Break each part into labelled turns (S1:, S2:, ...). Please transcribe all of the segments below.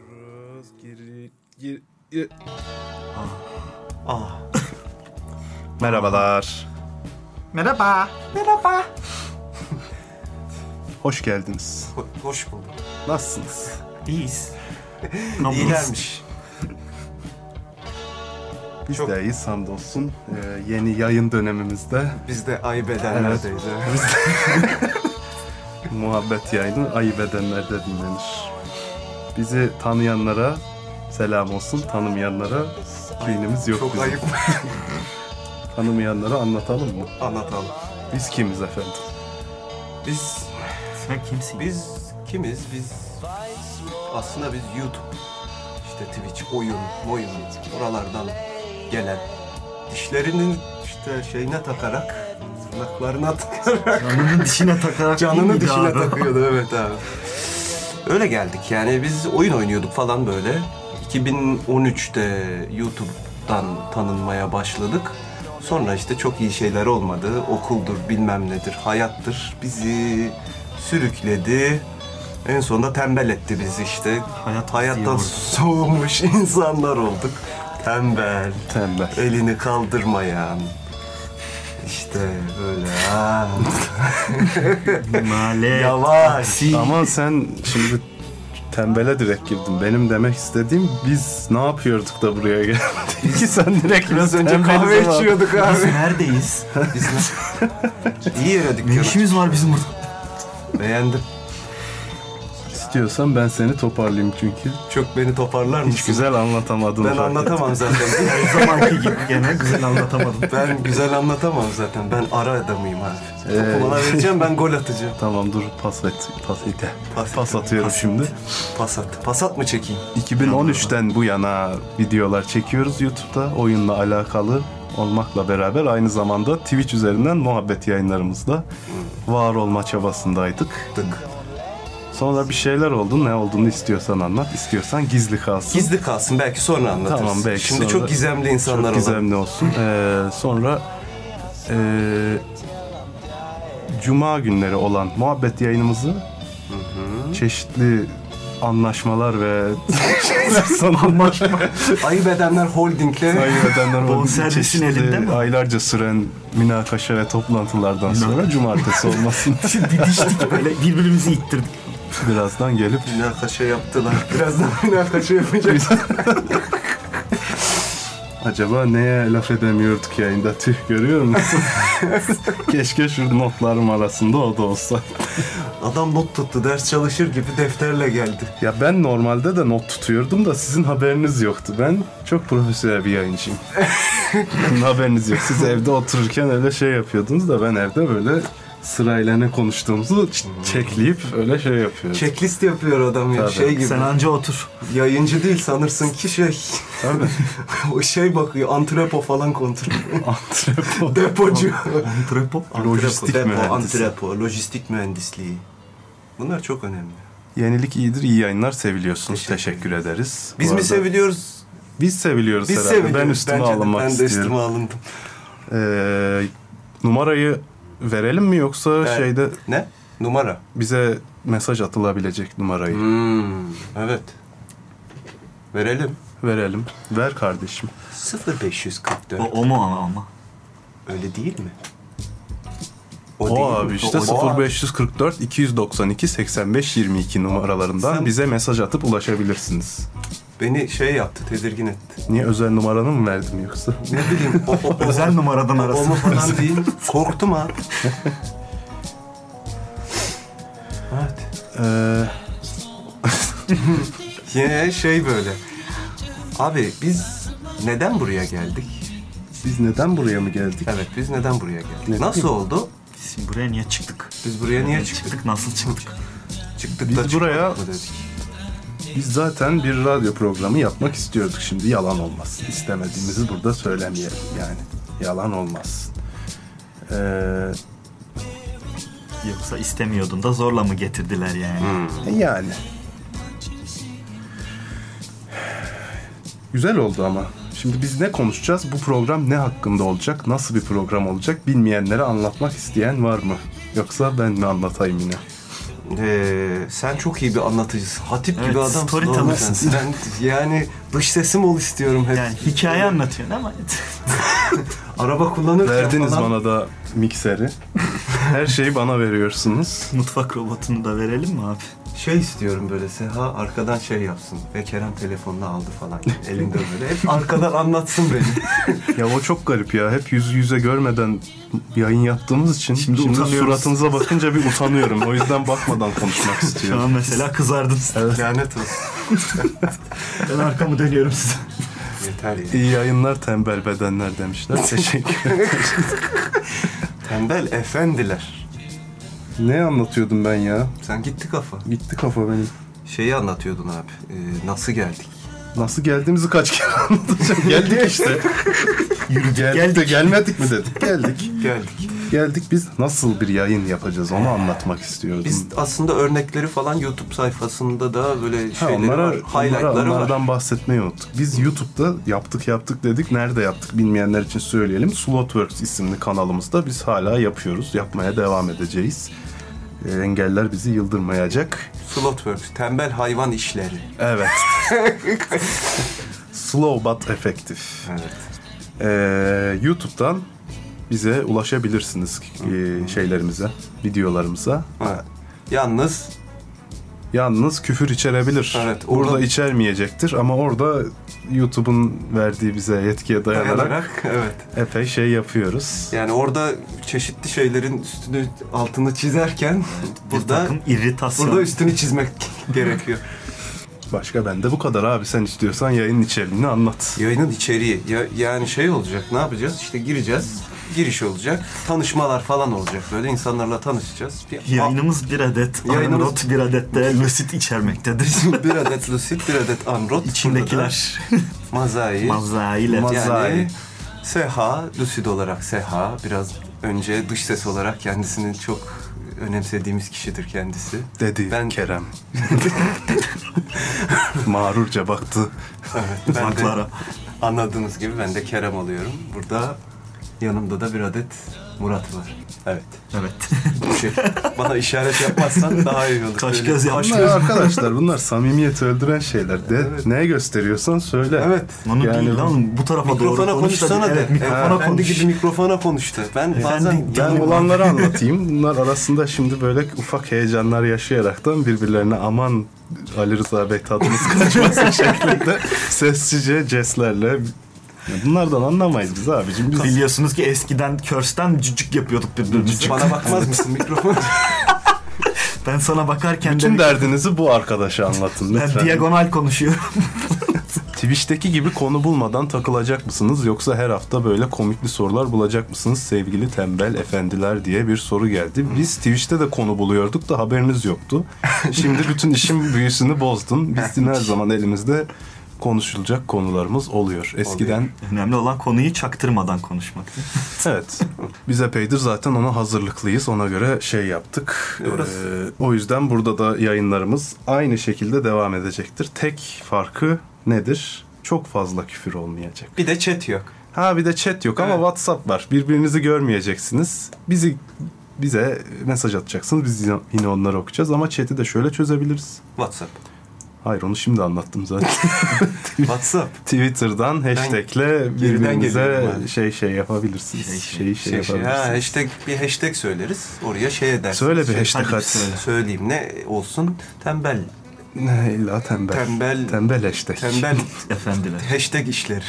S1: biraz geri... geri i-
S2: Ah. Merhabalar.
S3: Merhaba. Merhaba.
S2: Hoş geldiniz.
S3: hoş bulduk.
S2: Nasılsınız?
S3: İyiyiz.
S2: Nasılsınız?
S3: İyilermiş.
S2: Biz
S3: Çok-
S2: de iyiyiz hamdolsun. Ee, yeni yayın dönemimizde
S3: Biz de ayıp edenlerdeyiz. evet.
S2: muhabbet yayını ayıp edenlerde dinlenir. Bizi tanıyanlara selam olsun, tanımayanlara kinimiz yok
S3: Çok
S2: bizim.
S3: ayıp
S2: Tanımayanlara anlatalım mı?
S3: anlatalım.
S2: Biz kimiz efendim?
S3: Biz
S4: Sen kimsin?
S3: biz kimiz? Biz aslında biz YouTube, işte Twitch, oyun, oyun oralardan gelen dişlerinin işte şeyine takarak tırnaklarına takarak
S4: Canını dişine takarak değil
S3: Canını
S4: miydi
S3: dişine
S4: abi?
S3: takıyordu evet abi. Öyle geldik yani biz oyun oynuyorduk falan böyle. 2013'te YouTube'dan tanınmaya başladık. Sonra işte çok iyi şeyler olmadı. Okuldur, bilmem nedir, hayattır. Bizi sürükledi. En sonunda tembel etti bizi işte.
S4: Hayat diye
S3: Hayattan
S4: vurdu.
S3: soğumuş insanlar olduk. Tembel,
S2: Tembel.
S3: elini kaldırmayan. İşte böyle. ha.
S4: Male.
S3: Yavaş.
S2: Ama sen şimdi tembele direkt girdin. Benim demek istediğim biz ne yapıyorduk da buraya geldik ki sen direkt
S3: Biraz önce
S2: tembeliz
S3: kahve
S2: ama-
S3: içiyorduk
S4: Biz
S3: abi.
S4: neredeyiz?
S3: Biz İyi yere
S4: Ne
S3: dükkan
S4: işimiz var bizim burada?
S3: açtık. Beğendim.
S2: İstiyorsan ben seni toparlayayım çünkü
S3: Çok beni toparlar mısın?
S2: hiç güzel anlatamadın.
S3: Ben
S2: fark ettim.
S3: anlatamam zaten.
S4: Her zamanki gibi gene güzel anlatamadım.
S3: ben güzel anlatamam zaten. Ben ara adamıyım abi.
S2: Ee,
S3: Topu bana vereceğim ben gol atacağım.
S2: Tamam dur pas et. Pas, et.
S3: Pas-
S2: pas, atıyorum şimdi.
S3: Pas at. Pas at mı çekeyim?
S2: 2013'ten bu yana videolar çekiyoruz YouTube'da oyunla alakalı olmakla beraber aynı zamanda Twitch üzerinden muhabbet yayınlarımızda var olma çabasındaydık.
S3: Dık.
S2: Sonra bir şeyler oldu. Ne olduğunu istiyorsan anlat. istiyorsan gizli kalsın.
S3: Gizli kalsın belki sonra anlatırız.
S2: Tamam, belki
S3: Şimdi
S2: sonra.
S3: çok gizemli insanlar
S2: Çok
S3: olan.
S2: gizemli olsun. Ee, sonra ee, Cuma günleri olan muhabbet yayınımızı çeşitli anlaşmalar ve şeyler sonunda
S3: Ayıp edenler holdingle
S2: Sayın ödenler oldu.
S4: Bonservisin
S2: Çeşitli
S4: elinde mi?
S2: Aylarca süren münakaşa ve toplantılardan sonra cumartesi olmasın.
S4: Didiştik böyle birbirimizi ittirdik.
S2: Birazdan gelip
S3: münakaşa yaptılar. Birazdan münakaşa yapacağız.
S2: acaba neye laf edemiyorduk yayında tüh görüyor musun? Keşke şu notlarım arasında o da olsa.
S3: Adam not tuttu. Ders çalışır gibi defterle geldi.
S2: Ya ben normalde de not tutuyordum da sizin haberiniz yoktu. Ben çok profesyonel bir yayıncıyım. Bunun haberiniz yok. Siz evde otururken öyle şey yapıyordunuz da ben evde böyle sırayla ne konuştuğumuzu ç- çekleyip öyle şey yapıyordum.
S3: Checklist yapıyor adam ya.
S2: Tabii.
S3: Şey gibi.
S4: Sen anca otur.
S3: Yayıncı değil sanırsın ki şey
S2: Tabii.
S3: o şey bakıyor antrepo falan kontrol.
S2: Antrepo.
S3: Depocu. antrepo.
S2: Lojistik
S3: depo,
S2: mühendisi.
S3: Antrepo, lojistik mühendisliği. Bunlar çok önemli.
S2: Yenilik iyidir, iyi yayınlar seviliyorsunuz.
S3: Teşekkür
S2: Teşekkür, ederiz.
S3: Biz
S2: Bu
S3: mi
S2: arada-
S3: seviliyoruz?
S2: Biz seviliyoruz
S3: Biz
S2: herhalde.
S3: seviliyoruz.
S2: Ben üstüme
S3: Bence de,
S2: alınmak
S3: ben de
S2: istiyorum.
S3: üstüme alındım.
S2: Ee, numarayı verelim mi yoksa
S3: Ver.
S2: şeyde
S3: Ee, Ne? Numara.
S2: bize mesaj atılabilecek numarayı
S3: Hmm, evet. Verelim.
S2: verelim. Ver kardeşim.
S3: 0544.
S4: O, o mu ama ama?
S3: Öyle değil mi?
S2: O,
S3: değil mi?
S2: abi işte
S3: O- o-
S2: 0544 292 85 22 numaralarından
S3: Sen-
S2: bize mesaj atıp ulaşabilirsiniz.
S3: Beni şey yaptı, tedirgin etti.
S2: Niye özel numaranı mı verdim yoksa?
S3: Ne bileyim. O, o- o-
S4: Özel numaradan
S3: Babamı
S4: arasın.
S3: falan değil. Korktum abi. evet.
S2: Ee,
S3: Yine şey böyle. Abi biz neden buraya geldik?
S2: biz neden buraya mı geldik?
S3: Evet biz neden buraya geldik?
S2: Ne
S3: Nasıl
S2: bileyim.
S3: oldu?
S4: Biz buraya niye çıktık?
S3: Biz buraya E, niye
S4: Niye
S3: çıktık?
S4: çıktık? Nasıl çıktık?
S3: Çıktık
S2: Biz
S3: da çıkmadık
S2: buraya-
S3: mı dedik.
S2: Biz zaten bir radyo programı yapmak istiyorduk şimdi yalan olmaz. İstemediğimizi burada söylemeyelim yani. Yalan olmaz. Ee,
S4: Yoksa istemiyordun da zorla mı getirdiler yani?
S3: Hmm.
S2: e yani. Güzel oldu ama. Şimdi biz ne konuşacağız? Bu program ne hakkında olacak? Nasıl bir program olacak? Bilmeyenlere anlatmak isteyen var mı? Yoksa ben mi anlatayım yine?
S3: Ee, sen çok iyi bir anlatıcısın. Hatip
S4: Evet,
S3: gibi adamsın.
S4: storyteller.
S3: oğlum sen. Sen yani dış sesim ol istiyorum hep.
S4: Yani hikaye anlatıyorsun ama
S3: Araba kullanırken
S2: Verdiniz
S3: falan.
S2: bana da mikseri. Her şeyi bana veriyorsunuz.
S4: mutfak robotunu da verelim mi abi?
S3: Şey istiyorum böyle Seha arkadan şey yapsın. Ve Kerem telefonunu aldı falan. Elinde böyle. Hep arkadan anlatsın beni.
S2: Ya o çok garip ya. Hep yüz yüze görmeden yayın yaptığımız için
S4: Şimdi
S2: şimdi,
S4: utanıyoruz.
S2: suratınıza bakınca bir utanıyorum. O yüzden bakmadan konuşmak
S4: Şu
S2: istiyorum.
S4: an mesela kızardın.
S3: Lanet olsun.
S4: Ben arkamı dönüyorum size.
S3: Yeter ya.
S2: İyi yayınlar tembel bedenler demişler. Teşekkür
S3: Tembel efendiler.
S2: Ne anlatıyordum ben ya?
S3: Sen gitti kafa.
S2: Gitti kafa benim.
S3: Şeyi anlatıyordun abi. Ee, nasıl geldik?
S2: Nasıl geldiğimizi kaç kere anlatacağım. Geldik işte. Yürü geldik, de
S4: Geldik.
S2: gelmedik mi dedik. Geldik.
S3: Geldik.
S2: Geldik biz nasıl bir yayın yapacağız onu anlatmak istiyordum.
S3: Biz aslında örnekleri falan YouTube sayfasında da böyle
S2: Ha,
S3: şeyleri
S2: onlara,
S3: var.
S2: onlara
S3: Highlightları var.
S2: onlardan bahsetmeyi unuttuk. Biz YouTube'da yaptık yaptık dedik. Nerede yaptık bilmeyenler için söyleyelim. Slotworks isimli kanalımızda biz hala yapıyoruz. Yapmaya devam edeceğiz. Ee, Engeller bizi yıldırmayacak.
S3: Slotworks, tembel hayvan işleri.
S2: Evet. Slow but effective.
S3: Evet.
S2: Ee, YouTube'dan bize ulaşabilirsiniz e, şeylerimize, videolarımıza.
S3: Yalnız
S2: Yalnız küfür içerebilir.
S3: Evet, orada-
S2: orada... içermeyecektir ama orada YouTube'un verdiği bize yetkiye dayanarak,
S3: dayanarak evet.
S2: epey şey yapıyoruz.
S3: Yani orada çeşitli şeylerin üstünü altını çizerken
S4: Bir
S3: burada
S4: takım irritasyon.
S3: burada üstünü çizmek gerekiyor.
S2: Başka bende bu kadar abi sen istiyorsan yayının içeriğini anlat.
S3: Yayının içeriği ya, yani şey olacak. Ne yapacağız? İşte gireceğiz. Giriş olacak. Tanışmalar falan olacak. Böyle insanlarla tanışacağız. Bir,
S4: Yayınımız bir adet,
S3: Yayınımız-
S4: Arnavut bir adet de Lucid içermektedir.
S3: bir adet Lucid, bir adet Amrot.
S4: İçindekiler
S3: Mazai.
S4: mazaiyle.
S2: Maz-
S3: Yani
S2: Mazai.
S3: Seha, Lucid olarak Seha. Biraz önce dış ses olarak kendisini çok önemsediğimiz kişidir kendisi.
S2: Dedi
S3: Ben-
S2: Kerem. Mağrurca baktı.
S3: Evet, ben de
S4: Uzaklara.
S3: anladığınız gibi ben de Kerem alıyorum. Burada yanımda da bir adet Murat var. Evet.
S4: Evet.
S3: Bu şey. Bana işaret yapmazsan daha iyi olur.
S4: Kaş
S3: Böyle
S4: göz
S3: kaş-
S2: Bunlar arkadaşlar bunlar samimiyet öldüren şeyler. De, Neye gösteriyorsan söyle.
S3: Evet.
S4: Onu
S2: Yani
S4: değil
S2: bu-
S4: lan bu tarafa
S3: Mikrofona
S4: doğru konuş da-
S3: konuşsana de.
S4: Evet, mikrofona
S3: Evet,
S4: konuş.
S3: Kendi gibi mikrofona konuştu. Ben bazen
S4: Efendi-
S2: Ben
S4: Yani-
S2: olanları anlatayım. Bunlar arasında şimdi böyle ufak heyecanlar yaşayaraktan birbirlerine aman Ali Rıza Bey tadınız kaçmasın şeklinde sessizce jestlerle Ya Bunlardan anlamayız biz abicim. Biz
S4: Biliyorsunuz ki eskiden körsten cücük yapıyorduk birbirimize.
S3: bana bakmaz mısın mikrofon?
S4: Ben sana bakarken
S2: bütün
S4: de
S2: derdinizi bu arkadaşa anlatın
S4: ben
S2: lütfen.
S4: diagonal konuşuyorum.
S2: Twitch'teki gibi konu bulmadan takılacak mısınız yoksa her hafta böyle komikli sorular bulacak mısınız sevgili tembel efendiler diye bir soru geldi. Biz Twitch'te de konu buluyorduk da haberiniz yoktu. Şimdi bütün işin büyüsünü bozdun. Bizim her zaman elimizde konuşulacak konularımız oluyor. Eskiden
S4: Önemli olan konuyu çaktırmadan konuşmak.
S2: evet biz epeydir zaten ona hazırlıklıyız. Ona göre şey yaptık.
S3: Orası-
S2: Ee, o yüzden burada da yayınlarımız aynı şekilde devam edecektir. Tek farkı nedir? Çok fazla küfür olmayacak.
S3: Bir de chat yok.
S2: Ha bir de chat yok ama
S3: Evet.
S2: WhatsApp var. Birbirinizi görmeyeceksiniz. Bizi bize mesaj atacaksınız. Biz yine- yine onları okuyacağız ama chat'i de şöyle çözebiliriz.
S3: WhatsApp.
S2: Hayır onu şimdi anlattım zaten.
S3: WhatsApp.
S2: Twitter'dan hashtag'le
S3: geriden geliyorum
S2: birbirinize
S3: abi.
S2: şey şey yapabilirsiniz.
S4: Şey, şey.
S2: Şey şey,
S3: Şey, şey, ha,
S2: yapabilirsiniz.
S3: hashtag, bir hashtag söyleriz. Oraya şey edersin.
S2: Söyle bir
S3: Şey-
S2: hashtag
S4: hadi bir
S2: at.
S4: söyle.
S3: Söyleyeyim ne olsun? Tembel.
S2: Ne illa tembel.
S3: Tembel-
S2: Tembel hashtag.
S3: Tembel
S4: Efendiler.
S3: hashtag işleri.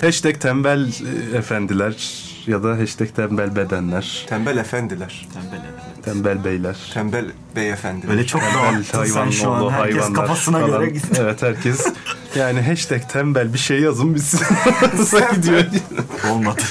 S2: Hashtag tembel e, efendiler ya da hashtag tembel bedenler.
S3: Tembel efendiler.
S2: Tembel beyler.
S3: Tembel beyefendiler.
S4: Böyle çok dağıttın sen
S2: hayvan
S4: şu an.
S2: oldu,
S4: Herkes
S2: hayvanlar
S4: kafasına
S2: falan.
S4: göre gitsin.
S2: Evet herkes. Yani hashtag tembel bir şey yazın biz gidiyor.
S4: Olmadı.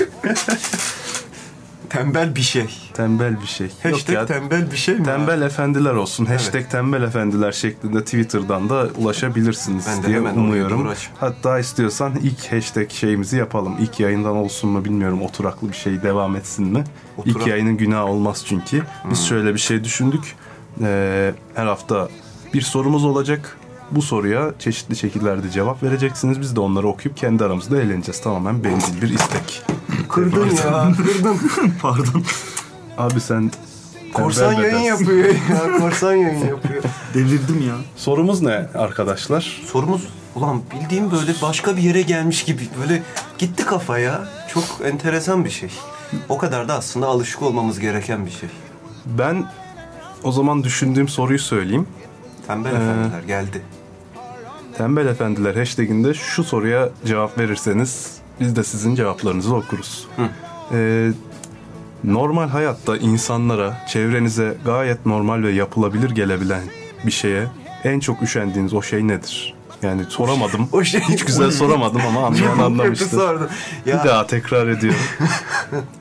S3: Tembel bir şey.
S2: tembel bir şey. Yok
S3: Hashtag
S2: ya,
S3: tembel bir şey mi?
S2: tembel efendiler olsun. Hashtag tembel efendiler şeklinde Twitter'dan da ulaşabilirsiniz
S3: Ben de
S2: diye
S3: hemen oraya
S2: umuyorum.
S3: doğru açayım.
S2: Hatta istiyorsan ilk hashtag şeyimizi yapalım. İlk yayından olsun mu bilmiyorum. Oturaklı bir şey devam etsin mi?
S3: Oturak- Hmm.
S2: İlk yayının günah olmaz çünkü. Biz şöyle bir şey düşündük. Ee, her hafta bir sorumuz olacak. Bu soruya çeşitli şekillerde cevap vereceksiniz. Biz de onları okuyup kendi aramızda eğleneceğiz. Tamamen bencil bir istek.
S3: Kırdın ya. Kırdın.
S4: Pardon.
S2: Abi sen
S3: Korsan
S2: Tembel de
S3: yayın
S2: dersin.
S3: yapıyor ya. Korsan yayın yapıyor.
S4: Devirdim ya.
S2: Sorumuz ne arkadaşlar?
S3: Sorumuz ulan bildiğim böyle başka bir yere gelmiş gibi böyle gitti kafaya. Çok enteresan bir şey. O kadar da aslında alışık olmamız gereken bir şey.
S2: Ben o zaman düşündüğüm soruyu söyleyeyim.
S3: Tembel
S2: Ee,
S3: efendiler geldi.
S2: Tembel Efendiler hashtaginde şu soruya cevap verirseniz biz de sizin cevaplarınızı okuruz. Ee, normal hayatta insanlara, çevrenize gayet normal ve yapılabilir gelebilen bir şeye en çok üşendiğiniz o şey nedir? Yani soramadım.
S3: O şey-
S2: Hiç güzel soramadım ama anlayan
S3: Kötü
S2: anlamıştır.
S3: sordu.
S2: Bir
S3: Ya
S2: daha tekrar ediyorum.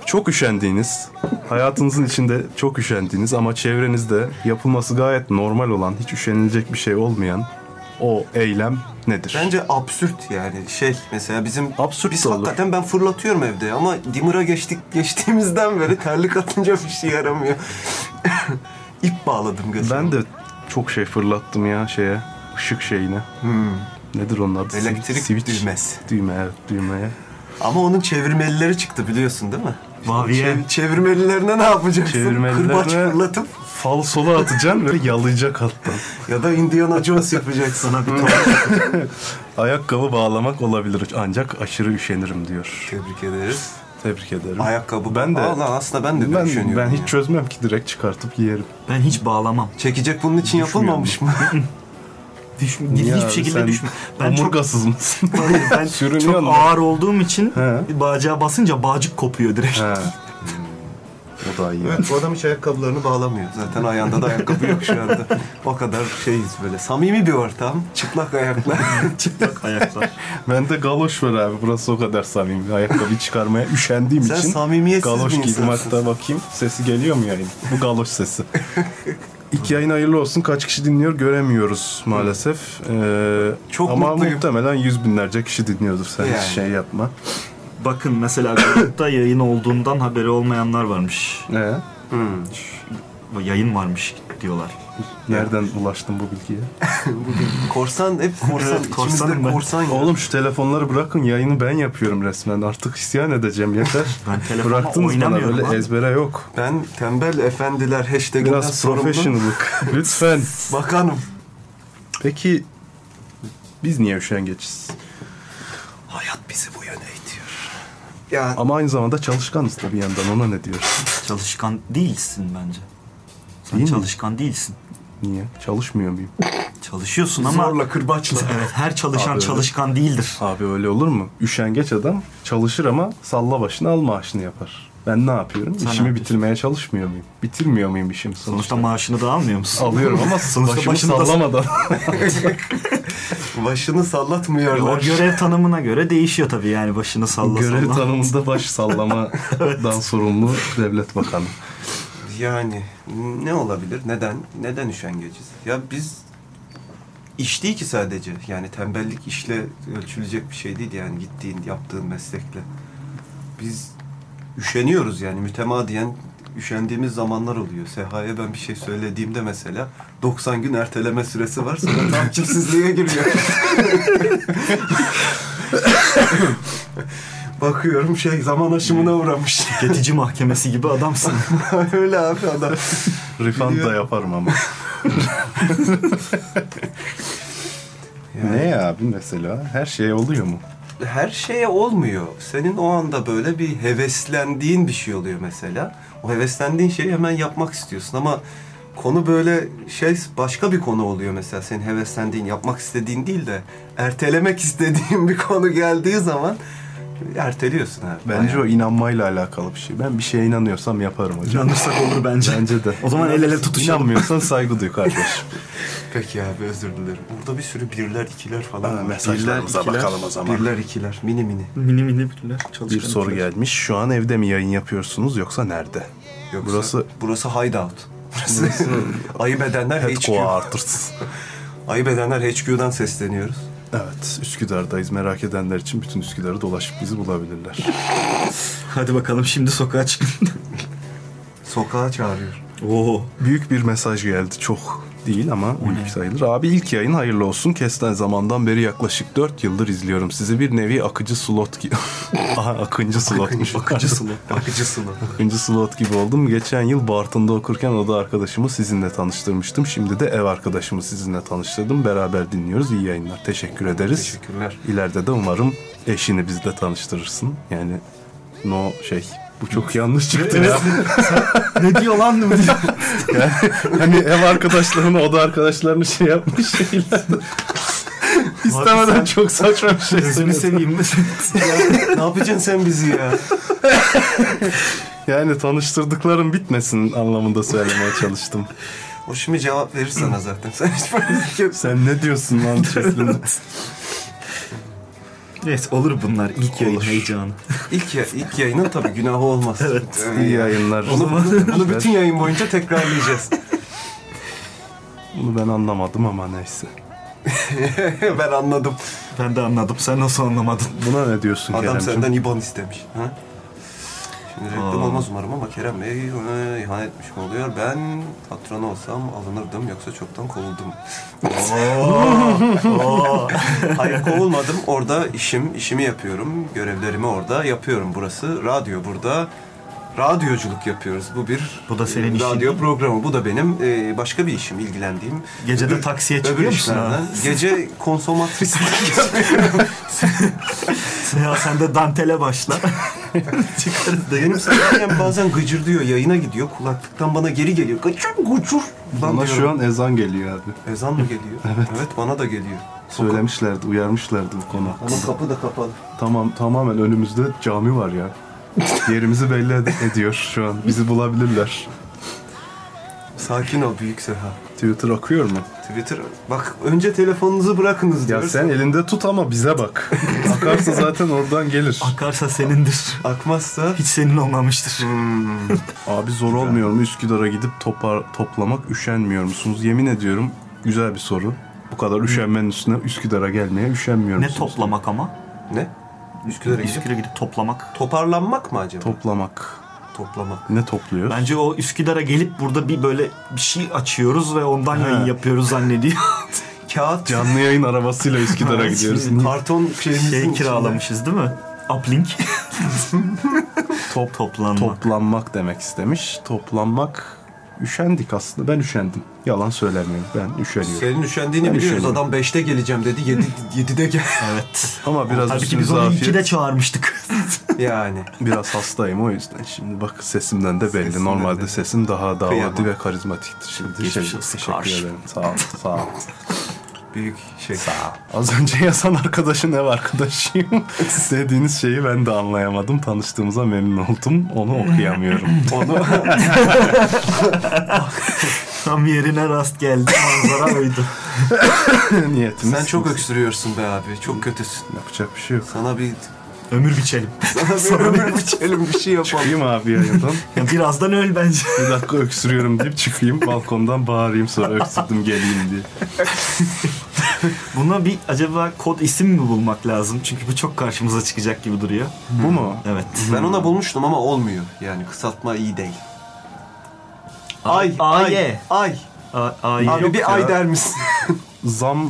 S2: çok üşendiğiniz, hayatınızın içinde çok üşendiğiniz ama çevrenizde yapılması gayet normal olan, hiç üşenilecek bir şey olmayan o eylem nedir?
S3: bence absürt yani şey mesela bizim
S2: Absürt
S3: biz
S2: de olur.
S3: hakikaten ben fırlatıyorum evde ama dimura geçtik geçtiğimizden beri terlik atınca bir şey yaramıyor. İp bağladım gözüme.
S2: Ben de çok şey fırlattım ya şeye, ışık şeyine. Nedir onun adı?
S3: Hmm. Elektrik
S2: Switch.
S3: düğmesi.
S2: Düğme, evet, düğmeye.
S3: Ama onun çevirmelileri çıktı biliyorsun değil mi?
S4: Vaviye.
S3: Çev- çevirmelilerine ne yapacaksın?
S2: Çevirmelilerine-
S3: Kırbaç fırlatıp
S2: Falsolu atacaksın ve yalayacak alttan.
S3: ya da Indiana Jones yapacaksın.
S4: Sana bir tuhaf.
S2: Ayakkabı bağlamak olabilir ancak aşırı üşenirim diyor.
S3: Tebrik ederiz.
S2: Tebrik ederim.
S3: Ayakkabı.
S2: Ben de-
S3: Aa, lan aslında ben de böyle
S2: ben,
S3: düşünüyorum
S2: ben
S3: ya.
S2: hiç çözmem ki direkt çıkartıp giyerim.
S4: ben hiç bağlamam.
S3: Çekecek bunun için yapılmamış mı?
S4: Düşme,
S2: Ya
S4: hiçbir
S2: sen
S4: şekilde düşme. Ben çok
S2: Omurgasız mısın?
S4: Hayır, ben
S2: Sürünüyor
S4: çok
S2: mu?
S4: ağır olduğum için
S2: He.
S4: bağcığa basınca bağcık kopuyor direkt.
S2: He.
S3: Hmm,
S2: O da iyi.
S3: evet bu adam hiç ayakkabılarını bağlamıyor. Zaten ayağında da ayakkabı yok şu anda. O kadar şeyiz böyle. Samimi bir ortam. Çıplak ayaklar.
S4: Çıplak ayaklar.
S2: Ben de galoş var abi. Burası o kadar samimi. Ayakkabı çıkarmaya üşendiğim
S3: Sen
S2: için.
S3: samimiyetsiz
S2: Galoş
S3: bir
S2: giydim
S3: insansın.
S2: hatta bakayım. Sesi geliyor mu yayın? Bu galoş sesi. İki yayın hayırlı olsun. Kaç kişi dinliyor göremiyoruz maalesef. Ee,
S3: Çok
S2: ama
S3: mutluyum.
S2: muhtemelen yüz binlerce kişi dinliyordur. Sen hiç
S3: Yani.
S2: şey yapma.
S4: Bakın mesela grupta yayın olduğundan haberi olmayanlar varmış.
S2: Ee,
S3: Hmm.
S4: Yayın varmış diyorlar.
S2: nereden ulaştın bu bilgiye?
S3: Korsan hep korsan.
S4: Evet, korsanım
S3: İçimizde
S4: ben.
S3: korsan ya.
S2: Oğlum şu telefonları bırakın. Yayını ben yapıyorum resmen. Artık isyan edeceğim yeter.
S4: Ben telefonla
S2: Bıraktınız bana
S4: oynamıyorum
S2: böyle
S4: abi.
S2: ezbere yok.
S3: Ben tembel efendiler hashtaginden
S2: Biraz
S3: sorumlu.
S2: professionallık. Lütfen.
S3: Bakanım.
S2: Peki biz niye üşengeçiz?
S3: Hayat bizi bu yöne itiyor. Ya
S2: Ama aynı zamanda çalışkanız da bir yandan ona ne diyoruz?
S4: Çalışkan değilsin bence. Sen
S2: Değil mi?
S4: çalışkan değilsin.
S2: Niye? Çalışmıyor muyum?
S4: Çalışıyorsun ama
S3: zorla kırbaçla.
S4: evet her çalışan
S2: Abi öyle.
S4: çalışkan değildir.
S2: Abi öyle olur mu? Üşengeç adam çalışır ama salla başını al maaşını yapar. Ben ne yapıyorum?
S4: ne
S2: İşimi
S4: yapıyorsun?
S2: bitirmeye çalışmıyor muyum? Bitirmiyor muyum işimi sonuçta?
S4: Sonuçta maaşını da almıyor musun?
S2: Alıyorum ama
S4: Sonuçta
S2: başımı
S4: başını da-
S2: sallamadan.
S3: Başını
S4: E, O
S3: sallatmıyorlar.
S4: görev tanımına göre değişiyor tabii yani başını salla
S2: Görev
S4: salla.
S2: tanımında baş sallamadan sorumlu devlet bakanı.
S3: Yani ne olabilir? Neden? Neden üşengeciz? Ya biz iş değil ki sadece. Yani tembellik işle ölçülecek bir şey değil yani gittiğin, yaptığın meslekle. Biz üşeniyoruz yani mütemadiyen üşendiğimiz zamanlar oluyor. Seha'ya ben bir şey söylediğimde mesela 90 gün erteleme süresi var sonra takipsizliğe giriyor. Bakıyorum şey zaman aşımına uğramış.
S4: Tüketici mahkemesi gibi adamsın.
S3: Öyle abi adam.
S2: Refund da
S3: Biliyorum.
S2: yaparım ama. Ne abi mesela? Her şey oluyor mu?
S3: her şeye olmuyor. Senin o anda böyle bir heveslendiğin bir şey oluyor mesela. O heveslendiğin şeyi hemen yapmak istiyorsun ama konu böyle şey başka bir konu oluyor mesela. Senin heveslendiğin, yapmak istediğin değil de ertelemek istediğin bir konu geldiği zaman erteliyorsun abi.
S2: Bence o inanmayla alakalı bir şey. Ben bir şeye inanıyorsam yaparım hocam.
S4: İnanırsak olur bence.
S2: Bence de.
S4: O zaman el ele tutuşalım.
S2: İnanmıyorsan saygı duy kardeşim.
S3: Peki abi özür dilerim. Burada bir sürü birler, ikiler falan var.
S2: mesajlarımıza bakalım o zaman.
S3: Birler, ikiler. Mini mini.
S4: Mini mini birler çalışkan.
S2: Bir soru gelmiş. Şu an evde mi yayın yapıyorsunuz yoksa nerede?
S3: Yoksa,
S2: Burası-
S3: burası hideout. Burası, ayıp edenler HQ.
S2: Headquarters.
S3: Ayıp edenler HQ'dan sesleniyoruz.
S2: Evet, Üsküdar'dayız. Merak edenler için bütün Üsküdar'ı dolaşıp bizi bulabilirler.
S4: Hadi bakalım şimdi sokağa çıkın.
S3: Sokağa çağırıyor.
S4: Oo.
S2: Büyük bir mesaj geldi. Çok değil ama büyük sayılır. Abi ilk yayın hayırlı olsun. Kesten zamandan beri yaklaşık 4 yıldır izliyorum. Sizi bir nevi akıcı slot gibi... Aha akıncı slotmuş. Akıncı slot.
S3: Bakıcısını.
S2: Akıncı slot gibi oldum. Geçen yıl Bartın'da okurken oda arkadaşımı sizinle tanıştırmıştım. Şimdi de ev arkadaşımı sizinle tanıştırdım. Beraber dinliyoruz. İyi yayınlar. Teşekkür ederiz.
S3: Teşekkürler.
S2: İleride de umarım eşini bizle tanıştırırsın. Yani no şey... Bu çok yanlış çıktı ya.
S4: ne diyor lan?
S2: Yani hani ev arkadaşlarını, oda arkadaşlarını şey yapmış şeyler. İstemeden
S4: sen-
S2: çok saçma bir şey
S4: Gözünü
S2: söyledim.
S4: seveyim.
S3: ne yapacaksın sen bizi ya?
S2: Yani tanıştırdıklarım bitmesin anlamında söylemeye çalıştım.
S3: O şimdi cevap verir sana zaten. Sen hiç böyle yok.
S2: Sen ne diyorsun lan Çeslin?
S4: Neyse olur bunlar. İlk yayın
S2: Olur.
S4: heyecanı.
S3: İlk, ya, ilk yayının tabii günahı olmaz.
S4: Evet.
S3: Yani
S2: İyi yayınlar.
S3: Bunu, bunu, bunu bütün yayın boyunca tekrarlayacağız.
S2: Bunu ben anlamadım ama neyse.
S3: ben anladım.
S4: Ben de anladım. Sen nasıl anlamadın?
S2: Buna ne diyorsun
S3: Adam
S2: Keremciğim?
S3: senden IBAN istemiş. Ha? Şimdi reklam
S4: Aa.
S3: olmaz umarım ama Kerem Bey e, ihanet etmiş mi oluyor? Ben patron olsam alınırdım yoksa çoktan kovuldum. Hayır kovulmadım. Orada işim, işimi yapıyorum. Görevlerimi orada yapıyorum. Burası radyo burada. Radyoculuk yapıyoruz. Bu bir
S4: Bu da senin
S3: e,
S4: işin
S3: radyo
S4: değil
S3: programı. Bu da benim e, başka bir işim, ilgilendiğim.
S4: Gece de
S3: Öbür-
S4: taksiye
S3: öbür
S4: çıkıyor musun ha?
S3: işlerden. Gece konsomatrislik yapıyorum.
S4: Ya sen de dantele başla. Çıkarız da
S3: Benim sandalyem bazen gıcırdıyor, yayına gidiyor. Kulaklıktan bana geri geliyor. Gıcır gıcır. Lan
S2: Bana
S3: diyorum,
S2: şu an ezan geliyor abi.
S3: Ezan mı geliyor? evet. bana da geliyor.
S2: Söylemişlerdi, uyarmışlardı bu konu hakkında.
S3: Ama kapı da kapalı.
S2: Tamam, tamamen önümüzde cami var ya. Yerimizi belli ed- ediyor şu an. Bizi bulabilirler.
S3: Sakin ol büyük Seha.
S2: Twitter akıyor mu?
S3: Twitter bak önce telefonunuzu bırakınız
S2: Ya
S3: diyor.
S2: sen elinde tut ama bize bak. Akarsa zaten oradan gelir.
S4: Akarsa senindir.
S3: akmazsa
S4: Hiç senin olmamıştır.
S2: Abi zor olmuyor mu Üsküdar'a gidip topar, toplamak üşenmiyor musunuz? Yemin ediyorum güzel bir soru. Bu kadar üşenmenin üstüne Üsküdar'a gelmeye üşenmiyor
S4: Ne
S2: musunuz?
S4: toplamak ama?
S3: ne? Üsküdar'a gidip
S4: Üsküdar'a gidip toplamak.
S3: toparlanmak mı acaba?
S2: Toplamak.
S3: Toplamak.
S2: Ne topluyor?
S4: Bence o Üsküdar'a gelip burada bir böyle bir şey açıyoruz ve ondan yayın yapıyoruz zannediyor.
S3: Kağıt
S2: Canlı yayın arabasıyla Üsküdar'a gidiyoruz.
S3: karton şeyimizin
S4: şey
S3: içinde.
S4: kiralamışız değil mi? Uplink.
S2: Top,
S4: Toplanmak.
S2: toplanmak demek istemiş. Toplanmak üşendik aslında. Ben üşendim. Yalan söylemiyorum. Ben üşeniyorum.
S3: Senin üşendiğini
S2: Ben
S3: biliyoruz.
S2: üşeniyorum.
S3: Adam 5'te geleceğim dedi. 7 7'de gel.
S4: evet.
S2: Ama biraz
S4: Halbuki biz
S2: üstünüze
S4: onu
S2: afiyet.
S4: ikide çağırmıştık.
S3: yani.
S2: Biraz hastayım o yüzden. Şimdi bak sesimden de belli.
S3: Sesimden
S2: Normalde
S3: de.
S2: sesim daha davadi
S3: Kıyamam.
S2: ve karizmatiktir. Şimdi
S4: Geçmiş
S2: şey-
S4: olsun
S2: teşekkür
S4: karşı.
S2: ederim. Sağ ol, sağ ol.
S3: Büyük şey.
S2: Az önce yazan arkadaşın ev arkadaşıyım dediğiniz şeyi ben de anlayamadım. Tanıştığımıza memnun oldum. Onu okuyamıyorum.
S3: Onu
S4: Tam yerine rast geldi. Manzara oydu.
S2: Niyetimiz.
S3: Sen çok öksürüyorsun be abi. Çok kötüsün.
S2: Yapacak bir şey yok.
S3: Sana bir
S4: Ömür biçelim.
S3: sana bir ömür biçelim bir şey yapalım.
S2: Çıkayım abi yayından.
S4: Ya birazdan öl bence.
S2: Bir dakika öksürüyorum deyip çıkayım. Balkondan bağırayım sonra öksürdüm geleyim diye.
S4: Buna bir acaba kod isim mi bulmak lazım? Çünkü bu çok karşımıza çıkacak gibi duruyor.
S2: Bu mu?
S4: Evet.
S3: Ben ona bulmuştum ama olmuyor. Yani kısaltma iyi değil. Ay,
S4: A-
S3: ay, ay.
S4: AY. A- A'yı
S3: Abi
S4: yok
S3: bir
S4: ya.
S3: ay der misin?
S2: Zamla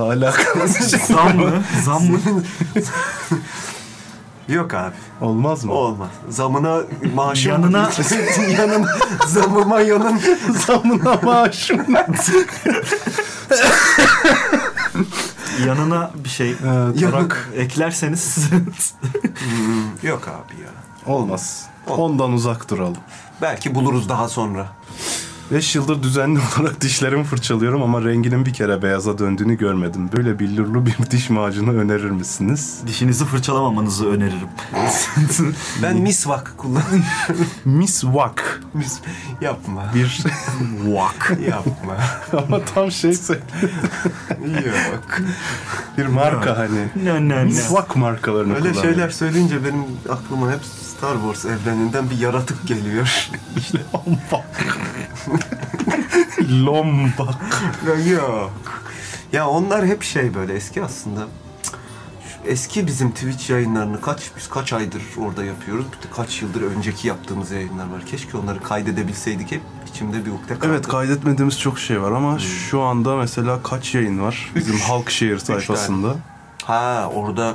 S2: alakalı şey.
S4: Zam mı? Zam mı?
S3: Yok abi.
S2: olmaz mı?
S3: Olmaz. Zamına maaşım.
S4: Yanına-
S3: yanın. Zamıma yanın.
S2: Zamına maaşım.
S4: Yanına bir şey
S2: Ee, tarak.
S4: eklerseniz
S3: Yok abi ya.
S2: Olmaz.
S3: Ol-
S2: Ondan uzak duralım.
S3: Belki buluruz daha sonra.
S2: 5 yıldır düzenli olarak dişlerimi fırçalıyorum ama renginin bir kere beyaza döndüğünü görmedim. Böyle billurlu bir diş macunu önerir misiniz?
S4: dişinizi fırçalamamanızı öneririm.
S3: Ben misvak kullanıyorum.
S2: Miss Wack.
S3: Mis- Yapma.
S2: Bir
S4: Vak.
S3: Yapma.
S2: ama tam şey söyle-
S3: Yok.
S2: bir marka hani.
S4: Ne ne ne.
S2: Miss Wack markalarını
S3: Öyle
S2: kullanıyor.
S3: şeyler söyleyince benim aklıma hep Star Wars evreninden bir yaratık geliyor.
S2: Lombak. Lombak.
S3: Ya Yok. Ya onlar hep şey böyle eski aslında. Şu eski bizim Twitch yayınlarını kaç biz kaç aydır orada yapıyoruz. Bir de Kaç yıldır önceki yaptığımız yayınlar var. Keşke onları kaydedebilseydik hep içimde bir ukde kaldı.
S2: Evet kaydetmediğimiz çok şey var ama şu anda mesela kaç yayın var bizim Halkşehir sayfasında.
S3: Ha orada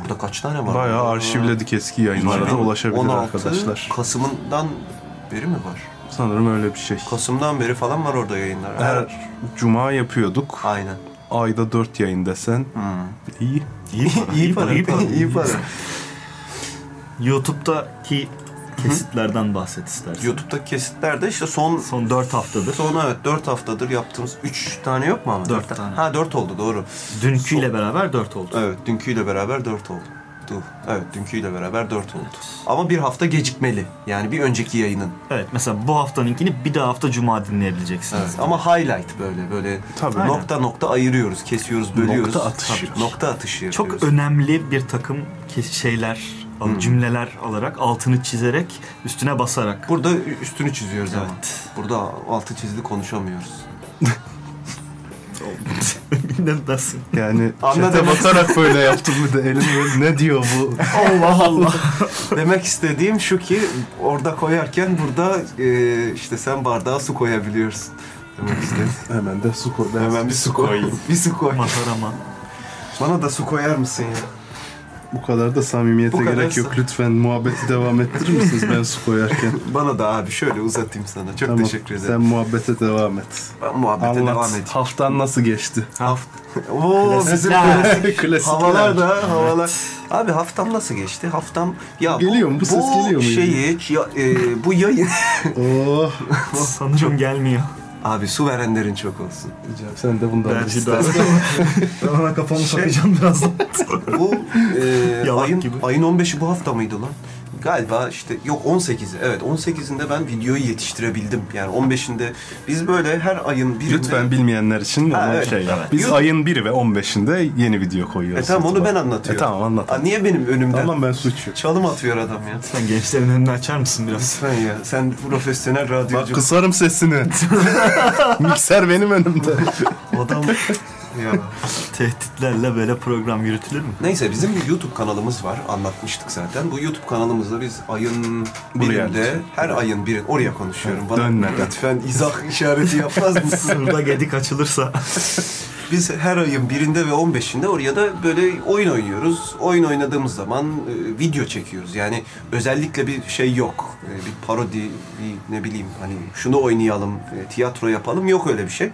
S3: orada kaç tane var?
S2: Bayağı arşivledik eski yayınlara da ulaşabilir
S3: 16
S2: arkadaşlar.
S3: Kasım'dan beri mi var?
S2: Sanırım öyle bir şey.
S3: Kasım'dan beri falan var orada yayınlar.
S2: Her cuma yapıyorduk.
S3: Aynen.
S2: Ayda 4 yayın desen. İyi.
S4: İyi para.
S3: İyi para.
S4: iyi para.
S3: İyi para.
S4: YouTube'daki kesitlerden bahset istersen.
S3: YouTube'daki kesitlerde işte son
S4: Son 4 haftadır.
S3: son evet 4 haftadır yaptığımız 3 tane yok mu ama?
S4: Dört tane.
S3: Ha 4 oldu doğru.
S4: Dünküyle beraber 4 oldu.
S3: Evet dünküyle beraber 4 oldu. Dur. Evet dünküyle beraber 4 oldu. Ama bir hafta gecikmeli. Yani bir önceki yayının.
S4: Evet mesela bu haftanınkini bir daha hafta cuma dinleyebileceksiniz.
S3: Evet. Ama highlight böyle böyle
S2: Tabii.
S3: nokta nokta ayırıyoruz, kesiyoruz, bölüyoruz.
S2: Nokta atışı.
S3: Tabii, nokta atışı
S4: Çok
S3: yapıyoruz.
S4: önemli bir takım ke- şeyler, al- cümleler alarak, altını çizerek, üstüne basarak.
S3: Burada ü- üstünü çiziyoruz ama.
S4: Evet.
S3: Burada altı çizili konuşamıyoruz.
S4: Nasıl?
S2: Yani
S3: Anladım.
S2: çete batarak böyle yaptım bir de elim böyle ne diyor bu?
S4: Allah Allah.
S3: Demek istediğim şu ki orada koyarken burada e, işte sen bardağa su koyabiliyorsun. Demek istedim.
S2: Hemen de su koy.
S3: Hemen bir su koyayım. bir su koy.
S4: Matarama.
S3: Bana da su koyar mısın ya?
S2: Bu kadar da
S3: Bu
S2: samimiyete
S3: kadar
S2: gerek yok.
S3: sa-
S2: Lütfen muhabbeti devam ettirir misiniz ben su koyarken?
S3: Bana da abi şöyle uzatayım sana. Çok teşekkür
S2: Sen
S3: ederim.
S2: muhabbete devam et.
S3: Ben muhabbete
S2: Anlat.
S3: devam edeyim.
S2: Haftan nasıl geçti?
S4: Ah,
S3: Haft. Oo bizim
S4: Klasikler.
S2: Klasikler.
S3: havalar da havalar. Abi haftam nasıl geçti? Haftam ya
S2: Geliyor mu? Bu ses geliyor mu?
S3: Şeyi ya, e, bu yayın.
S2: Oh.
S4: Sanırım gelmiyor.
S3: abi su verenlerin çok olsun.
S2: Sen de bundan
S4: Ben
S2: da
S4: şimdi ben ona kafamı sokacağım birazdan.
S3: Bu e,
S4: Yalak
S3: ayın,
S4: gibi.
S3: ayın 15'i bu hafta mıydı lan? Galiba işte yok 18'i. Evet 18'inde ben videoyu yetiştirebildim. Yani 15'inde biz böyle her ayın birinde...
S2: Lütfen bilmeyenler için
S3: Ha,
S2: ona bir
S3: evet.
S2: şey yap.
S4: Evet.
S2: Biz
S3: YouTube-
S2: ayın 1'i ve 15'inde yeni video
S3: E
S2: koyuyoruz.
S3: tamam onu
S2: YouTube'a.
S3: ben anlatıyorum.
S2: E tamam anlat.
S3: Aa, niye benim önümden?
S2: Tamam ben suçluyum.
S3: Çalım atıyor adam ya.
S4: Sen gençlerin önünü açar mısın biraz?
S3: Lütfen ya. Sen profesyonel
S2: Bak
S3: radyocu.
S2: kısarım sesini. Mikser benim önümde.
S3: Adam... ya.
S4: Tehditlerle böyle program yürütülür mü?
S3: Neyse bizim bir YouTube kanalımız var. Anlatmıştık zaten. Bu YouTube kanalımızda biz ayın
S2: Buraya
S3: birinde, her ayın biri oraya konuşuyorum. Bana
S2: dönmeden.
S3: lütfen izah işareti yapmaz mısın?
S4: Sırda gedik açılırsa.
S3: Biz her ayın birinde ve 15'inde oraya da böyle oyun oynuyoruz. Oyun oynadığımız zaman e, video çekiyoruz. Yani özellikle bir şey yok. E, bir parodi, bir ne bileyim hani şunu oynayalım, e, tiyatro yapalım yok öyle bir şey.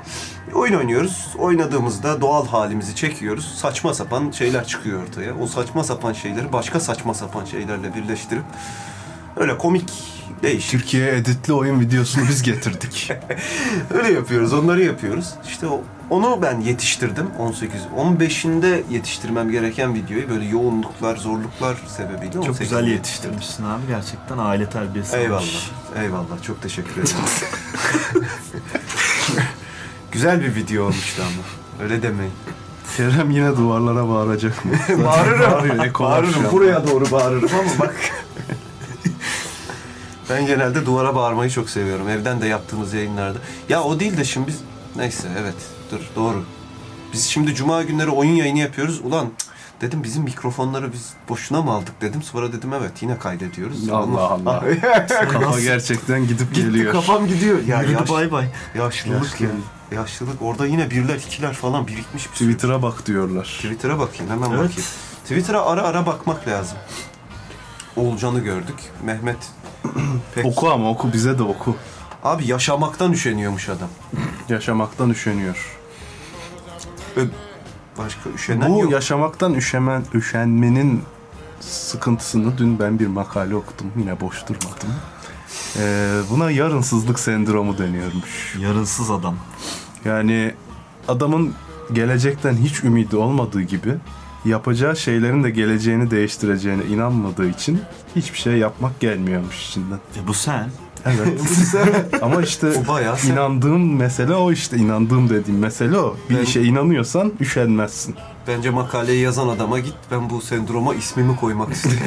S3: Oyun oynuyoruz. Oynadığımızda doğal halimizi çekiyoruz. Saçma sapan şeyler çıkıyor ortaya. O saçma sapan şeyleri başka saçma sapan şeylerle birleştirip öyle komik değişik
S2: Türkiye'ye editli oyun videosunu biz getirdik.
S3: Öyle yapıyoruz, onları yapıyoruz. İşte o- onu ben yetiştirdim 18 15'inde yetiştirmem gereken videoyu böyle yoğunluklar, zorluklar sebebiyle
S4: Çok güzel
S3: 18'inde yetiştirdim.
S4: yetiştirmişsin abi gerçekten aile terbiyesi.
S3: Eyvallah. Eyvallah. Çok teşekkür ederim. güzel bir video olmuştu ama. Öyle demeyin.
S2: Kerem yine duvarlara bağıracak mı? Zaten bağırıyor,
S3: bağırırım.
S2: ekolar şu
S3: bağırırım.
S2: an.
S3: Buraya doğru bağırırım ama bak. ben genelde duvara bağırmayı çok seviyorum. Evden de yaptığımız yayınlarda. Ya o değil de şimdi biz... Neyse evet. Dur doğru. Biz şimdi cuma günleri oyun yayını yapıyoruz. Ulan cık, dedim bizim mikrofonları biz boşuna mı aldık dedim. Sonra dedim evet yine kaydediyoruz.
S2: Allah Allah. Kafa gerçekten gidip
S3: Gitti
S2: geliyor.
S3: kafam gidiyor. Ya
S4: Yürüdü
S3: yaş-
S4: bay bay.
S3: yaşlılık ya. Yaşlılık. Orada yine birler ikiler falan birikmiş bir sürü.
S2: Twitter'a bak diyorlar.
S3: Twitter'a bakayım hemen
S4: Evet.
S3: bakayım. Twitter'a ara ara bakmak lazım. Oğulcan'ı gördük. Mehmet pek...
S2: Oku ama oku bize de oku.
S3: Abi yaşamaktan üşeniyormuş adam.
S2: Yaşamaktan üşeniyor.
S3: Ö- Başka üşenen
S2: Bu
S3: yok.
S2: yaşamaktan üşemen, üşenmenin sıkıntısını dün ben bir makale okudum. Yine boş durmadım. Ee, buna yarınsızlık sendromu deniyormuş.
S4: Yarınsız adam.
S2: Yani adamın gelecekten hiç ümidi olmadığı gibi yapacağı şeylerin de geleceğini değiştireceğine inanmadığı için hiçbir şey yapmak gelmiyormuş içinden.
S4: E bu sen.
S2: Evet. Ama işte
S3: O bayağı sen-
S2: inandığım mesele o işte inandığım dediğim mesele o. Bir
S3: Ben-
S2: işe inanıyorsan üşenmezsin.
S3: Bence makaleyi yazan adama git. Ben bu sendroma ismimi koymak istiyorum.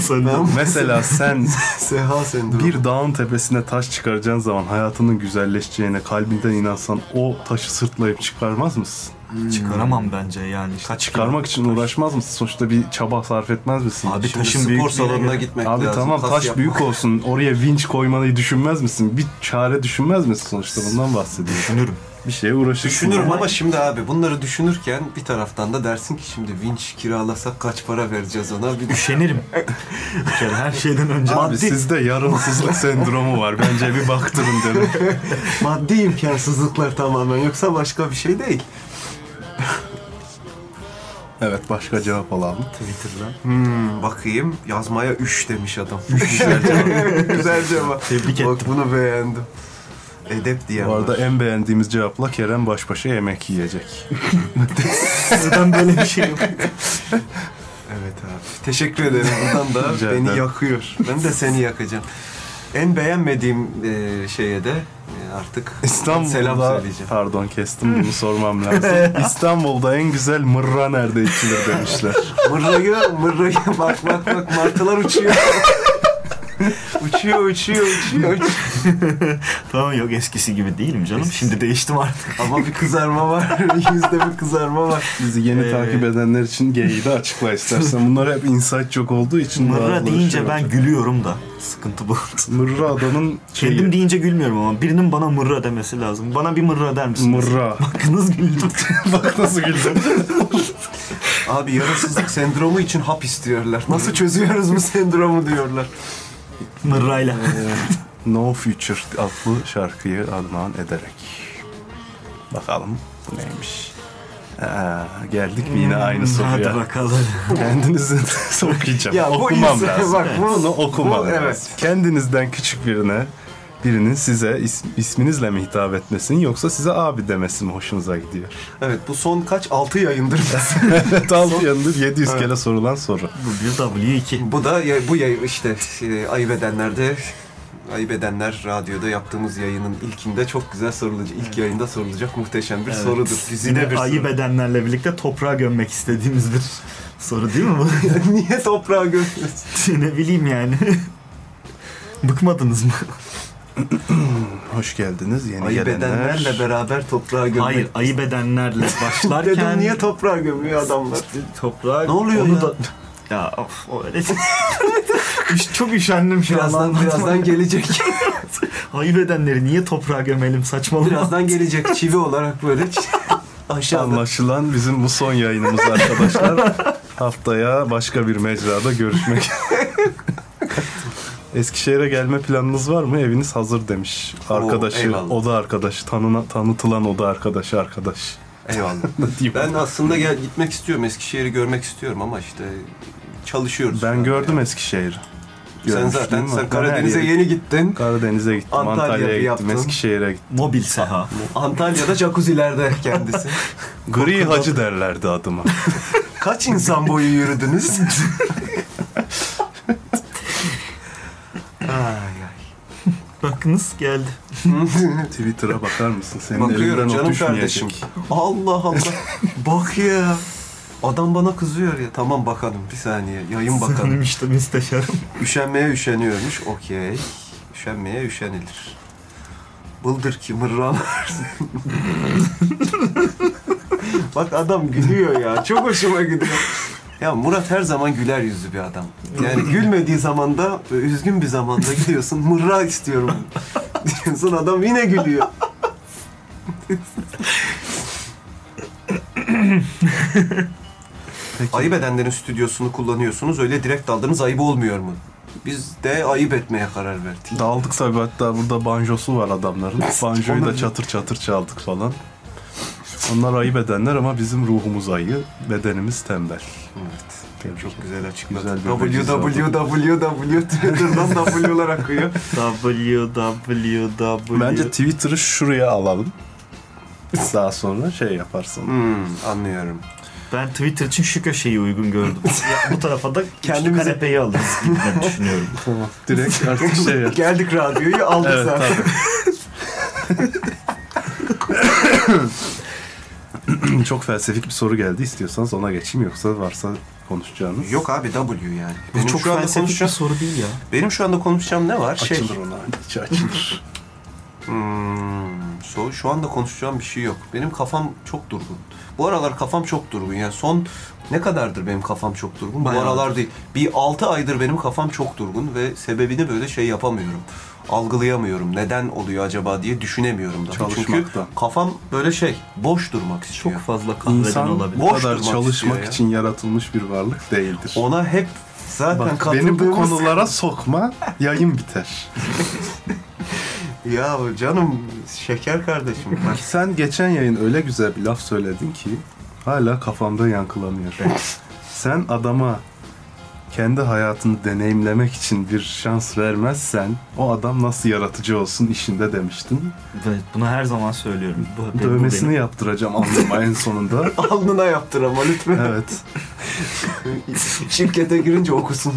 S4: Sen
S3: ben
S2: Mesela sen
S3: Seha sendromu.
S2: Bir dağın tepesine taş çıkaracağın zaman hayatının güzelleşeceğine kalbinden inansan o taşı sırtlayıp çıkarmaz mısın?
S4: Hmm. Çıkaramam bence yani. işte.
S2: Çıkarmak için uğraşmaz mısın? Sonuçta bir çaba sarf etmez misin?
S4: Abi
S3: Şimdi
S4: taşın
S3: spor
S4: büyük
S3: salonuna gitmek
S2: Abi
S3: lazım.
S2: tamam
S3: kas
S2: taş
S3: yapmak.
S2: büyük olsun. Oraya vinç koymayı düşünmez misin? Bir çare düşünmez misin sonuçta? Bundan bahsediyorum.
S4: Düşünürüm.
S2: Bir şeye uğraşırsın.
S3: Düşünürüm ama şimdi abi bunları düşünürken bir taraftan da dersin ki şimdi vinç kiralasak kaç para vereceğiz ona bir düşün.
S4: Üşenirim. Bir kere her şeyden önce.
S2: Abi
S4: Maddi,
S2: sizde yarımsızlık sendromu var. Bence bir baktırın derim.
S3: Maddi imkansızlıklar tamamen yoksa başka bir şey değil.
S2: Evet başka cevap alalım.
S4: Twitter'dan.
S3: Hmm, bakayım yazmaya 3 demiş adam. Güzel cevap. Güzel cevap.
S4: Tebrik
S3: Bak
S4: ettim.
S3: bunu beğendim. Edep diye.
S2: Bu arada en beğendiğimiz cevapla Kerem baş başa yemek yiyecek.
S4: Sizden böyle bir şey yok.
S3: Evet abi. Teşekkür ederim. Buradan da
S2: Rica
S3: beni
S2: ederim.
S3: yakıyor. Ben de seni yakacağım. En beğenmediğim e, şeye de e, artık
S2: İstanbul'da
S3: selam söyleyeceğim.
S2: pardon kestim bunu sormam lazım. İstanbul'da en güzel mırra nerede içilir demişler.
S3: Mırrayı, mırrayı bak bak bak martılar uçuyor. uçuyor, uçuyor, uçuyor, uçuyor.
S4: tamam yok eskisi gibi değilim canım. Şimdi değiştim artık.
S3: Ama bir kızarma var. Yüzde bir kızarma var.
S2: Bizi yeni
S4: Ee,
S2: takip edenler için geyiği de açıkla istersen. Bunlar hep insight çok olduğu için.
S4: Mırra
S2: bazıları
S4: deyince
S2: şey
S4: ben
S2: olacak.
S4: gülüyorum da. Sıkıntı bu.
S2: Mırra adanın şeyi.
S4: Kendim deyince gülmüyorum ama birinin bana mırra demesi lazım. Bana bir mırra der misiniz?
S2: Mırra.
S4: Bakınız güldüm.
S2: Bak nasıl güldüm.
S3: Abi yarasızlık sendromu için hap istiyorlar. Nasıl çözüyoruz bu sendromu diyorlar.
S4: Mırrayla.
S2: no Future adlı şarkıyı armağan ederek. Bakalım bu neymiş. Ee, geldik mi yine aynı soruya.
S4: Hmm, Hadi bakalım.
S2: Kendinizin okuyacağım.
S3: Ya bu
S2: Okumam
S3: insan-
S2: lazım.
S3: bak bu-
S2: bunu okumam
S3: bu-
S2: lazım.
S3: evet.
S2: Kendinizden küçük birine birinin size is- isminizle mi hitap etmesini yoksa size abi demesi mi hoşunuza gidiyor?
S3: Evet bu son kaç? 6 yayındır.
S2: Evet altı yanıdır 700
S3: Evet.
S2: kere sorulan soru.
S4: Bu bir W2.
S3: bu da ya- bu yayın işte e, ayıp edenlerde Ayıp Edenler Radyo'da yaptığımız yayının ilkinde çok güzel sorulacak, ilk yayında sorulacak muhteşem bir sorudur. Güzide
S4: Yine
S3: bir
S4: ayıp
S3: soru.
S4: edenlerle birlikte toprağa gömmek istediğimiz bir soru değil mi bu?
S3: Niye toprağa gömüyorsun?
S4: ne bileyim yani. Bıkmadınız mı?
S2: Hoş geldiniz yeni
S3: Ayıp
S2: gelenler.
S3: edenlerle beraber toprağa gömmek.
S4: Hayır, ayıp edenlerle başlarken...
S3: Dedim niye toprağa gömüyor adamlar?
S4: toprağa...
S3: Ne oluyor
S4: onu
S3: ya?
S4: Da... Ya of, o öyle... şey. Üş- Çok üşendim şu an.
S3: Birazdan birazdan gelecek.
S4: Ayıp edenleri niye toprağa gömelim saçmalama.
S3: birazdan gelecek çivi olarak böyle çi- aşağıda.
S2: Anlaşılan bizim bu son yayınımız arkadaşlar. Haftaya başka bir mecrada görüşmek. Eskişehir'e gelme planınız var mı? Eviniz hazır demiş. Arkadaşı,
S3: eyvallah.
S2: oda arkadaşı, tanına, tanıtılan oda arkadaşı arkadaş.
S3: Eyvallah.
S2: Diyeyim.
S3: Ben aslında gel, gitmek istiyorum. Eskişehir'i görmek istiyorum ama işte çalışıyoruz.
S2: Ben
S3: Yani.
S2: gördüm Eskişehir'i.
S3: Sen
S2: Görmüş
S3: zaten
S2: değil mi?
S3: sen
S2: Ben her
S3: Karadeniz'e
S2: yere-
S3: yeni gittin.
S2: Karadeniz'e gittim,
S3: Antalya'yı
S2: Antalya'ya gittim,
S3: yaptın.
S2: Eskişehir'e gittim.
S4: Mobil saha.
S3: Antalya'da jacuzzi'lerde kendisi.
S2: Gri hacı derlerdi adıma.
S3: Kaç insan boyu yürüdünüz? ay ay.
S4: Bakınız geldi.
S2: Twitter'a bakar mısın? Senin
S3: Bakıyorum
S2: elinden o
S3: canım
S2: düşmeyecek.
S3: kardeşim. Allah Allah. Bak ya. Adam bana kızıyor ya. Tamam bakalım bir saniye. Yayın bakalım.
S4: Sanırım işte müsteşarım.
S3: Üşenmeye üşeniyormuş. Okey. Üşenmeye üşenilir. Bıldır ki mırralar. Bak adam gülüyor ya. Çok hoşuma gidiyor. Ya Murat her zaman güler yüzlü bir adam. Yani gülmediği zaman da üzgün bir zamanda gidiyorsun. Mırra istiyorum. diyorsun adam yine gülüyor. Ayıp edenlerin stüdyosunu kullanıyorsunuz. Öyle direkt aldınız ayıp olmuyor mu? Biz de ayıp etmeye karar verdik.
S2: Daldık tabii hatta burada banjosu var adamların. Banjoyu da çatır çatır çaldık falan. Onlar ayıp edenler ama bizim ruhumuz ayı, bedenimiz tembel.
S3: Evet.
S2: Tebrik
S3: Çok güzel açıkladı.
S2: Güzel bir veciz oldu.
S3: www Twitter'dan W'lar akıyor.
S4: www.
S2: Bence Twitter'ı şuraya alalım. Daha sonra şey yaparsın.
S3: Hmm, anlıyorum.
S4: Ben Twitter için şu köşeyi uygun gördüm. Ya, bu tarafa da
S3: Kendimize-
S4: kendimize kanepeyi alırız gibi ben düşünüyorum.
S2: Tamam. Direkt artık şey yap.
S3: Geldik radyoyu aldık
S2: Evet
S3: zaten.
S2: tabii. Çok felsefik bir soru geldi. İstiyorsanız ona geçeyim yoksa varsa konuşacağınız.
S3: Yok abi W yani.
S4: Bu
S3: Benim
S4: çok
S3: şu anda
S4: felsefik bir
S3: konuşacağım.
S4: soru değil ya.
S3: Şey, Benim şu anda konuşacağım ne var?
S2: Açılır ona. içi açılır.
S3: Hmm, o. Şu anda konuşacağım bir şey yok. Benim kafam çok durgun. Bu aralar kafam çok durgun. Yani son ne kadardır benim kafam çok durgun?
S4: Bayağı.
S3: Bu aralar değil. Bir 6 aydır benim kafam çok durgun ve sebebini böyle şey yapamıyorum. Algılayamıyorum. Neden oluyor acaba diye düşünemiyorum da. Çünkü
S2: Çalışmaktan.
S3: kafam böyle şey boş durmak istiyor.
S4: Çok fazla kahveden
S2: İnsan
S4: olabilir.
S2: bu
S3: Boş
S2: kadar
S3: durmak
S2: çalışmak
S3: istiyor ya.
S2: için yaratılmış bir varlık değildir.
S3: Ona hep zaten
S2: Bak, beni bu
S3: katıldığımız-
S2: konulara sokma, yayın biter.
S3: Ya canım şeker kardeşim. Bak,
S2: Sen geçen yayın öyle güzel bir laf söyledin ki hala kafamda yankılanıyor. Sen adama kendi hayatını deneyimlemek için bir şans vermezsen o adam nasıl yaratıcı olsun işinde demiştin.
S4: Evet, bunu her zaman söylüyorum. Bu, bu
S2: Dövmesini
S4: benim.
S2: yaptıracağım anlama en sonunda.
S3: Alnına yaptır ama lütfen.
S2: Evet.
S3: Şirkete girince okusun.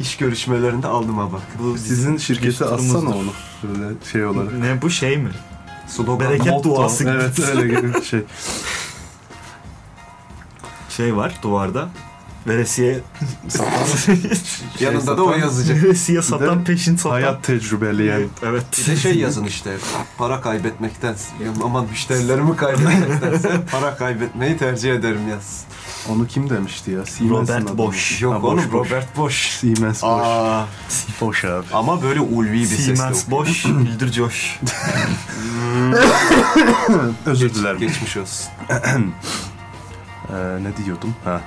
S3: İş görüşmelerinde alnıma bak.
S4: Bu
S2: Sizin şirkete
S4: Düsturumuzdur.
S2: assana onu. Böyle şey olarak.
S4: ne bu şey mi?
S3: Slogan.
S4: Bereket
S2: Motto.
S4: duası gibi.
S2: Evet öyle gibi bir şey.
S4: Şey var duvarda. Veresiye şey
S3: Yanında da o
S2: satan-
S3: yazacak.
S4: veresiye satan
S2: de
S4: peşin satan.
S2: Hayat tecrübeli yani.
S4: Evet.
S3: Bir de şey yazın işte para kaybetmekten aman müşterilerimi kaybetmektense para kaybetmeyi tercih ederim yaz.
S2: Onu kim demişti ya? Siemens'in
S4: Robert
S2: adamı.
S4: Bosch.
S3: Yok
S2: Ha,
S3: oğlum
S2: Bosch, Bosch.
S3: Robert Bosch.
S2: Siemens Bosch.
S3: Aa,
S2: Bosch abi.
S3: ama böyle ulvi bir sesle
S4: Siemens
S3: oku.
S4: boş, bildir coş.
S2: Özür dilerim.
S3: Geçmiş olsun.
S2: Ee, ne diyordum? Ha.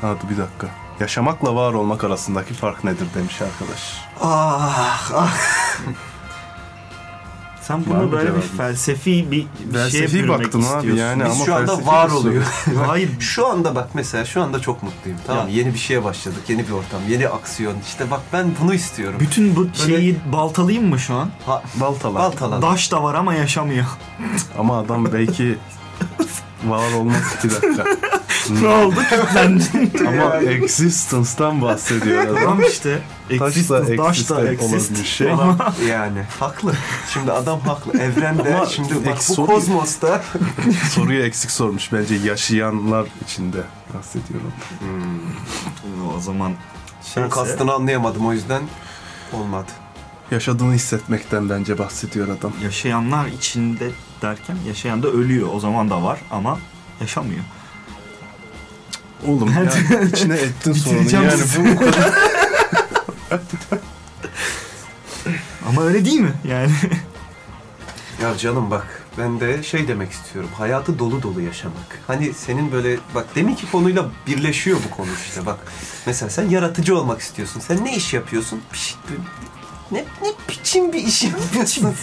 S2: Ha dur bir dakika. Yaşamakla var olmak arasındaki fark nedir demiş arkadaş.
S3: Ah, ah.
S4: Sen
S2: Var
S4: bunu
S2: mı
S4: böyle bir
S2: cevabın?
S4: felsefi bir, bir şeye
S2: Felsefi
S4: bürmek
S2: baktım
S4: istiyorsun.
S2: abi yani
S3: Biz
S2: ama
S3: şu anda
S2: felsefi
S3: var
S2: bir soru.
S3: oluyor.
S4: Hayır.
S3: Şu anda bak mesela şu anda çok mutluyum. Tamam yeni bir şeye başladık. Yeni bir ortam. Yeni aksiyon. İşte bak ben bunu istiyorum.
S4: Bütün bu şeyi baltalayayım mı şu an?
S3: Ha,
S2: Baltalar.
S3: baltalan.
S4: Daş da var ama yaşamıyor.
S2: Ama adam belki var olmak iki dakika. Hmm.
S4: ne oldu? Kilitlendin.
S2: Ama existence'dan bahsediyor adam.
S4: Tamam işte.
S2: Taş da
S4: Existence, daş da
S2: existence olan
S4: exist.
S2: bir şey.
S3: yani haklı. Şimdi adam haklı. Evrende
S2: Ama
S3: şimdi bak
S2: eksi
S3: bu
S2: soru-
S3: kozmosta
S2: Soruyu eksik sormuş bence yaşayanlar içinde bahsediyorum.
S4: o zaman
S3: Ben
S4: şeyse,
S3: kastını anlayamadım o yüzden olmadı.
S2: Yaşadığını hissetmekten bence bahsediyor adam.
S4: yaşayanlar içinde derken yaşayan da ölüyor. O zaman da var ama yaşamıyor.
S2: Oğlum ya içine ettin sorunu
S4: Bitireceğim
S2: yani
S4: sizi.
S2: bu
S4: Ama öyle değil mi? Yani
S3: Ya canım bak ben de şey demek istiyorum. Hayatı dolu dolu yaşamak. Hani senin böyle bak deminki konuyla birleşiyor bu konu işte bak. Mesela sen yaratıcı olmak istiyorsun. Sen ne iş yapıyorsun? Bir şey- Ne, ne biçim bir iş yapıyorsun?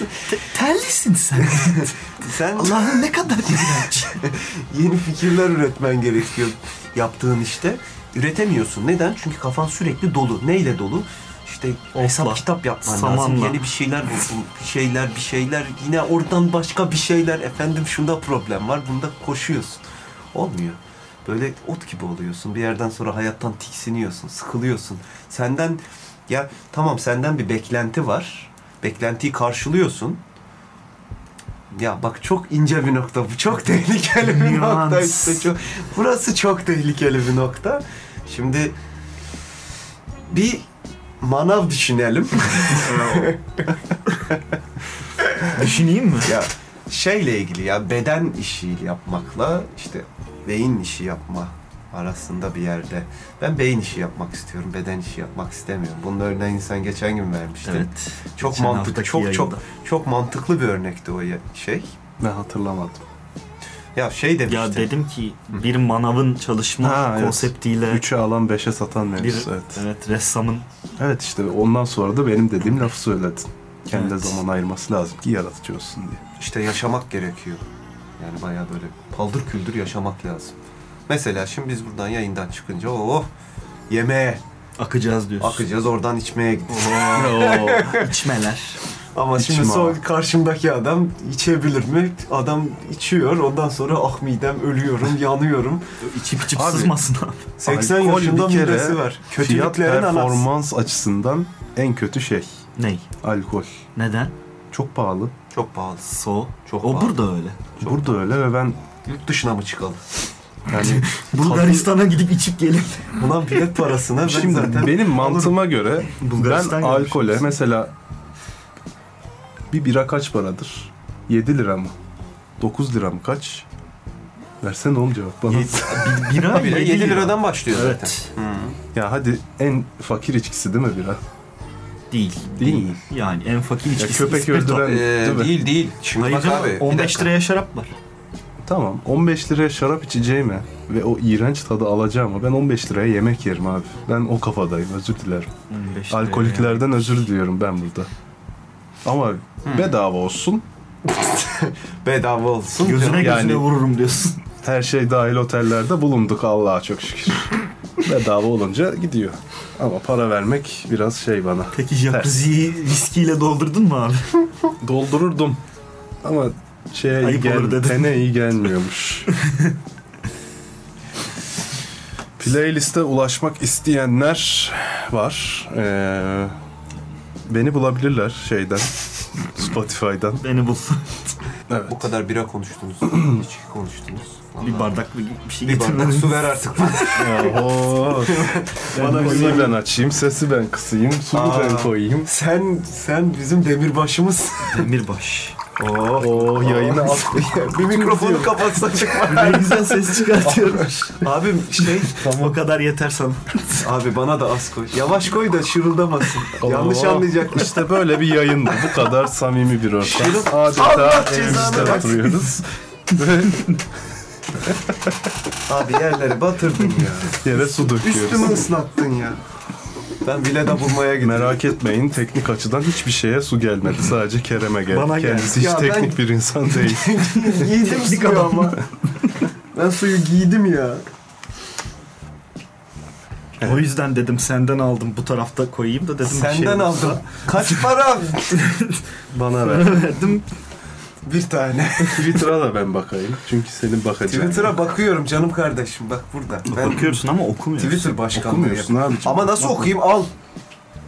S4: terlisin sen.
S3: sen
S4: Allah'ım ne kadar iğrenç.
S3: yeni fikirler üretmen gerekiyor yaptığın işte. Üretemiyorsun. Neden? Çünkü kafan sürekli dolu. Neyle dolu? İşte hesap kitap yapman lazım.
S4: Samanla.
S3: Yeni bir şeyler bulsun. Bir şeyler, bir şeyler. Yine oradan başka bir şeyler. Efendim şunda problem var. Bunda koşuyorsun. Olmuyor. Böyle ot gibi oluyorsun. Bir yerden sonra hayattan tiksiniyorsun. Sıkılıyorsun. Senden ya tamam senden bir beklenti var. Beklentiyi karşılıyorsun. Ya bak çok ince bir nokta bu. Çok tehlikeli bir
S4: Nüans.
S3: nokta işte. Çok, burası çok tehlikeli bir nokta. Şimdi bir manav düşünelim.
S4: Düşüneyim mi?
S3: ya şeyle ilgili ya beden işi yapmakla işte beyin işi yapma arasında bir yerde. Ben beyin işi yapmak istiyorum, beden işi yapmak istemiyorum. Bunun örneğini sen geçen gün vermiştin.
S4: Evet.
S3: Çok
S4: Geçen
S3: mantıklı,
S4: haftaki
S3: çok çok
S4: yayında.
S3: çok mantıklı bir örnekti o ya- şey.
S2: Ben hatırlamadım.
S3: Ya şey demiştin.
S4: Ya dedim ki bir manavın çalışma
S2: Ha, evet.
S4: konseptiyle
S2: 3'e alan 5'e satan
S4: bir
S2: mevzusu evet.
S4: evet. ressamın
S2: Evet işte ondan sonra da benim dediğim lafı söyledin. Kendine
S4: Evet.
S2: zaman ayırması lazım ki yaratıcı olsun diye.
S3: İşte yaşamak gerekiyor. Yani bayağı böyle paldır küldür yaşamak lazım. Mesela şimdi biz buradan yayından çıkınca oh yemeğe
S4: akacağız diyorsun.
S3: akacağız oradan içmeye gideceğiz.
S4: İçmeler.
S3: Ama şimdi
S2: İçme
S3: sol
S2: abi.
S3: karşımdaki adam içebilir mi? Adam içiyor ondan sonra ah midem ölüyorum yanıyorum.
S4: İçip içip
S2: Abi.
S4: sızmasın abi.
S3: 80
S2: Alkol
S3: yaşında
S2: bir kere
S3: midesi var.
S2: Fiyat
S3: Kötülüklerin anası.
S2: performans açısından en kötü şey
S4: Ney?
S2: alkol.
S4: Neden?
S2: Çok pahalı.
S3: Çok pahalı.
S4: So.
S3: Çok
S4: o
S3: pahalı.
S4: burada öyle.
S2: Burada öyle ve ben
S3: Yurt dışına mı çıkalım?
S2: yani
S4: Bulgaristan'a gidip içip gelin.
S3: Buna bilet parasına ben
S2: şimdi
S3: zaten
S2: benim mantığıma göre ben
S4: Bulgaristan
S2: alkole
S4: gelmişiz.
S2: mesela Bir bira kaç paradır? 7 lira mı? 9 lira mı kaç? Versene oğlum cevap bana.
S4: Yedi- bir- bira
S3: Bira 7 liradan başlıyor zaten.
S4: Evet.
S2: ya hadi en fakir içkisi değil mi bira?
S4: Değil.
S2: Değil.
S4: Yani en fakir içkisi.
S2: köpek
S4: İspirto.
S2: öldüren-
S3: Ee,
S2: Değil mi?
S3: değil değil. Şimdi
S4: Hayır
S3: bak
S4: canım,
S3: abi. bir
S4: 15
S3: dakika.
S4: liraya şarap var.
S2: Tamam 15 liraya şarap içeceğime ve o iğrenç tadı alacağıma ben 15 liraya yemek yerim abi. Ben o kafadayım özür dilerim.
S4: 15 liraya.
S2: Alkoliklerden özür diliyorum ben burada. Ama bedava olsun.
S3: Bedava olsun.
S4: Gözüne gözüne
S2: Yani-
S4: vururum diyorsun.
S2: Her şey dahil otellerde bulunduk Allah'a çok şükür. bedava olunca gidiyor. Ama para vermek biraz şey bana.
S4: Peki jacuzziyi viskiyle doldurdun mu abi?
S2: Doldururdum. Ama şeye iyi
S4: Ayıp olur
S2: gel,
S4: dedin.
S2: tene iyi gelmiyormuş. Playlist'e ulaşmak isteyenler var. Ee, beni bulabilirler şeyden. Spotify'dan.
S4: Beni bul.
S2: Evet.
S3: Bu kadar bira konuştunuz. içki konuştunuz.
S4: bir bardak bir, bir şey
S3: Bir bardak
S4: getirmedin.
S3: su ver artık.
S2: Oho. Bana müziği ben açayım, sesi ben kısayım, suyu
S3: Aa.
S2: ben koyayım.
S3: sen sen bizim demirbaşımız.
S4: Demirbaş.
S2: Oh, yayını at.
S3: bir mikrofonu kapatsa çıkma.
S4: ne güzel ses çıkartıyormuş.
S3: Abim şey
S4: o kadar yeter sana.
S3: abi bana da az koy. Yavaş koy da şırıldamasın. Yanlış
S2: Oo.
S3: anlayacaklar.
S2: Oh. İşte böyle bir yayında bu kadar samimi bir ortam.
S3: Şey Allah
S2: Adeta
S3: cezanı
S2: evimizde
S3: versin.
S2: oturuyoruz. Ve
S3: Abi yerleri batırdın ya.
S2: yere su
S3: Üstümü
S2: döküyoruz.
S3: ıslattın ya. Ben bile de bulmaya gittim.
S2: Merak etmeyin teknik açıdan hiçbir şeye su gelmedi. Sadece Kerem'e geldi.
S4: Bana geldi.
S2: Kendisi
S3: Ya
S2: hiç
S3: ben-
S2: teknik bir insan değil.
S3: giydim
S4: Teknik
S3: suyu
S4: adam.
S3: ama. Ben suyu giydim ya.
S4: O yüzden dedim senden aldım bu tarafta koyayım da dedim bir şey
S3: Senden
S4: olursa.
S3: aldım. Kaç para?
S2: Bana ver.
S4: Verdim.
S3: bir tane.
S2: Twitter'a da ben bakayım. Çünkü senin bakacağın.
S3: Twitter'a bakıyorum canım kardeşim. Bak burada. Ben
S4: Bakıyorsun ama okumuyorsun.
S3: Twitter başkanlığı
S2: Okumuyorsun
S3: yapıyorum.
S2: abiciğim.
S3: Ama nasıl okuyayım? Al.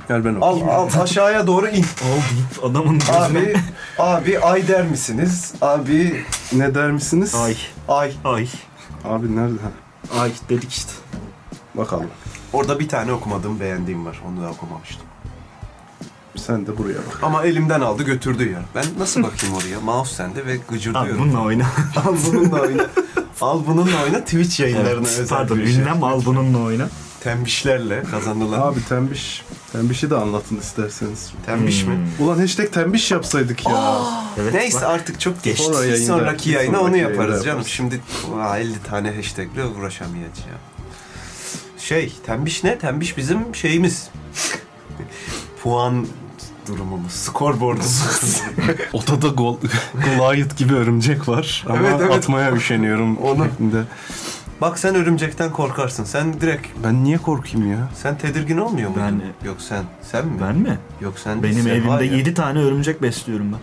S2: Gel ben
S3: Al
S2: okuyayım.
S3: al aşağıya doğru in.
S4: Al deyip adamın gözüne.
S3: Abi abi ay der misiniz? Abi
S2: Ne der misiniz?
S4: Ay.
S3: ay.
S4: Ay.
S2: Abi nerede? Ha,
S4: Ay dedik işte.
S2: Bakalım.
S3: Orada bir tane okumadığım beğendiğim var. Onu da okumamıştım.
S2: Sen de buraya bak.
S3: Ama elimden aldı götürdü ya. Ben nasıl bakayım oraya? Mouse sende ve
S4: Abi
S3: gıcırdıyorum.
S4: bununla oyna.
S3: al bununla oyna. Al bununla oyna Twitch yayınlarına
S4: Evet,
S3: özel
S4: Pardon
S3: bir şey.
S4: ünlem al bununla oyna.
S3: Tembişlerle kazanılan.
S2: Abi tembiş. Tembişi de anlatın isterseniz.
S3: Tembiş mi?
S2: Ulan hashtag tembiş yapsaydık ya.
S4: Evet,
S3: Neyse
S4: bak,
S3: artık çok geçti.
S2: Sonra
S3: Bir
S2: yayında-
S3: sonraki
S2: bir
S3: yayına onu
S2: sonraki
S3: yaparız
S2: yayında
S3: canım.
S2: yaparız.
S3: Şimdi aa, 50 tane hashtagle uğraşamayacağım. Şey, tembiş ne? Tembiş bizim şeyimiz. Puan durumumuz, skorboardumuz.
S2: Odada gol, Goliath gibi örümcek var ama
S3: Evet, evet.
S2: atmaya üşeniyorum
S3: Onu-
S2: onu.
S3: Bak sen örümcekten korkarsın. Sen direkt,
S2: Ben niye korkayım ya?
S3: sen tedirgin olmuyor musun?
S4: Ben-
S3: Yok sen, sen mi?
S4: Ben mi?
S3: Yok sen
S4: Benim
S3: sen var
S4: evimde
S3: ya.
S4: 7 tane örümcek besliyorum ben.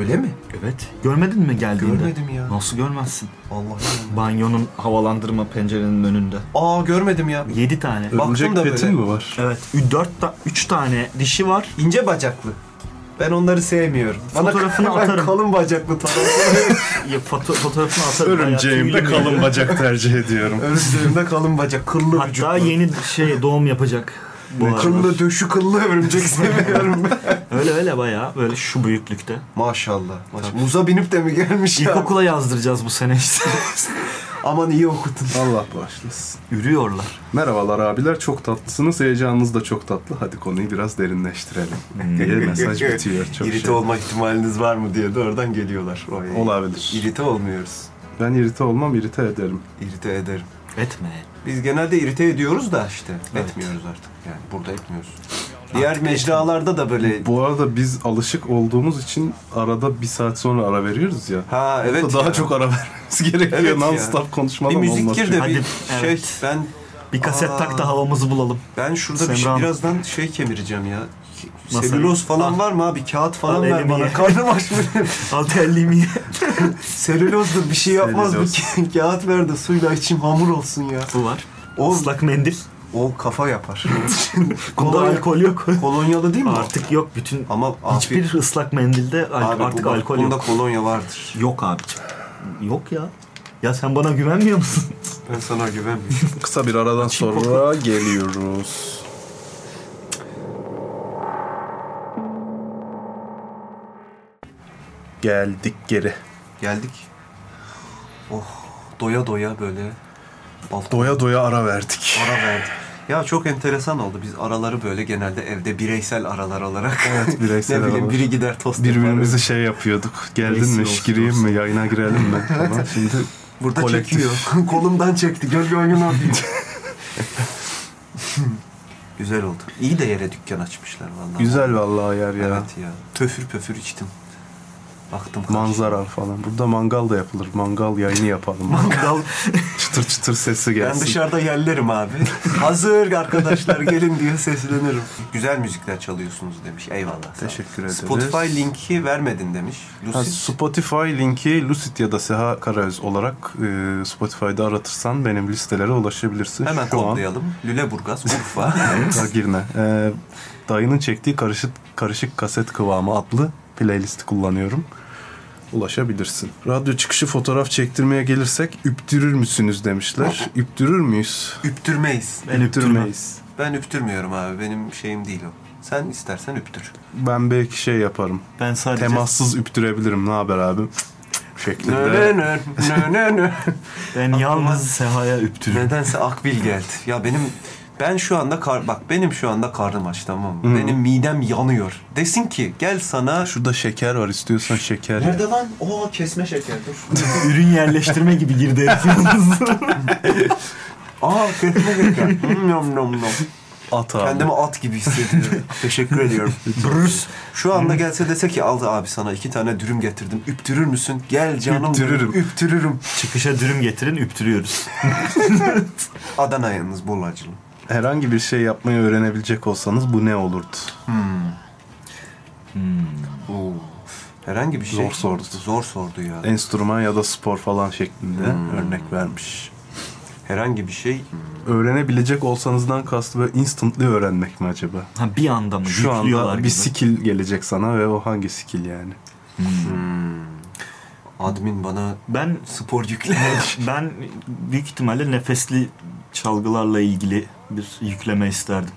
S3: Öyle mi?
S4: Evet. Görmedin mi geldiğinde?
S3: Görmedim ya.
S4: Nasıl görmezsin?
S3: Allah'ım.
S4: Banyonun havalandırma pencerenin önünde.
S3: Aa görmedim ya.
S4: 7 tane.
S3: Baktım
S2: Örümcek
S3: da
S2: petin
S3: böyle.
S2: mi var?
S4: Evet. 4 ta 3 tane dişi var.
S3: İnce bacaklı. Ben onları sevmiyorum.
S4: Fotoğrafını
S3: ben
S4: atarım.
S3: kalın bacaklı tarafı.
S4: Ya, foto- fotoğrafını atarım.
S2: Örümceğimde
S4: Bayağı tüylü.
S2: kalın bacak tercih ediyorum.
S3: Örümceğimde kalın bacak, kıllı vücutlu.
S4: Hatta yeni şey doğum yapacak. Bu aralar.
S3: Kıllı döşü kıllı örümcek seviyorum ben.
S4: Öyle öyle bayağı böyle şu büyüklükte.
S3: Maşallah. maşallah. Muza binip de mi gelmiş ya?
S4: İlkokula yazdıracağız bu sene işte.
S3: Aman iyi okutun.
S2: Allah bağışlasın.
S4: Ürüyorlar.
S2: Merhabalar abiler çok tatlısınız. Heyecanınız da çok tatlı. Hadi konuyu biraz derinleştirelim. diye mesaj bitiyor. Çok
S3: Hmm. İrite
S2: şey.
S3: olma ihtimaliniz var mı diye de oradan geliyorlar. Oy.
S2: Olabilir.
S3: İrite olmuyoruz.
S2: Ben irite olmam irite ederim.
S3: İrite ederim.
S4: Etme.
S3: Biz genelde irite ediyoruz da işte.
S4: Evet.
S3: Etmiyoruz artık. Yani burada etmiyoruz. Diğer mecralarda da böyle...
S2: E, Bu arada biz alışık olduğumuz için arada bir saat sonra ara veriyoruz ya.
S3: Ha evet
S2: daha
S3: ya.
S2: çok ara vermemiz gerekiyor.
S3: Evet ya.
S2: Non-stop
S3: bir
S2: konuşmadan
S3: müzik
S2: olmaz
S3: gir de
S2: çünkü.
S3: bir
S4: Hadi,
S3: şey
S4: evet.
S3: ben
S4: Bir kaset
S3: Aa.
S4: tak da havamızı bulalım.
S3: Ben şurada bir
S4: Semra
S3: şey,
S4: Hanım.
S3: birazdan şey kemireceğim ya. Ki-
S4: Masa-
S3: Selüloz falan
S4: Ah.
S3: var mı abi? Kağıt falan
S4: Al
S3: ver
S4: elimi
S3: bana.
S4: ye.
S3: Karnım aç benim.
S4: Al terliğimi ye.
S3: Selülozdur bir şey yapmaz mı?
S2: Selüloz.
S3: Ki- Kağıt ver de suyla içim hamur olsun ya.
S4: Bu var.
S3: O,
S4: Islak mendil.
S3: o kafa yapar.
S4: Bunda
S3: Kolonya-
S4: alkol yok.
S3: kolonyalı değil mi? o?
S4: artık yok. Bütün
S3: Ama abi,
S4: hiçbir ıslak mendilde al-
S3: abi
S4: artık
S3: bu-
S4: alkol
S3: Bunda
S4: yok.
S3: kolonya vardır.
S4: Yok abiciğim. Yok ya. Ya sen bana güvenmiyor musun?
S3: Ben sana güvenmiyorum.
S2: Kısa bir aradan sonra geliyoruz. Geldik geri.
S3: Geldik. Oh doya doya böyle balkona
S2: Doya doya ara verdik.
S3: ara verdik. Ya çok enteresan oldu. Biz araları böyle genelde evde bireysel aralar olarak.
S2: Evet, bireysel
S3: ne bileyim
S2: aralar.
S3: biri gider tost yapar.
S2: Birbirimizi şey yapıyorduk. Geldin
S4: Resim
S2: mi?
S4: olsun,
S2: Gireyim
S4: olsun.
S2: mi? Yayına girelim mi? Tamam. Şimdi
S3: Burada
S2: kolektif.
S3: çekiyor. Kolumdan çekti. Gör gör gör ne yapayım. Güzel oldu. İyi de yere dükkan açmışlar vallahi.
S2: güzel vallahi yer ya.
S3: Evet ya. Töfür pöfür içtim. Baktım. karşı.
S2: Manzara falan. Burada mangal da yapılır. Mangal yayını yapalım.
S3: Mangal.
S2: çıtır çıtır sesi
S3: ben
S2: gelsin.
S3: dışarıda yerlerim abi. Hazır arkadaşlar gelin diye seslenirim. Güzel müzikler çalıyorsunuz demiş. Eyvallah. sağ ol.
S2: Teşekkür ederiz.
S3: Spotify linki vermedin demiş. Lucid.
S2: Ha, Spotify linki Lucid ya da Seha Karaöz olarak e, Spotify'da aratırsan benim listelere ulaşabilirsin.
S3: Hemen
S2: Şu an
S3: kodlayalım. Lüleburgaz, Urfa.
S2: Daha girme. Ee, dayının çektiği karışık, karışık kaset kıvamı adlı playlisti kullanıyorum. Ulaşabilirsin. Radyo çıkışı fotoğraf çektirmeye gelirsek üptürür müsünüz demişler. Üptürür müyüz?
S3: Üptürmeyiz.
S4: Ben üptürmem.
S2: Üptürmeyiz.
S3: Ben üptürmüyorum abi. Benim şeyim değil o. Sen istersen üptür.
S2: Ben belki şey yaparım.
S4: Ben sadece
S2: Temassız üptürebilirim. Ne haber abi? Şeklinde.
S3: Nö, nö, nö, nö, nö.
S4: ben yalnız Seha'ya üptürürüm.
S3: Nedense akbil geldi. Ya benim ben şu anda kar bak benim şu anda karnım aç tamam mı? Benim midem yanıyor. Desin ki gel sana
S2: Şurada şeker var. istiyorsan şeker. ye.
S3: Nerede lan? Oo kesme şeker dur.
S4: Ürün yerleştirme gibi girdi herif yalnız.
S3: Aa kesme şeker. Hmm, nom nom nom.
S2: At abi.
S3: Kendimi at gibi hissediyorum. Teşekkür ediyorum. Bruce şu anda gelse dese ki al abi sana iki tane dürüm getirdim. Üptürür müsün? Gel canım.
S2: Üptürürüm.
S3: Üptürürüm.
S4: Çıkışa dürüm getirin üptürüyoruz.
S3: Adana yalnız bol acılı.
S2: Herhangi bir şey yapmayı öğrenebilecek olsanız bu ne olurdu?
S3: Oo. Herhangi bir şey.
S2: Zor sordu. E-
S3: Zor sordu ya.
S2: Enstrüman ya da spor falan şeklinde
S4: Hmm.
S2: örnek vermiş.
S3: Herhangi bir şey.
S2: Öğrenebilecek olsanızdan kastı böyle instantly öğrenmek mi acaba?
S4: Ha bir anda mı?
S2: Şu
S4: Yüklüyorlar
S2: anda bir
S4: gibi.
S2: skill gelecek sana ve o hangi skill yani?
S3: Admin bana
S4: Ben
S3: spor yükle.
S4: ben büyük ihtimalle nefesli çalgılarla ilgili bir yükleme isterdim.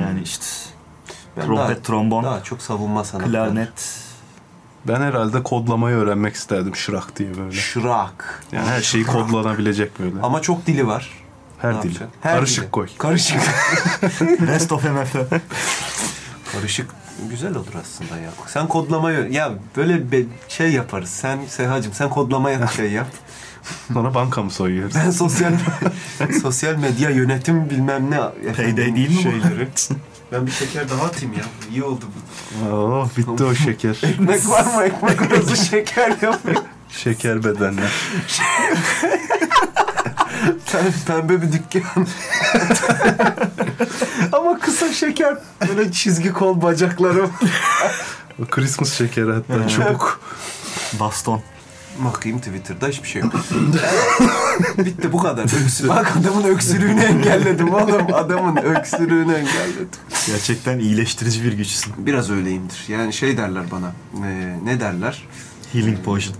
S4: Yani işte
S3: Ben
S4: trompet,
S3: daha,
S4: trombon,
S3: daha çok savunma sanatları.
S4: klarnet.
S2: Ben herhalde kodlamayı öğrenmek isterdim şırak diye böyle.
S3: Şırak.
S2: Yani her şeyi kodlanabilecek böyle.
S3: Ama çok dili var. Ne
S2: Her dili.
S3: yapacaksın? Her
S2: Karışık
S3: dili.
S2: koy.
S3: Karışık.
S4: Rest of MF.
S3: Karışık güzel olur aslında ya. Sen kodlamayı ya böyle bir şey yaparız. Sen Sehacım sen kodlamaya şey yap.
S2: Sonra banka mı soyuyoruz?
S3: Ben sosyal sosyal medya yönetim bilmem ne efendim,
S4: Payday değil mi bu?
S3: şeyleri. Ben bir şeker daha atayım ya. İyi oldu bu.
S2: Oh bitti o şeker.
S3: Ekmek var mı? Ekmek arası şeker yapıyor.
S2: şeker bedenler.
S3: Pem- Pembe bir dükkan. Ama kısa şeker. Böyle çizgi kol bacaklarım.
S2: O Christmas şekeri hatta çubuk.
S4: Baston.
S3: Bakayım Twitter'da hiçbir şey yok. Bitti bu kadar. Öksür. Bak adamın öksürüğünü engelledim oğlum. Adamın öksürüğünü engelledim.
S4: Gerçekten iyileştirici bir güçsün.
S3: Biraz öyleyimdir. Yani şey derler bana. Ee, ne derler?
S4: Healing potion.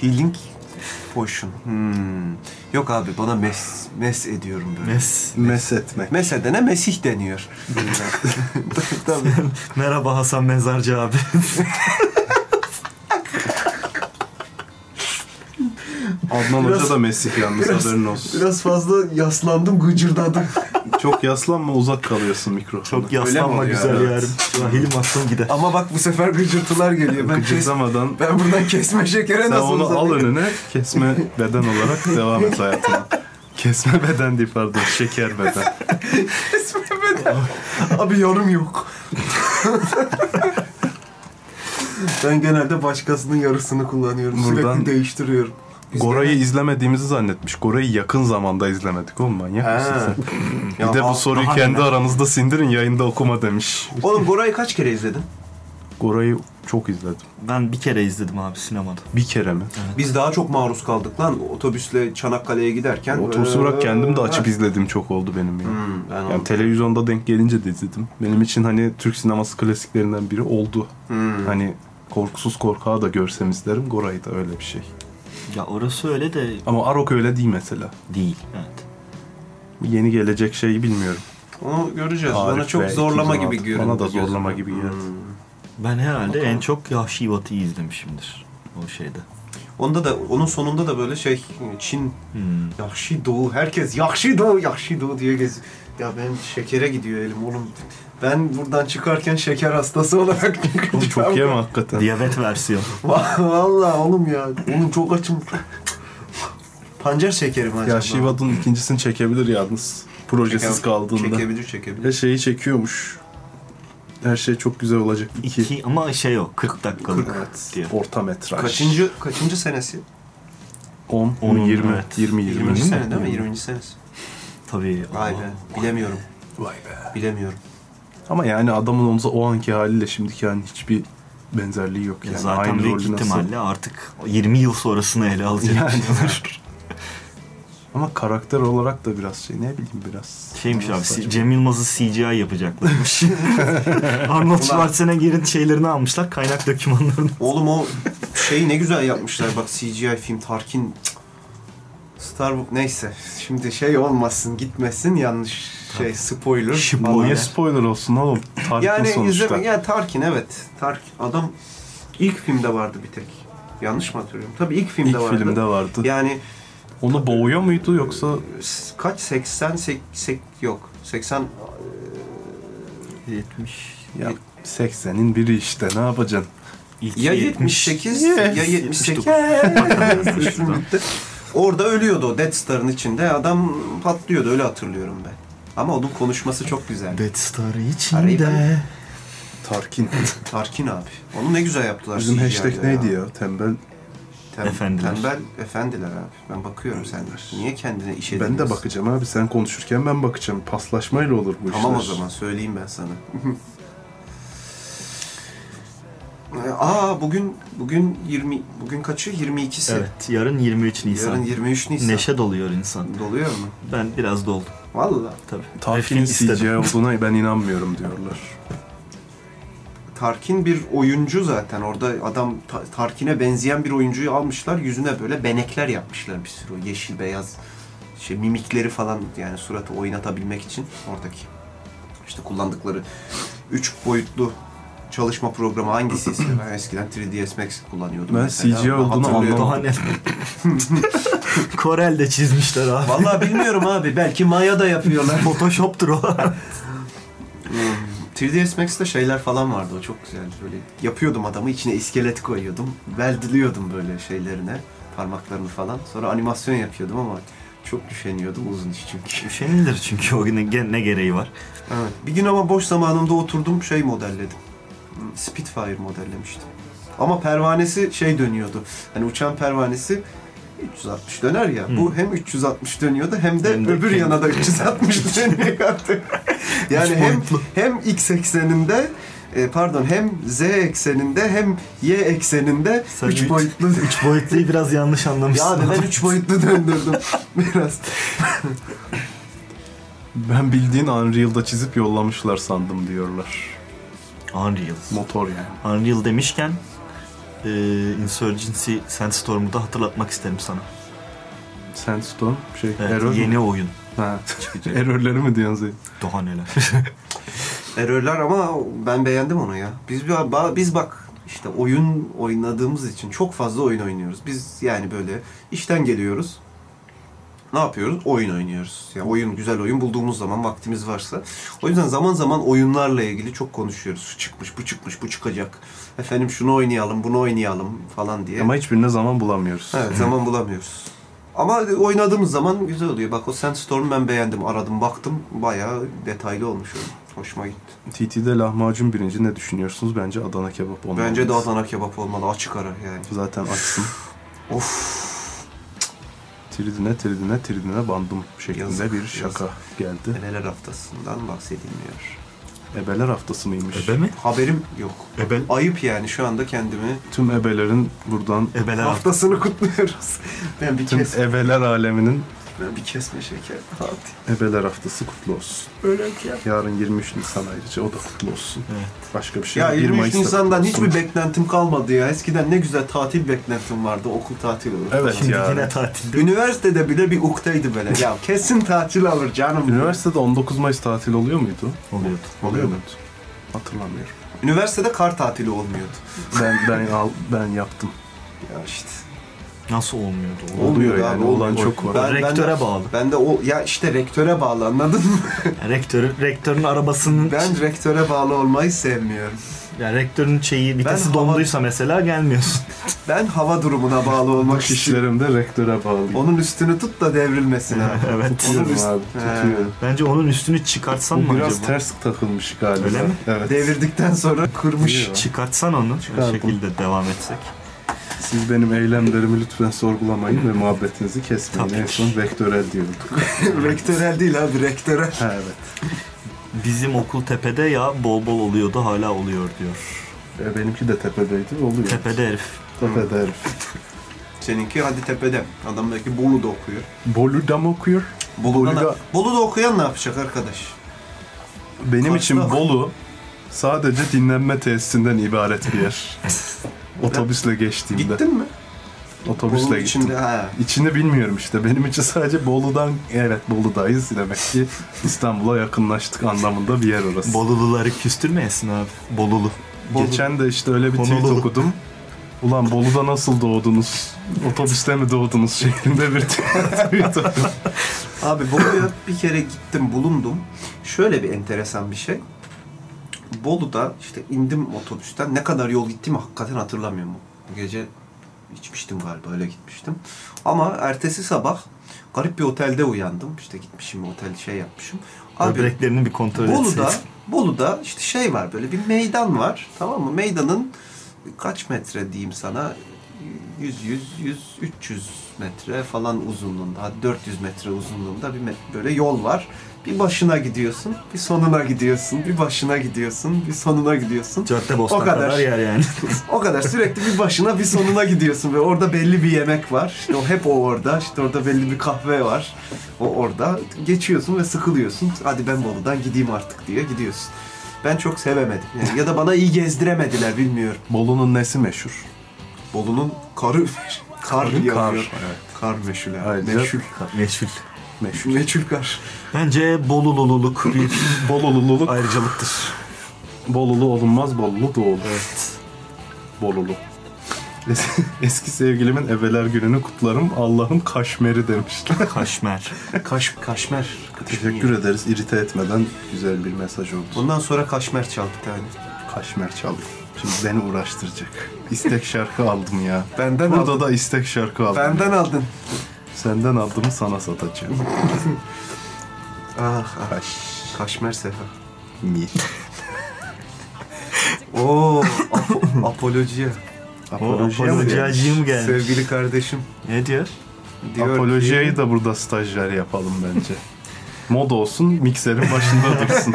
S3: Healing potion. Hmm. Yok abi bana mes, mes ediyorum böyle. Mes.
S4: Mes.
S2: Mes etmek.
S3: edene Mesih deniyor. Tabii.
S4: Merhaba Hasan Mezarcı abi.
S2: Adnan Hoca
S3: Biraz-
S2: da Mesih yalnız haberin olsun.
S3: Biraz fazla yaslandım, gıcırdadım.
S2: Çok yaslanma uzak kalıyorsun mikrofona.
S4: Çok
S3: mi
S4: yaslanma
S3: oluyor?
S4: güzel
S3: Evet.
S4: yarım. Şu an healing atsam gider.
S3: Ama bak bu sefer gıcırtılar geliyor. Ben, kes,
S2: Gıcırdamadan
S3: ben buradan kesme şekere
S2: sen
S3: nasıl
S2: onu al
S3: uzanayım?
S2: önüne kesme beden olarak devam et hayatına. Kesme beden değil pardon şeker beden.
S3: Kesmemeden. Abi yorum yok. ben genelde başkasının yarısını kullanıyorum.
S2: Buradan-
S3: Sürekli değiştiriyorum.
S2: Gora'yı izlemediğimizi zannetmiş. Gora'yı yakın zamanda izlemedik oğlum manyak mısın sen?
S3: Ya,
S2: Bir de
S3: al-
S2: bu soruyu
S4: daha
S2: kendi
S4: neler?
S2: aranızda sindirin yayında okuma demiş.
S3: Oğlum Gora'yı kaç kere izledin?
S2: Gora'yı çok izledim.
S4: Ben bir kere izledim abi sinemada.
S2: Bir kere mi?
S3: Biz daha çok maruz kaldık lan otobüsle Çanakkale'ye giderken.
S2: Otobüsü bırak kendim de açıp
S3: Ha.
S2: izlediğim çok oldu benim ya.
S3: Hmm, ben
S2: Yani
S3: onu-
S2: televizyonda denk gelince de izledim. Benim için hani Türk sineması klasiklerinden biri oldu.
S3: Hmm.
S2: Hani korkusuz korkağı da görsem izlerim. Gora'yı da öyle bir şey.
S4: Ya orası öyle de
S2: Ama Arok öyle değil mesela.
S4: değil. Evet.
S2: Yeni gelecek şeyi bilmiyorum.
S3: Onu göreceğiz.
S2: Arif
S3: bana çok
S2: ve
S3: zorlama gibi Hmm.
S2: 216. Bana
S3: görünüyor.
S2: da zorlama gibi geldi.
S4: Ben herhalde en çok Yahşi Batı'yı izlemişimdir o şeyde.
S3: Onda da onun sonunda da böyle şey Çin
S4: Hmm.
S3: Yahşi Doğu herkes Yahşi Doğu Yahşi Doğu diye gez. Ya ben şekere gidiyor elim oğlum. Ben buradan çıkarken şeker hastası olarak çıkacağım.
S2: Oğlum çok yeme hakikaten.
S4: Diyabet versiyon.
S3: Valla oğlum ya. Oğlum çok açım. Pancar şekeri mi acaba?
S2: Ya Shiva'nın ikincisini çekebilir yalnız. Projesiz
S3: Çekebilir,
S2: kaldığında.
S3: Çekebilir
S2: Ve
S3: çekebilir.
S2: şeyi çekiyormuş. Her şey çok güzel olacak. İki.
S4: İki ama şey o 40 dakikalık
S3: Kırk.
S4: diye.
S2: Orta metraj.
S3: Kaçıncı kaçıncı senesi?
S2: 10,
S4: Onun,
S2: 20,
S4: evet.
S2: 20, 20.
S3: 20. sene değil mi?
S2: Yirmi.
S3: 20. senesi.
S4: Tabii.
S3: Vay
S4: o-
S3: be. Bilemiyorum.
S2: Vay be.
S3: Bilemiyorum.
S2: Ama yani adamın omza o anki haliyle şimdiki halinin hiçbir benzerliği yok.
S4: Ya
S2: Yani.
S4: zaten
S2: Aynı
S4: büyük
S2: rolü nasıl-
S4: ihtimalle artık 20 yıl sonrasını ele alacak.
S2: Yani.
S4: şeyler.
S2: Ama karakter olarak da biraz şey ne bileyim biraz.
S4: Şeymiş abi
S2: Saçma.
S4: Cem Yılmaz'ı CGI yapacaklarmış. Arnold Schwarzenegger'in şeylerini almışlar kaynak dokümanlarını.
S3: Oğlum o şeyi ne güzel yapmışlar. Bak CGI film Tarkin. Cık. Star neyse. Şimdi şey olmasın gitmesin yanlış şey spoiler.
S4: Şimdi
S3: falan.
S2: Niye spoiler olsun oğlum? Tarkin
S3: Yani
S2: sonuçta.
S3: izleme. Ya Tarkin evet. Tarkin adam ilk filmde vardı bir tek. Yanlış mı hatırlıyorum? Tabii ilk filmde
S2: İlk
S3: vardı.
S2: filmde vardı.
S3: Yani
S2: Onu boğuyor muydu yoksa
S3: s- kaç 80 sek, sek- yok. e, 80
S4: 70.
S2: ya 80'in biri işte ne yapacaksın?
S4: İlk
S3: ya 78 ya 78.
S4: 79.
S3: Orada ölüyordu o Death Star'ın içinde. Adam patlıyordu öyle hatırlıyorum ben. Ama onun konuşması çok güzel.
S4: Death Star içinde.
S3: Arayı
S2: Tarkin.
S3: Tarkin abi. Onu ne güzel yaptılar.
S2: Bizim
S3: CGI 'de
S2: hashtag neydi Şey ya? Tembel.
S3: Tem-
S4: Efendiler.
S3: Tembel efendiler abi. Ben bakıyorum sen. Niye kendine iş
S2: Ben de
S3: edemiyorsun?
S2: bakacağım abi. Sen konuşurken ben bakacağım. Paslaşmayla olur bu işler.
S3: Tamam o zaman söyleyeyim ben sana. Ee, Aa bugün bugün 20 bugün kaçı? 22'si.
S4: Evet yarın 23 Nisan.
S3: Yarın 23 Nisan.
S4: Neşe doluyor insan.
S3: Doluyor mu?
S4: Ben biraz doldum
S3: Valla.
S4: tabii.
S2: Tarkin'in
S4: Ve film
S2: CGI
S4: istedim.
S2: olduğuna ben inanmıyorum diyorlar.
S3: Tarkin bir oyuncu zaten. Orada adam Ta- Tarkin'e benzeyen bir oyuncuyu almışlar. Yüzüne böyle benekler yapmışlar bir sürü. O yeşil beyaz şey mimikleri falan yani suratı oynatabilmek için oradaki işte kullandıkları üç boyutlu çalışma programı hangisi ise ben eskiden 3ds Max kullanıyordum.
S2: Ben
S3: mesela.
S2: CGI olduğunu
S3: hatırlıyorum.
S2: anlamadım.
S4: Daha ne? Korel de çizmişler abi.
S3: Vallahi bilmiyorum abi. Belki Maya da yapıyorlar.
S4: Photoshop'tur o.
S3: 3ds Max'te şeyler falan vardı. O çok güzeldi. Böyle yapıyordum adamı. içine iskelet koyuyordum. Beldeliyordum böyle şeylerine. Parmaklarını falan. Sonra animasyon yapıyordum ama çok üşeniyordum. Uzun iş çünkü.
S4: Üşenilir Şey çünkü o gün ne, ne gereği var.
S3: Evet. Bir gün ama boş zamanımda oturdum şey modelledim. Hmm, Spitfire modellemiştim. Ama pervanesi şey dönüyordu. Hani uçan pervanesi 360 döner ya. Bu hem 360 dönüyordu hem de,
S4: Hem de
S3: öbür
S4: kendi-
S3: yana da 360 dönüyor. yani
S4: Üç
S3: hem
S4: boyutlu.
S3: hem x ekseninde e, pardon hem z ekseninde hem y ekseninde
S4: Sen
S3: 3
S4: üç-
S3: boyutlu.
S4: Üç boyutluyu biraz yanlış anlamışsın.
S3: ya abi ben 3 boyutlu döndürdüm biraz.
S2: Ben bildiğin Unreal'da çizip yollamışlar sandım diyorlar.
S4: Unreal.
S2: Motor yani.
S4: Unreal demişken e, Insurgency Sandstorm'u da hatırlatmak isterim sana.
S2: Sandstorm şey
S4: Evet,
S2: error mu?
S4: yeni oyun.
S2: Ha. Errorları mı diyorsun Zeyn?
S4: Daha neler.
S3: Erörler ama ben beğendim onu ya. Biz bir- ba- biz bak işte oyun oynadığımız için çok fazla oyun oynuyoruz. Biz yani böyle işten geliyoruz. Ne yapıyoruz? Oyun oynuyoruz. Yani oyun güzel oyun bulduğumuz zaman vaktimiz varsa. O yüzden zaman zaman oyunlarla ilgili çok konuşuyoruz. Şu çıkmış, bu çıkmış, bu çıkacak. Efendim şunu oynayalım, bunu oynayalım falan diye.
S2: Ama hiçbirine zaman bulamıyoruz.
S3: Evet zaman bulamıyoruz. Ama oynadığımız zaman güzel oluyor. Bak o Sandstorm ben beğendim. Aradım, baktım. Bayağı detaylı olmuş. oyun. Hoşuma gitti.
S2: TT'de lahmacun birinci ne düşünüyorsunuz? Bence Adana kebap olmalı.
S3: Bence de Adana kebap olmalı. Açık ara yani.
S2: Zaten açsın.
S3: Of.
S2: Tridine tridine tridine bandım şeklinde
S3: Yazık,
S2: bir şaka geldi.
S3: Neler haftasından bahsedilmiyor.
S2: Ebeler haftası mıymış?
S4: Ebe mi?
S3: Haberim yok.
S4: Ebe.
S3: Ayıp yani şu anda kendimi.
S2: Tüm ebelerin buradan
S4: Ebeler haftası.
S3: Haftasını kutluyoruz. Ben bir
S2: tüm
S3: kesme,
S2: ebeler aleminin
S3: ben bir kesme şeker. Hadi.
S2: ebeler haftası kutlu olsun.
S3: Öyle
S2: şey
S3: ki yap.
S2: Yarın 23 Nisan ayrıca o da kutlu olsun.
S4: Evet.
S2: Başka bir şey
S3: Ya
S2: değil.
S3: 23
S2: Mayıs'ta kutlu
S3: Nisan'dan
S2: olsun.
S3: hiçbir beklentim kalmadı ya. Eskiden ne güzel tatil beklentim vardı. Okul tatili olur.
S2: Evet
S4: Şimdi
S2: ya.
S4: yine tatilde.
S3: Üniversitede bile bir uktaydı böyle. Ya kesin tatil alır canım.
S2: Üniversitede 19 Mayıs tatil oluyor muydu?
S4: Oluyordu.
S2: Oluyor muydu? Hatırlamıyorum.
S3: Üniversitede kar tatili olmuyordu.
S2: Ben ben al, ben yaptım.
S3: Ya işte.
S4: Nasıl olmuyordu? o?
S2: Oluyor yani,
S3: olmuyor.
S2: olan çok var.
S4: Rektöre
S3: ben de,
S4: bağlı.
S3: Ben de o ya işte rektöre bağlı anladın mı?
S4: Rektörü, rektörün arabasının
S3: Ben rektöre bağlı olmayı sevmiyorum.
S4: yani rektörün şeyi vitesi
S3: hava-
S4: donduysa mesela gelmiyorsun.
S3: Ben hava durumuna bağlı olmak istiyorum.
S2: İşlerimde rektöre bağlı.
S3: Onun üstünü tut da devrilmesin abi.
S4: evet.
S3: Onun
S2: Tutuyorum
S3: üst-
S2: abi,
S3: He.
S2: tutuyorum.
S4: Bence onun üstünü çıkartsan
S2: Bu
S4: mı
S2: biraz
S4: acaba?
S2: ters takılmış galiba.
S4: Öyle mi?
S2: Evet.
S3: Devirdikten sonra kırmış.
S2: Değil mi?
S4: Çıkartsan onu. O
S2: Çıkardım.
S4: şekilde devam etsek.
S2: Siz benim eylemlerimi lütfen sorgulamayın ve muhabbetinizi kesmeyin.
S4: Tabii.
S2: En son vektörel diyorduk.
S3: Rektörel değil abi rektörel.
S2: Ha, evet.
S4: Bizim okul tepede ya bol bol oluyordu hala oluyor diyor.
S2: E, benimki de tepedeydi. Oluyor.
S4: Tepede herif.
S2: Tepede herif.
S3: Seninki hadi tepede. Adam belki Bolu'da okuyor.
S2: Bolu'da mı okuyor? Bolu'da-
S3: Bolu'da, Bolu'da okuyan ne yapacak arkadaş?
S2: Benim
S3: Kars'ta
S2: için
S3: mı?
S2: Bolu sadece dinlenme tesisinden ibaret bir yer. Otobüsle geçtiğimde.
S3: Gittin mi?
S2: Otobüsle
S3: Bolu'nun
S2: gittim.
S3: içinde ha.
S2: İçini bilmiyorum işte. Benim için sadece Bolu'dan, evet Bolu'dayız demek ki İstanbul'a yakınlaştık anlamında bir yer orası.
S4: Boluluları küstürmeyesin abi. Bolulu.
S3: Bolu.
S2: Geçen de işte öyle bir tweet
S4: Honolulu.
S2: okudum. Ulan Bolu'da nasıl doğdunuz? Otobüste mi doğdunuz? şeklinde bir tweet okudum.
S3: Abi Bolu'ya bir kere gittim bulundum. Şöyle bir enteresan bir şey. Bolu'da işte indim otobüsten. Ne kadar yol gittiğimi hakikaten hatırlamıyorum. Bu gece içmiştim galiba öyle gitmiştim. Ama ertesi sabah garip bir otelde uyandım. İşte gitmişim otel şey yapmışım. Abi
S4: Böbreklerini bir kontrol etseydin.
S3: Bolu'da, Bolu'da işte şey var böyle bir meydan var tamam mı? Meydanın kaç metre diyeyim sana 100 100 100 300 metre falan uzunluğunda hadi 400 metre uzunluğunda bir met- böyle yol var. Bir başına gidiyorsun, bir sonuna gidiyorsun, bir başına gidiyorsun, bir sonuna gidiyorsun.
S4: Cadde Bostan
S3: O kadar.
S4: kadar yer yani.
S3: O kadar sürekli bir başına bir sonuna gidiyorsun ve orada belli bir yemek var. İşte o hep o orada. İşte orada belli bir kahve var. O orada. Geçiyorsun ve sıkılıyorsun. Hadi ben Bolu'dan gideyim artık diye gidiyorsun. Ben çok sevemedim. Yani ya da bana iyi gezdiremediler bilmiyorum.
S2: Bolu'nun nesi meşhur?
S3: Bolu'nun karı kar
S2: Kar,
S3: yağıyor.
S2: evet.
S3: Kar meşhul abi.
S2: Ayrıca-
S3: Meşhul.
S4: Meşhur.
S3: Meşhul. Meşhul kar.
S4: Bence bolulululuk bir
S2: Bolulululuk.
S4: ayrıcalıktır.
S2: Bolulu olunmaz, Bolulu doğulur.
S4: Evet.
S2: Bolulu. Es- Eski sevgilimin evveler gününü kutlarım. Allah'ım kaşmeri demişler.
S4: Kaşmer.
S3: Kaş, kaşmer.
S2: Teşekkür ederiz. İrite etmeden güzel bir mesaj oldu.
S3: Bundan sonra kaşmer çal bir tane.
S2: Kaşmer çaldı. Şimdi beni uğraştıracak. İstek şarkı aldım ya.
S3: Benden
S2: Burada
S3: aldın.
S2: da istek şarkı aldım.
S3: Benden aldın.
S2: Senden aldığımı sana satacağım.
S3: Ah, ah.
S2: Kaş.
S3: Kaşmer sefer.
S2: Mi.
S3: Oo, apo- apolojiye.
S2: Apolojiye mi?
S4: apolojiyacıyım gelmiş.
S3: Sevgili kardeşim
S4: Ne diyor?
S3: diyor
S2: Apolojiyeyi
S3: ki,
S2: da burada stajyer yapalım bence. Mod olsun, mikserin başında dursun.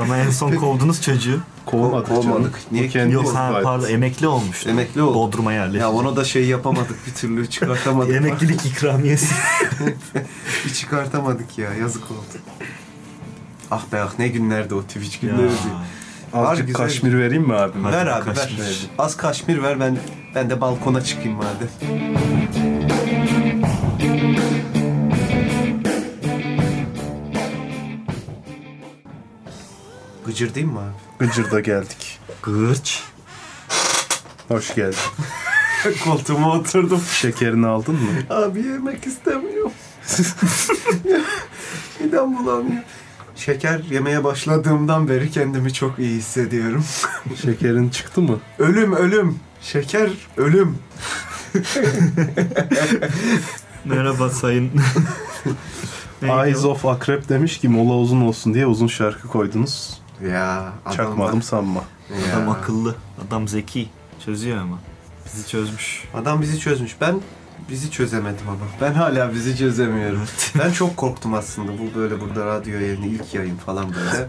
S4: Ama en son kovdunuz çocuğu.
S2: Kovmadık canım.
S3: Kovmadık. Niye
S2: Bu kendi
S4: Yok ha
S2: istifadesi.
S4: pardon emekli olmuş.
S3: Emekli oldu.
S4: Bodrum'a yerleşti.
S3: ya ona da şey yapamadık bir türlü çıkartamadık.
S4: Emeklilik ikramiyesi.
S3: Bir çıkartamadık ya yazık oldu. Ah be ah ne günlerdi o Twitch günleri diyor. Var
S2: Azıcık
S3: E, güzel.
S2: kaşmir vereyim mi abim?
S3: Ver abi
S4: Kaşmir.
S3: ver. Az kaşmir ver ben ben de balkona çıkayım madem. Gıcır değil mi abi?
S2: Gıcırda geldik.
S4: Gırç.
S2: Hoş geldin.
S3: Koltuğuma oturdum.
S2: Şekerini aldın mı?
S3: Abi yemek istemiyorum. Midem bulanıyor. Şeker yemeye başladığımdan beri kendimi çok iyi hissediyorum.
S2: Şekerin çıktı mı?
S3: Ölüm ölüm. Şeker ölüm.
S4: Merhaba sayın. Neydi o?
S2: Eyes of Akrep demiş ki mola uzun olsun diye uzun şarkı koydunuz.
S3: Ya adam
S2: Çakmadım sanma.
S3: Ya.
S4: Adam akıllı. Adam zeki. Çözüyor ama. Bizi çözmüş.
S3: Adam bizi çözmüş. Ben bizi çözemedim ama. Ben hala bizi çözemiyorum. ben çok korktum aslında. Bu böyle burada radyo yayını ilk yayın falan böyle.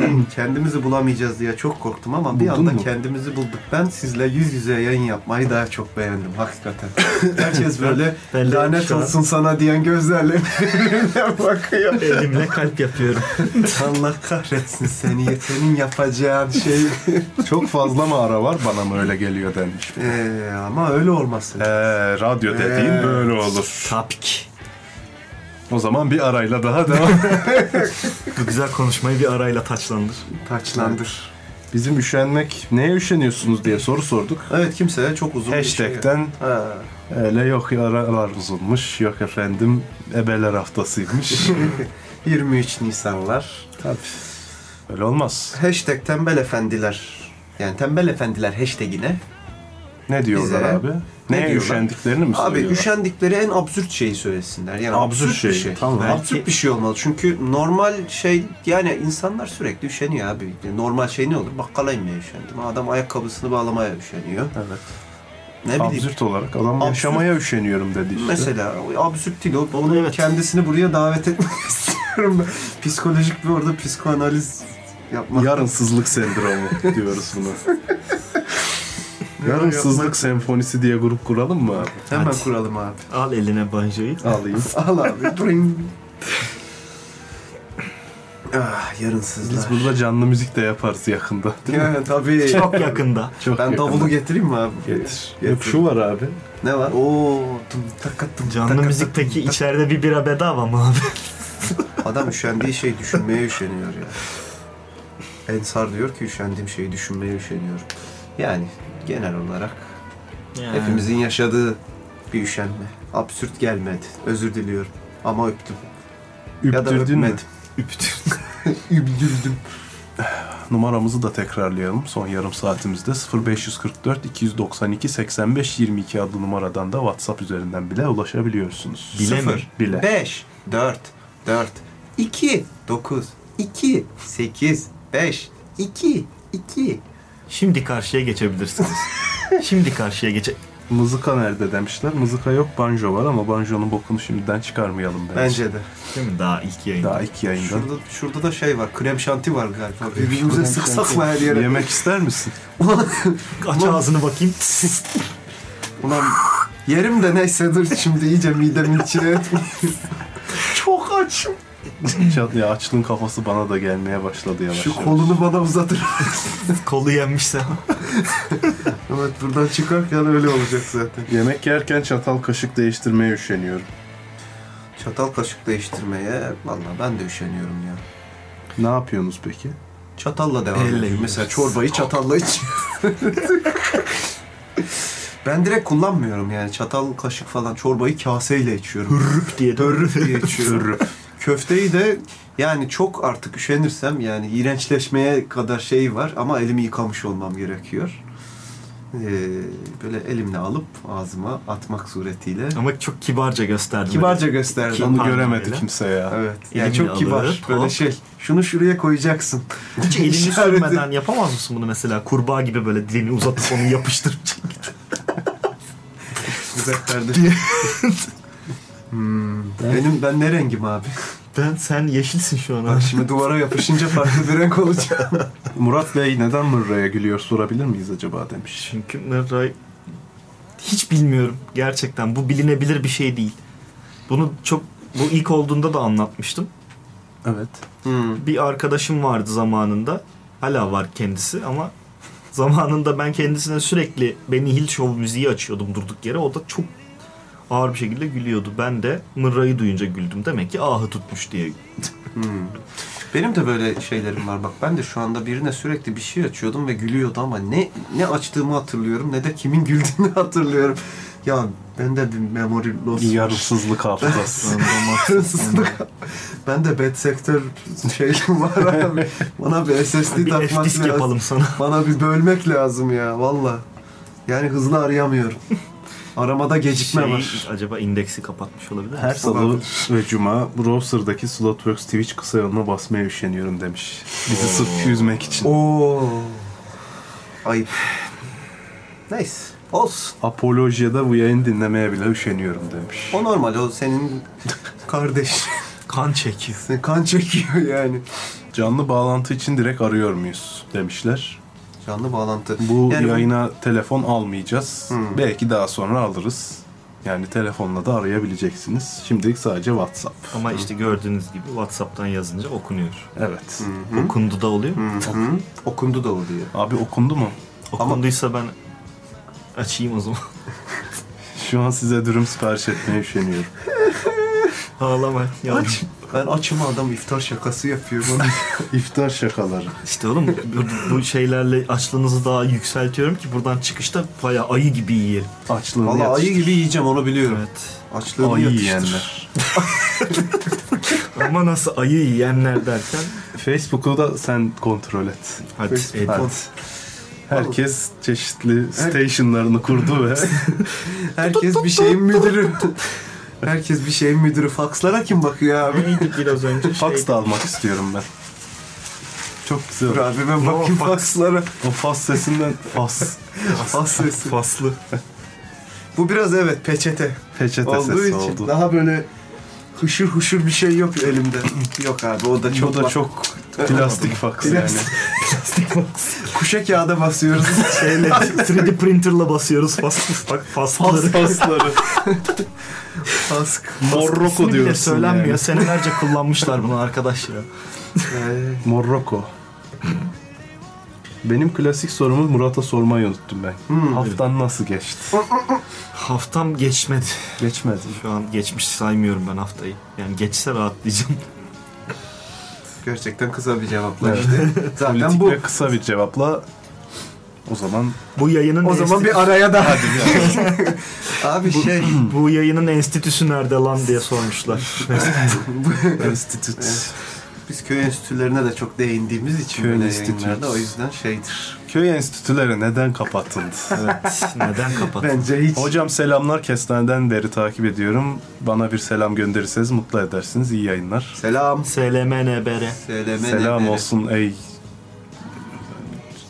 S3: Ben kendimizi bulamayacağız diye çok korktum ama bir
S2: Buldun
S3: anda
S2: mu?
S3: kendimizi bulduk. Ben sizle yüz yüze yayın yapmayı daha çok beğendim hakikaten. Herkes böyle
S4: Ben de
S3: lanet
S4: şu an-
S3: olsun sana diyen gözlerle birbirine bakıyor.
S4: Elimle kalp yapıyorum.
S3: Allah kahretsin seni. Senin yapacağın şey.
S2: Çok fazla mı ara var bana mı öyle geliyor denmiş.
S3: Ee, ama öyle olması
S2: Ee, radyo dediğin
S3: Ee.
S2: böyle olur.
S4: Tapik.
S2: O zaman bir arayla daha devam.
S4: Bu güzel konuşmayı bir arayla taçlandır.
S3: Taçlandır.
S2: Bizim üşenmek neye üşeniyorsunuz diye soru sorduk.
S3: Evet kimseye çok uzun bir şey-
S2: Hashtag'ten
S3: Ha.
S2: öyle yok yaralar uzunmuş, yok efendim ebeler haftasıymış.
S3: 23 Nisanlar.
S2: Tabii. Öyle olmaz.
S3: Hashtag tembel efendiler. Yani tembel efendiler hashtagine.
S2: Ne diyorlar
S3: Bize-
S2: abi? Neye
S3: diyorlar?
S2: üşendiklerini mi
S3: Abi
S2: söylüyorlar?
S3: üşendikleri en absürt şeyi söylesinler. Yani
S2: Absürt
S3: absürt,
S2: şey,
S3: bir şey.
S2: tamam.
S3: Absürt bir şey olmalı. Çünkü normal şey yani insanlar sürekli üşeniyor abi. Normal şey ne olur? Bakkala inmeye üşendim. Adam ayakkabısını bağlamaya üşeniyor.
S2: Evet.
S3: Ne bileyim.
S2: Absürt şey. olarak adam
S3: Absürt.
S2: yaşamaya üşeniyorum dedi işte.
S3: Mesela o absürt değil. o- Onu
S4: Evet.
S3: kendisini buraya davet etmek istiyorum ben. Psikolojik bir orada psikoanaliz yapmak.
S2: Yarınsızlık sendromu diyoruz buna. Yarınsızlık senfonisi diye grup kuralım mı abi?
S3: Hemen
S4: Hadi.
S3: kuralım abi.
S4: Al eline banjoyu.
S2: Alayım.
S3: Al abi. Bring. ah yarınsızlar.
S2: Biz burada canlı müzik de yaparız yakında. Değil mi?
S3: Ya, tabii.
S4: Çok yakında.
S2: Çok
S3: Ben
S2: yakında.
S3: davulu getireyim mi abi?
S2: getir. Yok
S3: Getir.
S2: şu var abi.
S3: Ne var? Oo, tım tak tım
S4: Canlı
S3: tak
S4: müzik
S3: tak.
S4: peki içeride bir bira bedava mı abi?
S3: Adam üşendiği şey düşünmeye üşeniyor ya. Ensar diyor ki üşendiğim şeyi düşünmeye üşeniyorum. Yani genel olarak
S4: Yani.
S3: hepimizin yaşadığı bir üşenme. Absürt gelmedi. Özür diliyorum. Ama öptüm. ya da
S2: Üptürdün mü?
S3: öpmedim. Übdüldüm.
S2: Numaramızı da tekrarlayalım. Son yarım saatimizde 0544 292 85 22 adlı numaradan da WhatsApp üzerinden bile ulaşabiliyorsunuz.
S4: Bile mi?
S2: Sıfır. Bile.
S3: 5, 4, 4, 2, 9, 2, 8, 5, 2, 2.
S4: Şimdi karşıya geçebilirsiniz. Şimdi karşıya geçe...
S2: Mızıka nerede demişler. Mızıka yok banjo var ama banjonun bokunu şimdiden çıkarmayalım bence.
S3: Bence de.
S4: Değil mi? Daha ilk yayın.
S2: Daha ilk yayında.
S3: Şurada, şurada da şey var. Krem şanti var galiba. Birbirimize sıksak mı her yere?
S2: Yemek ister misin?
S4: Aç ağzını bakayım.
S3: Ulan yerim de neyse dur şimdi iyice midemin içine etmeyiz. Çok açım.
S2: Çat- ya açlığın kafası bana da gelmeye başladı yavaş
S3: Şu
S2: yavaş.
S3: kolunu bana uzatır.
S4: Kolu yenmişse.
S3: evet buradan çıkarken öyle olacak zaten.
S2: Yemek yerken çatal kaşık değiştirmeye üşeniyorum.
S3: Çatal kaşık değiştirmeye vallahi ben de üşeniyorum ya.
S2: Ne yapıyorsunuz peki?
S3: Çatalla devam
S4: Elle
S3: ediyorum.
S4: yiyoruz.
S3: Mesela çorbayı çatalla iç. ben direkt kullanmıyorum yani çatal kaşık falan çorbayı kaseyle içiyorum.
S4: Rüp diye de
S3: diye içiyorum. Köfteyi de yani çok artık üşenirsem yani iğrençleşmeye kadar şey var ama elimi yıkamış olmam gerekiyor. Ee, böyle elimle alıp ağzıma atmak suretiyle.
S4: Ama çok kibarca gösterdim.
S3: Kibarca gösterdim.
S4: Kim-
S2: Onu
S4: Pardon,
S2: göremedi
S4: öyle.
S2: kimse ya.
S3: Evet. Yani
S4: Elimle
S3: çok kibar.
S4: alıp,
S3: böyle
S4: hop.
S3: şey. Şunu şuraya koyacaksın.
S4: Hiç elini
S3: İşareti.
S4: sürmeden yapamaz mısın bunu mesela? Kurbağa gibi böyle dilini uzatıp onu yapıştırıp çek.
S3: Güzel Hmm, benim ben ne rengim abi?
S4: Ben sen yeşilsin şu an
S3: Bak
S4: abi.
S3: şimdi duvara yapışınca farklı bir renk olacak.
S2: Murat Bey neden Mırra'ya gülüyor sorabilir miyiz acaba demiş.
S4: Çünkü Mırray hiç bilmiyorum gerçekten. Bu bilinebilir bir şey değil. Bunu çok bu ilk olduğunda da anlatmıştım.
S2: Evet.
S3: Hmm.
S4: Bir arkadaşım vardı zamanında. Hala var kendisi ama zamanında ben kendisine sürekli Benny Hill Show müziği açıyordum durduk yere. O da çok ağır bir şekilde gülüyordu. Ben de Mırray'ı duyunca güldüm. Demek ki ahı tutmuş diye
S3: Hmm. Benim de böyle şeylerim var. Bak ben de şu anda birine sürekli bir şey açıyordum ve gülüyordu ama ne ne açtığımı hatırlıyorum ne de kimin güldüğünü hatırlıyorum. Ya bende bir memory loss var.
S2: Yarısızlık hafızası.
S3: Yarısızlık.
S4: Hmm.
S3: ben de bad sector şeyim var abi. Bana bir SSD
S4: bir
S3: takmak
S4: F-disk
S3: lazım.
S4: yapalım sana.
S3: Bana bir bölmek lazım ya valla. Yani hızlı arayamıyorum. Aramada gecikme
S4: Şey,
S3: var.
S4: acaba indeksi kapatmış olabilir mi?
S2: Her salı ve cuma browser'daki Slotworks Twitch kısa yoluna basmaya üşeniyorum demiş. Bizi sırf yüzmek için.
S3: Oo. Ayıp. Neyse. Olsun.
S2: Apolojia'da bu yayını dinlemeye bile üşeniyorum demiş.
S3: O normal. O senin kardeş.
S4: Kan çekiyor.
S3: Seni kan çekiyor yani.
S2: Canlı bağlantı için direkt arıyor muyuz demişler.
S3: Canlı bağlantı.
S2: Bu
S3: Yani
S2: yayına telefon almayacağız.
S3: Hmm.
S2: Belki daha sonra alırız. Yani telefonla da arayabileceksiniz. Şimdilik sadece WhatsApp.
S4: Ama işte gördüğünüz gibi Whatsapp'tan yazınca okunuyor.
S2: Evet.
S3: Hı-hı.
S4: Okundu da oluyor.
S3: Hı-hı. Okundu da oluyor.
S2: Abi okundu mu?
S4: Okunduysa ben açayım o zaman.
S2: Şu an size dürüm sipariş etmeye üşeniyorum.
S4: Ağlama yavrum.
S3: Ben açım adam iftar şakası yapıyor bana.
S2: İftar şakaları.
S4: İşte oğlum bu, bu şeylerle açlığınızı daha yükseltiyorum ki buradan çıkışta bayağı ayı gibi yiyelim.
S2: Açlığını
S3: Valla
S2: yatıştır.
S3: ayı gibi yiyeceğim onu biliyorum.
S4: Evet.
S3: Açlığını
S2: Ayı
S3: yatıştır.
S2: yiyenler.
S4: Ama nasıl ayı yiyenler derken
S2: Facebook'u da sen kontrol et.
S4: hadi e,
S3: Facebook.
S4: edin.
S2: Hadi. Herkes çeşitli stationlarını kurdu ve
S3: Şey- Herkes bir şeyin müdürü. Herkes bir şeyin müdürü. Fakslara kim bakıyor abi?
S4: Neydi biraz önce? Şey,
S2: fax da almak istiyorum ben. Çok güzel.
S3: Dur abi ben
S4: No,
S3: bakayım fakslara.
S2: O fas sesinden fas
S3: Faks sesi.
S4: Faslı.
S3: Bu biraz evet peçete
S2: peçete
S3: olduğu
S2: sesi
S3: için
S2: oldu.
S3: daha böyle hışır huşur bir şey yok elimde. yok abi o da çok
S2: Bu da
S3: bak-
S2: çok plastik faks yani.
S3: Plastik. kuşa kağıda basıyoruz. Şey, Şeyle
S4: 3D printerla basıyoruz faslı. Bak faslıları.
S2: Fas fasları.
S3: bask.
S4: İsmi
S2: Morroko
S4: bile
S2: diyorsun
S4: söylenmiyor.
S2: yani.
S4: Senelerce kullanmışlar bunu arkadaş ya.
S2: Morroko. Benim klasik sorumu Murat'a sormayı unuttum ben. Haftan nasıl geçti?
S4: Haftam geçmedi.
S2: Geçmedi.
S4: Şu an geçmiş saymıyorum ben haftayı. Yani geçse rahatlayacağım.
S3: Gerçekten kısa bir cevaplar işte. Zaten
S2: Politik
S3: bu.
S2: ve kısa bir cevapla o zaman
S4: Bu yayının
S3: O zaman bir araya daha. abi şey
S4: bu yayının enstitüsü nerede lan diye sormuşlar.
S2: Enstitüt.
S3: biz köy enstitülerine de çok değindiğimiz için
S2: Köy
S3: böyle
S2: enstitüsü.
S3: yayınlarda o yüzden şeydir.
S2: Köy enstitüleri neden kapatıldı?
S4: evet. Neden kapattın?
S3: Bence hiç.
S2: Hocam selamlar kestaneden beri takip ediyorum. Bana bir selam gönderirseniz mutlu edersiniz. İyi yayınlar.
S3: Selam.
S4: SLMNBR.
S3: Selam,
S2: Selam olsun ey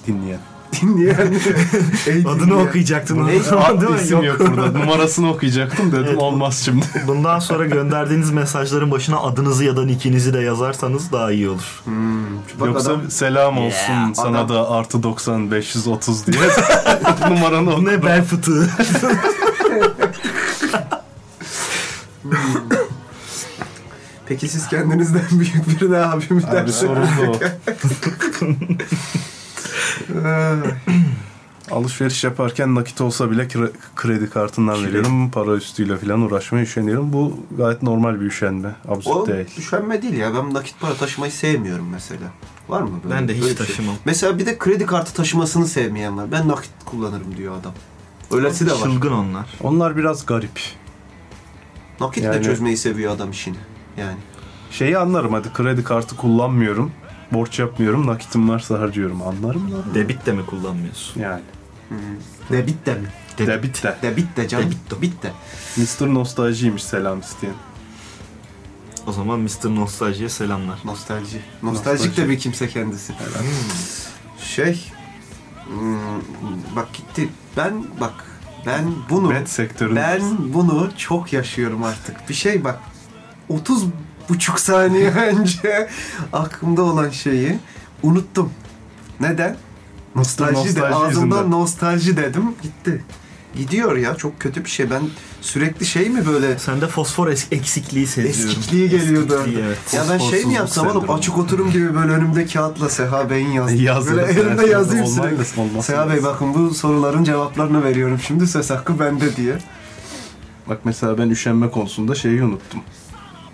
S2: dinleyen.
S3: Dinleyen. Ey
S4: Adını
S3: dinleyen.
S4: okuyacaktın.
S2: Ey,
S4: Değil mi?
S2: isim yok burada. Numarasını okuyacaktım dedim
S4: Evet.
S2: olmaz şimdi.
S4: Bundan sonra gönderdiğiniz mesajların başına adınızı ya da nickinizi de yazarsanız daha iyi olur.
S3: Bak
S2: Yoksa
S3: adam-
S2: selam olsun
S4: Yeah,
S2: sana
S3: adam-
S2: da artı 90 530 diye numaranı
S4: Bu
S2: oku.
S4: ne bel fıtığı?
S3: Peki siz kendinizden büyük birine abi mi
S2: Abi
S3: dersiniz?
S2: soruldu o.
S3: Ee,
S2: Alışveriş yaparken nakit olsa bile kre- kredi kartından
S4: Kredi.
S2: veriyorum. Para üstüyle falan uğraşmaya üşeniyorum. Bu gayet normal bir üşenme. Absürt
S3: O
S2: değil.
S3: düşenme değil ya. Ben nakit para taşımayı sevmiyorum mesela. Var mı böyle?
S4: Ben de hiç
S3: böyle bir şey.
S4: taşımam.
S3: Mesela bir de kredi kartı taşımasını sevmeyen var. Ben nakit kullanırım diyor adam. Öylesi de var.
S4: Çılgın onlar.
S2: Onlar biraz garip.
S3: Nakitle
S2: Yani-
S3: çözmeyi seviyor adam işini. Yani.
S2: Şeyi anlarım hadi kredi kartı kullanmıyorum. Borç yapmıyorum. Nakitim varsa harcıyorum. Anlarım da.
S4: Debit de mi kullanmıyorsun?
S2: Yani.
S3: Debit de mi?
S4: Debit.
S2: Debit de.
S3: Debit de canım.
S4: Debit de.
S3: Bit de.
S2: Mr. Nostalji'ymiş selam isteyen.
S4: O zaman Mr. Nostalji'ye selamlar.
S3: Nostalji.
S2: Nostaljik.
S3: Nostaljik de bir kimse kendisi. Şey. hmm, Bak gitti. Ben bak. Ben bunu.
S2: Bet sektörün.
S3: Ben bunu çok yaşıyorum artık. Bir şey bak 30 buçuk saniye önce aklımda olan şeyi unuttum. Neden? Nostalji, de
S2: nostalji
S3: ağzımdan
S2: yüzünden.
S3: nostalji dedim gitti. Gidiyor ya çok kötü bir şey. Ben sürekli şey mi böyle
S4: Sende fosfor es- eksikliği seziyorum.
S3: eskikliği geliyordu.
S4: Eskikliği, evet.
S3: Ya ben şey mi
S2: Fosforsuzluk
S3: yapsam oğlum
S2: sendromu.
S3: açık oturum gibi böyle önümde kağıtla Seha Bey'in yazdım.
S2: Yazdım.
S3: Böyle elimde
S2: Evet,
S3: yazayım
S2: olmaz-
S3: sürekli.
S2: olmaz-
S3: Seha Bey bakın bu soruların cevaplarını veriyorum şimdi söz hakkı bende diye.
S2: Bak mesela ben üşenme konusunda şeyi unuttum.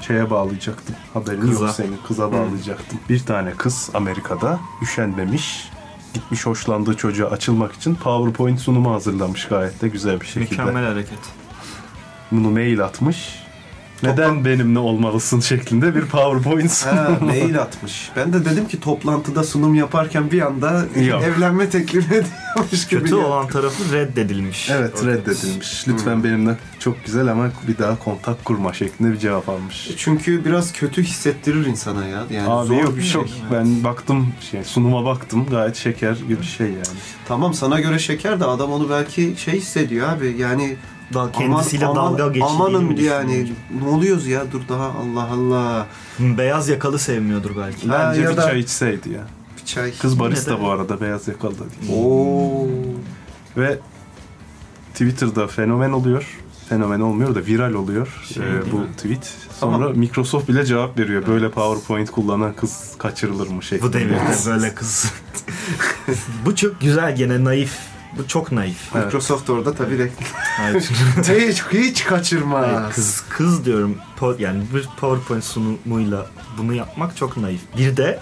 S2: Şeye bağlayacaktım. Haberin
S4: Kıza.
S2: yok senin. Kıza bağlayacaktım. Bir tane kız Amerika'da üşenmemiş. Gitmiş hoşlandığı çocuğa açılmak için PowerPoint sunumu hazırlamış gayet de güzel bir şekilde.
S4: Mükemmel hareket.
S2: Bunu mail atmış. Neden benimle olmalısın şeklinde bir PowerPoint sunumu.
S3: Ha, mail atmış. Ben de dedim ki toplantıda sunum yaparken bir anda
S2: Yok.
S3: evlenme teklifi ediyormuş gibi.
S4: Kötü
S3: ya.
S4: olan tarafı reddedilmiş.
S2: Evet reddedilmiş. Lütfen benimle çok güzel ama bir daha kontak kurma şeklinde bir cevap almış.
S3: Çünkü biraz kötü hissettirir insana ya. Yani
S2: Abi
S3: zor
S2: yok
S3: bir
S2: bir
S3: şey.
S2: çok ben baktım şey sunuma baktım gayet şeker gibi bir şey yani.
S3: Tamam sana göre şeker de adam onu belki şey hissediyor abi. Yani
S4: Daha kendisiyle
S3: aman- aman-
S4: dalga geçtiğini
S3: Amanın
S4: mi
S3: yani
S4: düşünüyorum?
S3: ne oluyoruz ya dur daha Allah Allah.
S4: Beyaz yakalı sevmiyordur belki.
S3: Ha,
S2: Bence
S3: ya
S2: bir
S3: da-
S2: çay içseydi ya.
S3: Bir çay.
S2: Kız barista
S4: Neden?
S2: bu arada beyaz yakalı da değil.
S3: Oo.
S2: Ve Twitter'da fenomen oluyor. Fenomen olmuyor da viral oluyor
S4: Şey
S2: ee,
S4: değil
S2: bu
S4: mi?
S2: tweet. Sonra Microsoft bile cevap veriyor. Böyle PowerPoint kullanan kız kaçırılır mı şeklinde.
S4: Bu devirde böyle kız. Bu çok güzel gene naif Bu çok naif.
S2: Evet.
S3: Microsoft orada tabii reklam.
S4: Hayır.
S3: hiç, hiç
S4: Hayır,
S3: kaçırma.
S4: kız kız diyorum. Po- yani bir PowerPoint sunumuyla bunu yapmak çok naif. Bir de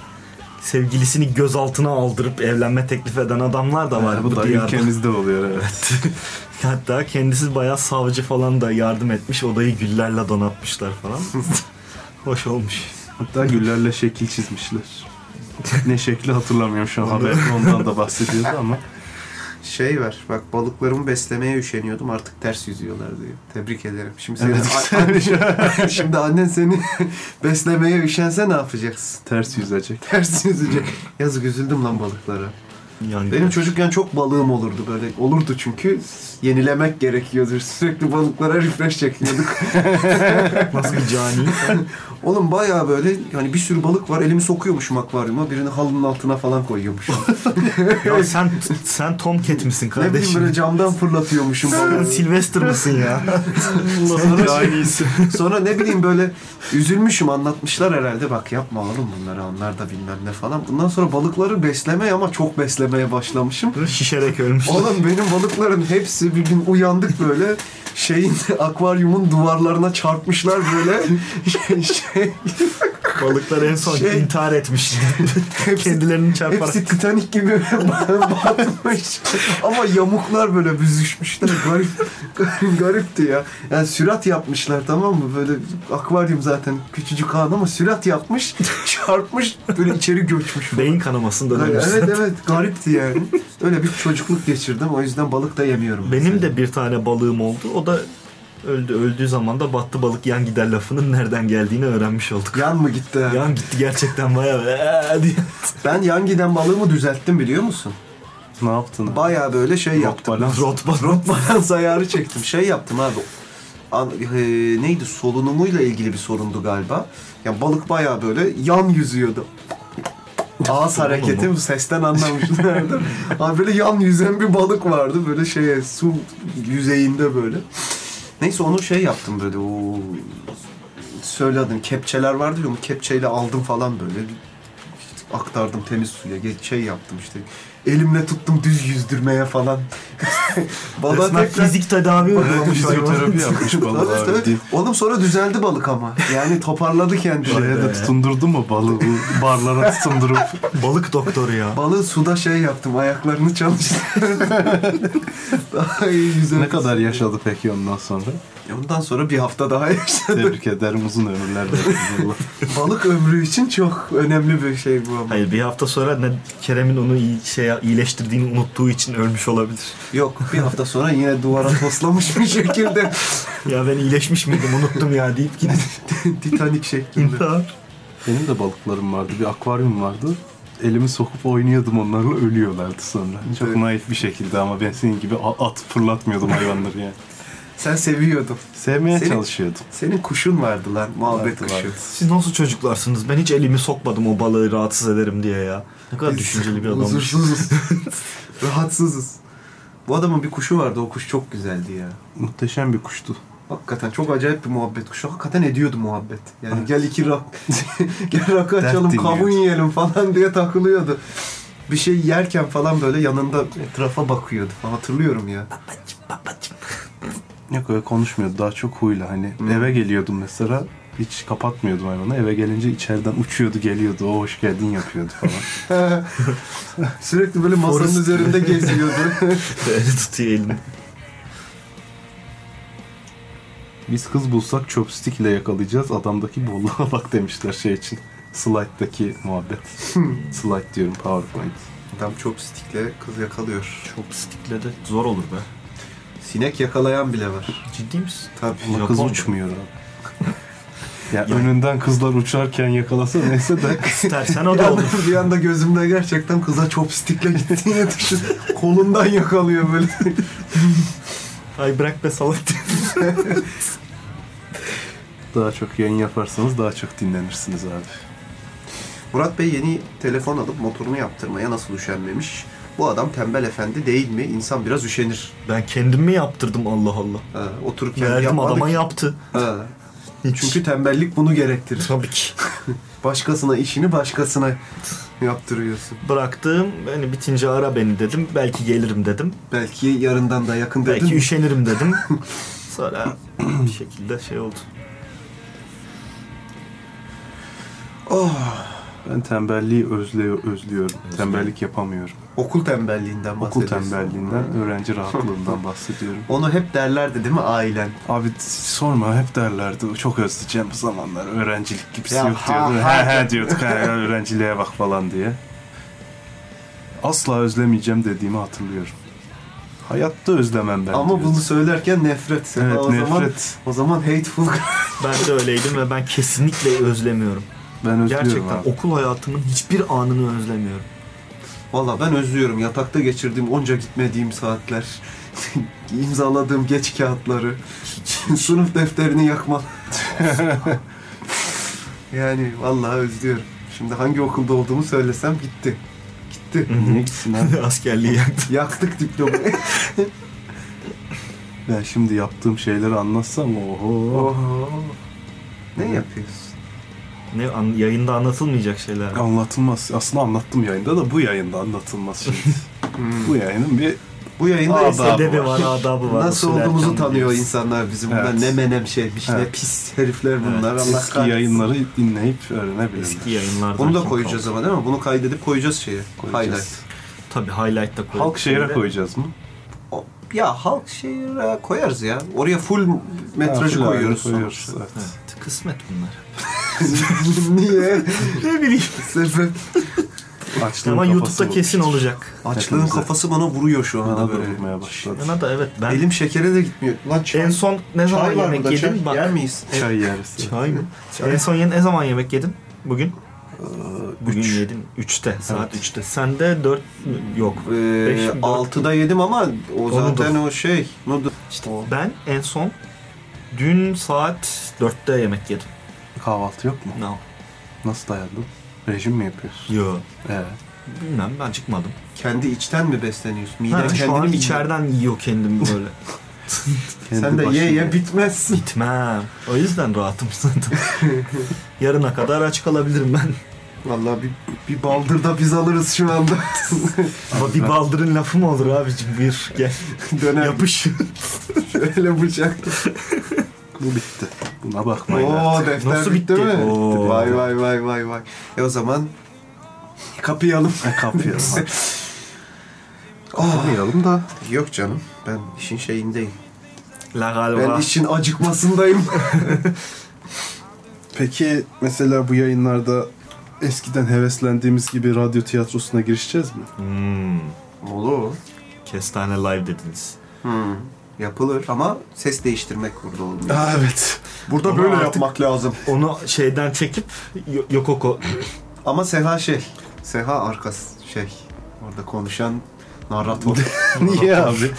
S4: sevgilisini gözaltına aldırıp evlenme teklif eden adamlar da var
S2: Ha,
S4: bu,
S2: bu da
S4: diyarda.
S2: ülkemizde oluyor evet.
S4: Hatta kendisi bayağı savcı falan da yardım etmiş. Odayı güllerle donatmışlar falan. Hoş olmuş.
S2: Hatta güllerle şekil çizmişler. ne şekli hatırlamıyorum şu an haberde ondan da bahsediyordu ama.
S3: Şey var bak balıklarımı beslemeye üşeniyordum artık ters yüzüyorlar diyor. Tebrik ederim. Şimdi seni,
S2: Evet,
S3: şimdi annen seni beslemeye üşense ne yapacaksın?
S2: Ters yüzecek.
S3: Ters yüzecek. Yazık üzüldüm lan balıklara.
S4: Yani
S3: Benim çocukken çok balığım olurdu böyle. Olurdu çünkü yenilemek gerekiyordu. Sürekli balıklara refresh çekiyorduk.
S4: nasıl bir cani?
S3: Oğlum bayağı böyle yani bir sürü balık var. Elimi sokuyormuşum akvaryuma. Birini halının altına falan koyuyormuşum.
S4: ya sen sen Tomcat misin
S3: ne bileyim böyle
S4: kardeşim?
S3: camdan fırlatıyormuşum
S4: Sen
S3: balığı.
S4: Sylvester mısın ya?
S2: Aynısı.
S3: Sonra ne bileyim böyle üzülmüşüm anlatmışlar herhalde. Bak yapma oğlum bunları onlar da bilmem ne falan. Bundan sonra balıkları beslemeye ama çok beslemeye başlamışım.
S4: Şişerek ölmüş.
S3: Oğlum benim balıkların hepsi bir gün uyandık böyle şeyin akvaryumun duvarlarına çarpmışlar böyle şey, şey
S4: Balıklar en son
S3: Şey-
S4: intihar etmiş.
S3: hepsi,
S4: Kendilerini çarparak.
S3: hepsi Titanic gibi batmış ama yamuklar böyle büzüşmüşler garip, garip garipti ya yani sürat yapmışlar tamam mı böyle akvaryum zaten küçücük han ama sürat yapmış çarpmış böyle içeri göçmüş falan.
S4: Beyin kanamasında ölmüş.
S3: Evet evet garipti yani. Öyle bir çocukluk geçirdim o yüzden balık da yemiyorum.
S4: Benim
S3: mesela.
S4: de bir tane balığım oldu. O da öldü. Öldüğü zaman da battı balık yan gider lafının nereden geldiğini öğrenmiş olduk.
S3: Yan mı gitti? ha?
S4: Yan gitti gerçekten bayağı "Ee" diye.
S3: Ben yan giden balığımı düzelttim biliyor musun?
S2: Ne yaptın? abi?
S3: Bayağı böyle şey yaptım.
S2: balans.
S4: Rot balık.
S3: Balans ayarı çektim. Şey yaptım abi. An- e, neydi solunumuyla ilgili bir sorundu galiba. Yani balık bayağı böyle yan yüzüyordu. Ağız hareketi bu sesten anlamışlardı. abi böyle yan yüzen bir balık vardı böyle şeye su yüzeyinde böyle. Neyse onu şey yaptım böyle o söyledim kepçeler vardı ya onu kepçeyle aldım falan böyle aktardım temiz suya ge- şey yaptım işte elimle tuttum düz yüzdürmeye falan. Balığa
S4: Resmen
S3: tekrar-
S4: fizik tedavi uygulamış.
S2: Fizyoterapi yapmış balığa.
S3: Tabii, tabii.
S2: abi.
S3: Oğlum sonra düzeldi balık ama. Yani toparladı kendini.
S2: Şeye de tutundurdu mu balığı bu barlara tutundurup
S4: balık doktoru ya.
S3: Balığı suda şey yaptım ayaklarını çalıştırdım. daha iyi yüzer.
S2: ne kadar yaşadı peki ondan sonra?
S3: Ondan sonra bir hafta daha yaşadım.
S2: Tebrik ederim uzun ömürler versin Allah.
S3: balık ömrü için çok önemli bir şey bu ama.
S4: Hayır bir hafta sonra ne Kerem'in onu iyi, şey, iyileştirdiğini unuttuğu için ölmüş olabilir.
S3: Yok bir hafta sonra yine duvara toslamış bir şekilde
S4: Ya ben iyileşmiş miydim unuttum ya deyip gitti.
S3: Titanik şeklinde.
S4: İntihar.
S2: Benim de balıklarım vardı. Bir akvaryum vardı. Elimi sokup oynuyordum onlarla ölüyorlardı sonra. Çok
S3: Evet.
S2: naif bir şekilde ama ben senin gibi a- at fırlatmıyordum hayvanları yani.
S3: Sen seviyordun.
S2: Sevmeye
S3: Senin-
S2: çalışıyordum.
S3: Senin kuşun vardı lan muhabbet
S2: Vardı,
S3: kuşu.
S2: vardı.
S4: Siz nasıl çocuklarsınız? Ben hiç elimi sokmadım o balığı rahatsız ederim diye ya. Ne kadar
S3: Biz
S4: düşünceli bir adammış.
S3: Huzursuzuz. Rahatsızız. Bu adamın bir kuşu vardı o kuş çok güzeldi ya.
S2: Muhteşem bir kuştu.
S3: Hakikaten çok acayip bir muhabbet kuşu. Hakikaten ediyordu muhabbet. Yani gel iki rak gel rakı
S2: Dert
S3: açalım,
S2: dinliyor.
S3: kavun yiyelim falan diye takılıyordu. Bir şey yerken falan böyle yanında etrafa bakıyordu. falan. Hatırlıyorum ya.
S2: Yok öyle konuşmuyordu. Daha çok huyla hani. Eve geliyordum mesela. Hiç kapatmıyordum hayvanı. Eve gelince içeriden uçuyordu geliyordu. O hoş geldin yapıyordu falan.
S3: Sürekli böyle masanın
S4: Forest.
S3: üzerinde geziyordu.
S4: Böyle tutuyor elini.
S2: Biz kız bulsak chopstick ile yakalayacağız. Adamdaki bolluğa bak demişler şey için. Slide'daki muhabbet. Slide diyorum PowerPoint.
S3: Adam chopstick'le kız yakalıyor.
S4: Chopstick'le de zor olur be.
S3: Sinek yakalayan bile var.
S4: Ciddi misin?
S3: Tabii.
S2: Ama kız
S4: Japon.
S2: uçmuyor abi. Ya önünden kızlar uçarken yakalasa neyse de
S4: İstersen o
S3: Bir
S4: da
S3: anda,
S4: olur.
S3: bir anda gözümde gerçekten kıza chopstick'le gittiğini düşün. Kolundan yakalıyor böyle.
S4: Ay bırak be salak.
S2: daha çok yayın yaparsanız daha çok dinlenirsiniz abi.
S3: Murat Bey yeni telefon alıp motorunu yaptırmaya nasıl üşenmemiş? Bu adam tembel efendi değil mi? İnsan biraz üşenir.
S4: ben kendim mi yaptırdım Allah Allah.
S3: Ha, oturup kendi
S4: Verdim
S3: yapmadı
S4: adama
S3: ki.
S4: yaptı.
S3: Ha,
S4: Hiç.
S3: Çünkü tembellik bunu gerektirir.
S4: tabii ki.
S3: Başkasına işini başkasına Yaptırıyorsun.
S4: Bıraktığım hani bitince ara beni dedim. Belki gelirim dedim.
S3: Belki yarından da yakın dedin.
S4: Belki üşenirim dedim. Sonra bir şekilde şey oldu.
S2: Ben tembelliği özlüyor, özlüyorum. Tembellik yapamıyorum.
S3: Okul tembelliğinden
S2: Okul
S3: bahsediyorsun.
S2: tembelliğinden, öğrenci rahatlığından bahsediyorum.
S3: Onu hep derlerdi değil mi ailen?
S2: Abi t- sorma hep derlerdi. Çok özleyeceğim bu zamanlar. Öğrencilik gibisi
S3: Ya
S2: yok
S3: ha,
S2: diyordu.
S3: ha.
S2: He he diyorduk. He, he, öğrenciliğe bak falan diye. Asla özlemeyeceğim dediğimi hatırlıyorum. Hayatta özlemem ben.
S3: Ama
S2: diyordum.
S3: bunu söylerken nefret.
S2: Evet
S3: o zaman
S2: nefret.
S3: o zaman hateful.
S4: Ben de öyleydim ve ben kesinlikle özlemiyorum.
S2: Ben özlüyorum
S4: Gerçekten
S2: abi.
S4: okul hayatımın hiçbir anını özlemiyorum.
S3: Valla ben özlüyorum yatakta geçirdiğim onca gitmediğim saatler. imzaladığım geç kağıtları. Sınıf defterini yakma. yani vallahi özlüyorum. Şimdi hangi okulda olduğumu söylesem gitti. Gitti.
S2: Niye gitsin abi?
S4: Askerliği yaktım.
S3: Yaktık diplomayı.
S2: Ben şimdi yaptığım şeyleri anlatsam oho.
S3: Oho. Ne yapıyorsun?
S4: Ne an- yayında anlatılmayacak şeyler. var.
S2: Anlatılmaz. Aslında anlattım yayında da bu yayında anlatılmaz şimdi.
S3: Hmm.
S2: bu yayının bir
S3: Bu yayında
S2: Aa,
S3: insan-
S4: Sebebi var, adabı var.
S3: nasıl
S4: Usul
S3: olduğumuzu
S4: erken
S3: tanıyor
S4: biliyoruz.
S3: insanlar bizim. Bunlar
S2: Evet.
S3: ne menem şeymiş, ne
S2: Evet.
S3: pis herifler bunlar.
S4: Evet.
S3: Allah
S2: eski
S3: kahretsin.
S2: yayınları dinleyip öğrenebilirler.
S4: Eski yayınlardan.
S3: Bunu da
S4: kim
S3: koyacağız
S4: kaldı?
S3: ama değil mi? Bunu kaydedip koyacağız şeye.
S2: Koyacağız.
S3: Highlight.
S4: Tabii highlight da koyacağız.
S2: Halk şehire
S4: Şöyle-
S2: koyacağız mı?
S3: O- Ya halk şehire koyarız ya. Oraya full metrajı
S2: Ha,
S3: koyuyoruz.
S2: koyuyoruz. Evet.
S4: Evet, kısmet bunlar.
S3: Niye?
S4: Ne bileyim.
S3: Sebep.
S2: Açlığın
S4: Ama
S2: kafası
S4: YouTube'da
S2: bu.
S4: kesin olacak.
S3: Açlığın
S2: Hepimize.
S3: kafası bana vuruyor şu anda
S2: Bana da
S3: böyle.
S2: vurmaya başladı.
S4: Bana da evet ben
S3: Elim şekere de gitmiyor. Lan çay,
S4: en son ne zaman
S3: çay var
S4: yemek
S3: burada.
S4: yedim
S3: çay
S4: bak.
S3: yer miyiz?
S2: Çay yarısı.
S4: Çay mı? En son yeni- ne zaman yemek yedin? Bugün?
S3: Ee,
S4: Bugün yedim. 3'te. Saat 3'te. Sende 4 yok. Beş mi,
S3: Ee,
S4: dört mü?
S3: 6'da yedim ama o
S4: Noodle.
S3: zaten o şey. Noodle.
S4: Ben en son dün saat 4'te yemek yedim.
S2: Kahvaltı yok mu?
S4: No.
S2: Nasıl dayandın? Rejim mi yapıyorsun?
S4: Yo.
S2: Evet.
S4: Bilmem ben çıkmadım.
S3: Kendi içten mi besleniyorsun? Miden
S4: Ha,
S3: kendini
S4: şu an
S3: mi yiyor?
S4: içeriden yiyor kendimi böyle.
S2: Kendi
S3: Sen de
S2: başına-
S3: ye ye bitmezsin.
S4: Gitmem. O yüzden rahatım zaten. Yarına kadar aç kalabilirim ben.
S3: Vallahi bir, bir baldırda biz alırız şu anda.
S4: Ama bir baldırın lafı mı olur abicim? Bir gel
S3: Döner
S4: yapış.
S3: şöyle bıçak.
S2: Bu bitti. Buna bakmayın artık.
S3: Oo defter
S4: Nasıl
S3: bitti,
S4: bitti?
S3: mi?
S4: Oo.
S3: Vay vay vay vay vay. E o zaman kapayalım.
S2: Kapıyorum. Kapamayalım da.
S3: Ah. Yok canım ben işin şeyindeyim.
S4: La
S3: Ben
S4: galiba.
S3: işin acıkmasındayım.
S2: Peki mesela bu yayınlarda eskiden heveslendiğimiz gibi radyo tiyatrosuna girişeceğiz mi?
S4: Hmm.
S3: Olur.
S4: Kestane live dediniz.
S3: Hmm. Yapılır ama ses değiştirmek burada olmuyor.
S2: Aa, evet.
S3: Ah, Burada
S4: Ama
S3: böyle
S4: artık-
S3: yapmak lazım.
S4: Onu şeyden çekip yo- Yokoko
S3: Ama Seha şey. Seha arkası şey. Orada konuşan narratör.
S2: Niye abi?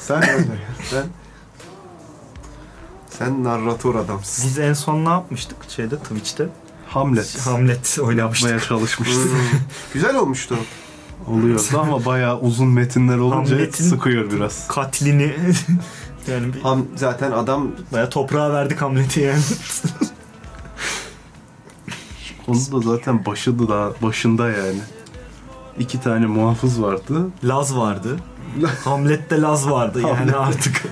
S3: sen öyle. Sen sen narratör adamsın.
S4: Biz en son ne yapmıştık şeyde Twitch'te?
S2: Hamlet.
S4: Hamlet oynamıştık.
S2: Yapmaya çalışmıştık.
S3: Hmm. Güzel olmuştu.
S2: Oluyordu ama bayağı uzun metinler olunca
S4: Hamlet'in-
S2: sıkıyor biraz.
S4: Katlini yani bir,
S3: Ham zaten adam
S4: bayağı toprağa verdik Hamlet'i yani.
S2: Onun da zaten başında da başında yani. İki tane muhafız vardı.
S4: Laz vardı. Hamlet'te Laz vardı yani artık.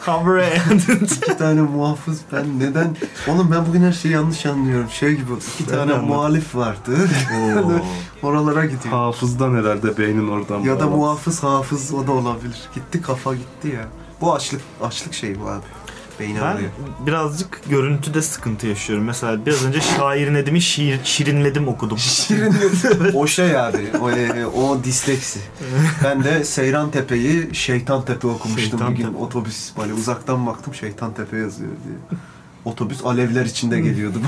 S4: Hamlet.
S3: İki tane muhafız ben neden? Oğlum ben bugün her şeyi yanlış anlıyorum. Şey gibi iki tane
S4: anladım.
S3: muhalif vardı. Oralara gidiyor.
S2: Hafızdan herhalde beynin oradan.
S3: ya da
S2: bağlan-
S3: muhafız hafız o da olabilir. Gitti kafa gitti ya. Bu açlık açlık şeyi bu abi. Beyni
S4: Ben
S3: ağrıyor.
S4: birazcık görüntüde sıkıntı yaşıyorum. Mesela biraz önce şair Nedim'i şiir, şirinledim okudum.
S3: o şey abi. O, e, o disleksi. ben de Seyran Tepe'yi Şeytan Tepe okumuştum
S4: Şeytan
S3: bugün
S4: Tepe.
S3: otobüs. Böyle uzaktan baktım Şeytan Tepe yazıyor diye. Otobüs alevler içinde geliyordu.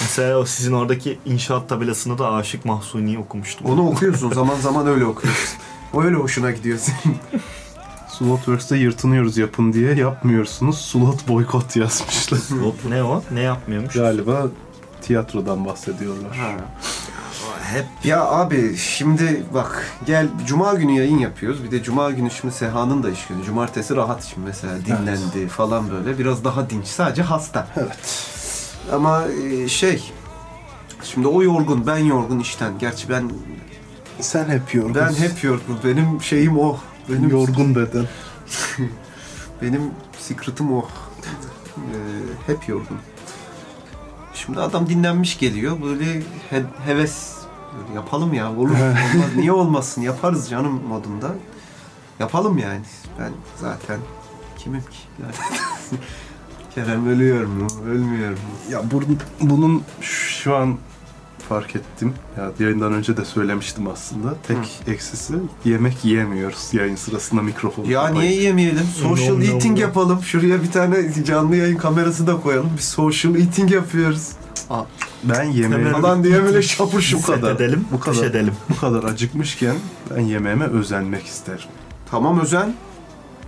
S4: Mesela o sizin oradaki inşaat tabelasını da Aşık Mahsuni'yi okumuştum.
S3: Onu okuyorsun zaman zaman öyle okuyorsun. O öyle hoşuna gidiyor senin.
S2: Slotworks'te yırtınıyoruz yapın diye yapmıyorsunuz. Slot boykot yazmışlar.
S4: Hop, ne o? Ne yapmıyormuş?
S2: Galiba tiyatrodan bahsediyorlar.
S4: Hep
S3: Ya abi şimdi bak gel cuma günü yayın yapıyoruz. Bir de cuma günü şimdi Seha'nın da iş günü. Cumartesi rahat şimdi mesela dinlendi falan böyle. Biraz daha dinç. Sadece hasta. Evet. Ama e, şey Şimdi o yorgun, ben yorgun işten. Gerçi ben
S2: Sen hep yorgunsun.
S3: ben hep yorgun. Benim şeyim o. Benim
S2: yorgun beden.
S3: Benim secret'ım o. Ee, hep yorgun. Şimdi adam dinlenmiş geliyor. Böyle he- heves böyle yapalım ya olur. Olmaz. Niye olmasın? Yaparız canım modunda. Yapalım yani. Ben zaten kimim ki? Yani Kerem ölüyor mu? Ölmüyor mu?
S2: Ya bur- bunun şu an fark ettim. Ya yayından önce de söylemiştim aslında. Tek eksisi yemek yiyemiyoruz yayın sırasında mikrofonu.
S3: Ya
S2: kapayıp.
S3: niye yemeyelim? Social
S4: No, no,
S3: eating
S4: no.
S3: yapalım. Şuraya bir tane canlı yayın kamerası da koyalım. Bir social eating yapıyoruz.
S2: Ben yemeğe
S4: Temel-
S3: Falan diye böyle şapur şupur.
S2: bu kadar.
S4: edelim,
S2: bu kadar.
S4: fiş edelim.
S2: Bu kadar acıkmışken ben yemeğime özenmek isterim.
S3: Tamam özen.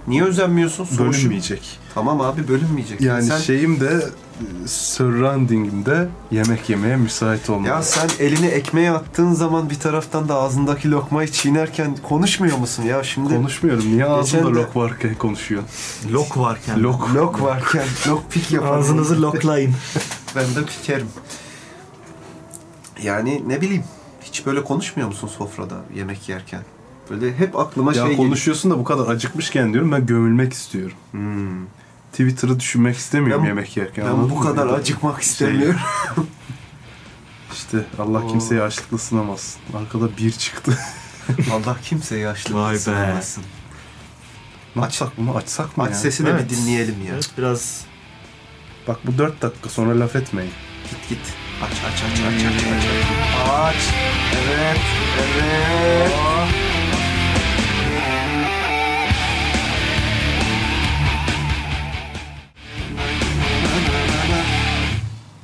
S3: Niye özenmiyorsun? Social-
S2: Bölünmeyecek.
S3: Tamam abi bölünmeyecek.
S2: Yani
S3: sen,
S4: şey-
S2: şeyim de e, surrounding'imde yemek yemeye müsait olmalı.
S3: ya sen elini ekmeğe attığın zaman bir taraftan da ağzındaki lokmayı çiğnerken konuşmuyor musun ya şimdi?
S2: Konuşmuyorum. Niye ağzımda
S3: de-
S2: lok varken konuşuyor?
S4: Lok varken.
S2: Lok.
S3: Lok varken lok pik yapar.
S4: Ağzınızı loklayın.
S3: ben de pikerim. Yani ne bileyim hiç böyle konuşmuyor musun sofrada yemek yerken? Böyle hep aklıma
S2: Ya
S3: şey geliyor.
S2: konuşuyorsun da bu kadar acıkmışken diyorum ben gömülmek istiyorum.
S3: Hmm.
S2: Twitter'ı düşünmek istemiyorum
S3: Ben-
S2: yemek yerken.
S3: Ben
S2: anladın
S3: bu
S2: mı?
S3: kadar
S2: Bir de
S3: acıkmak
S2: şey-
S3: istemiyorum.
S2: İşte Allah kimseyi açlıkla sınamasın. Arkada bir çıktı.
S3: Allah kimseye yaşlı
S4: Vay be.
S3: olmasın.
S2: ne yapsak bunu açsak mı
S3: Aç
S2: ya?
S3: sesini
S4: Evet.
S3: bir dinleyelim ya.
S4: Evet, biraz
S2: Bak bu dört dakika sonra laf etmeyin.
S3: Git git. Aç aç aç aç aç aç. Aç. Evet. Evet.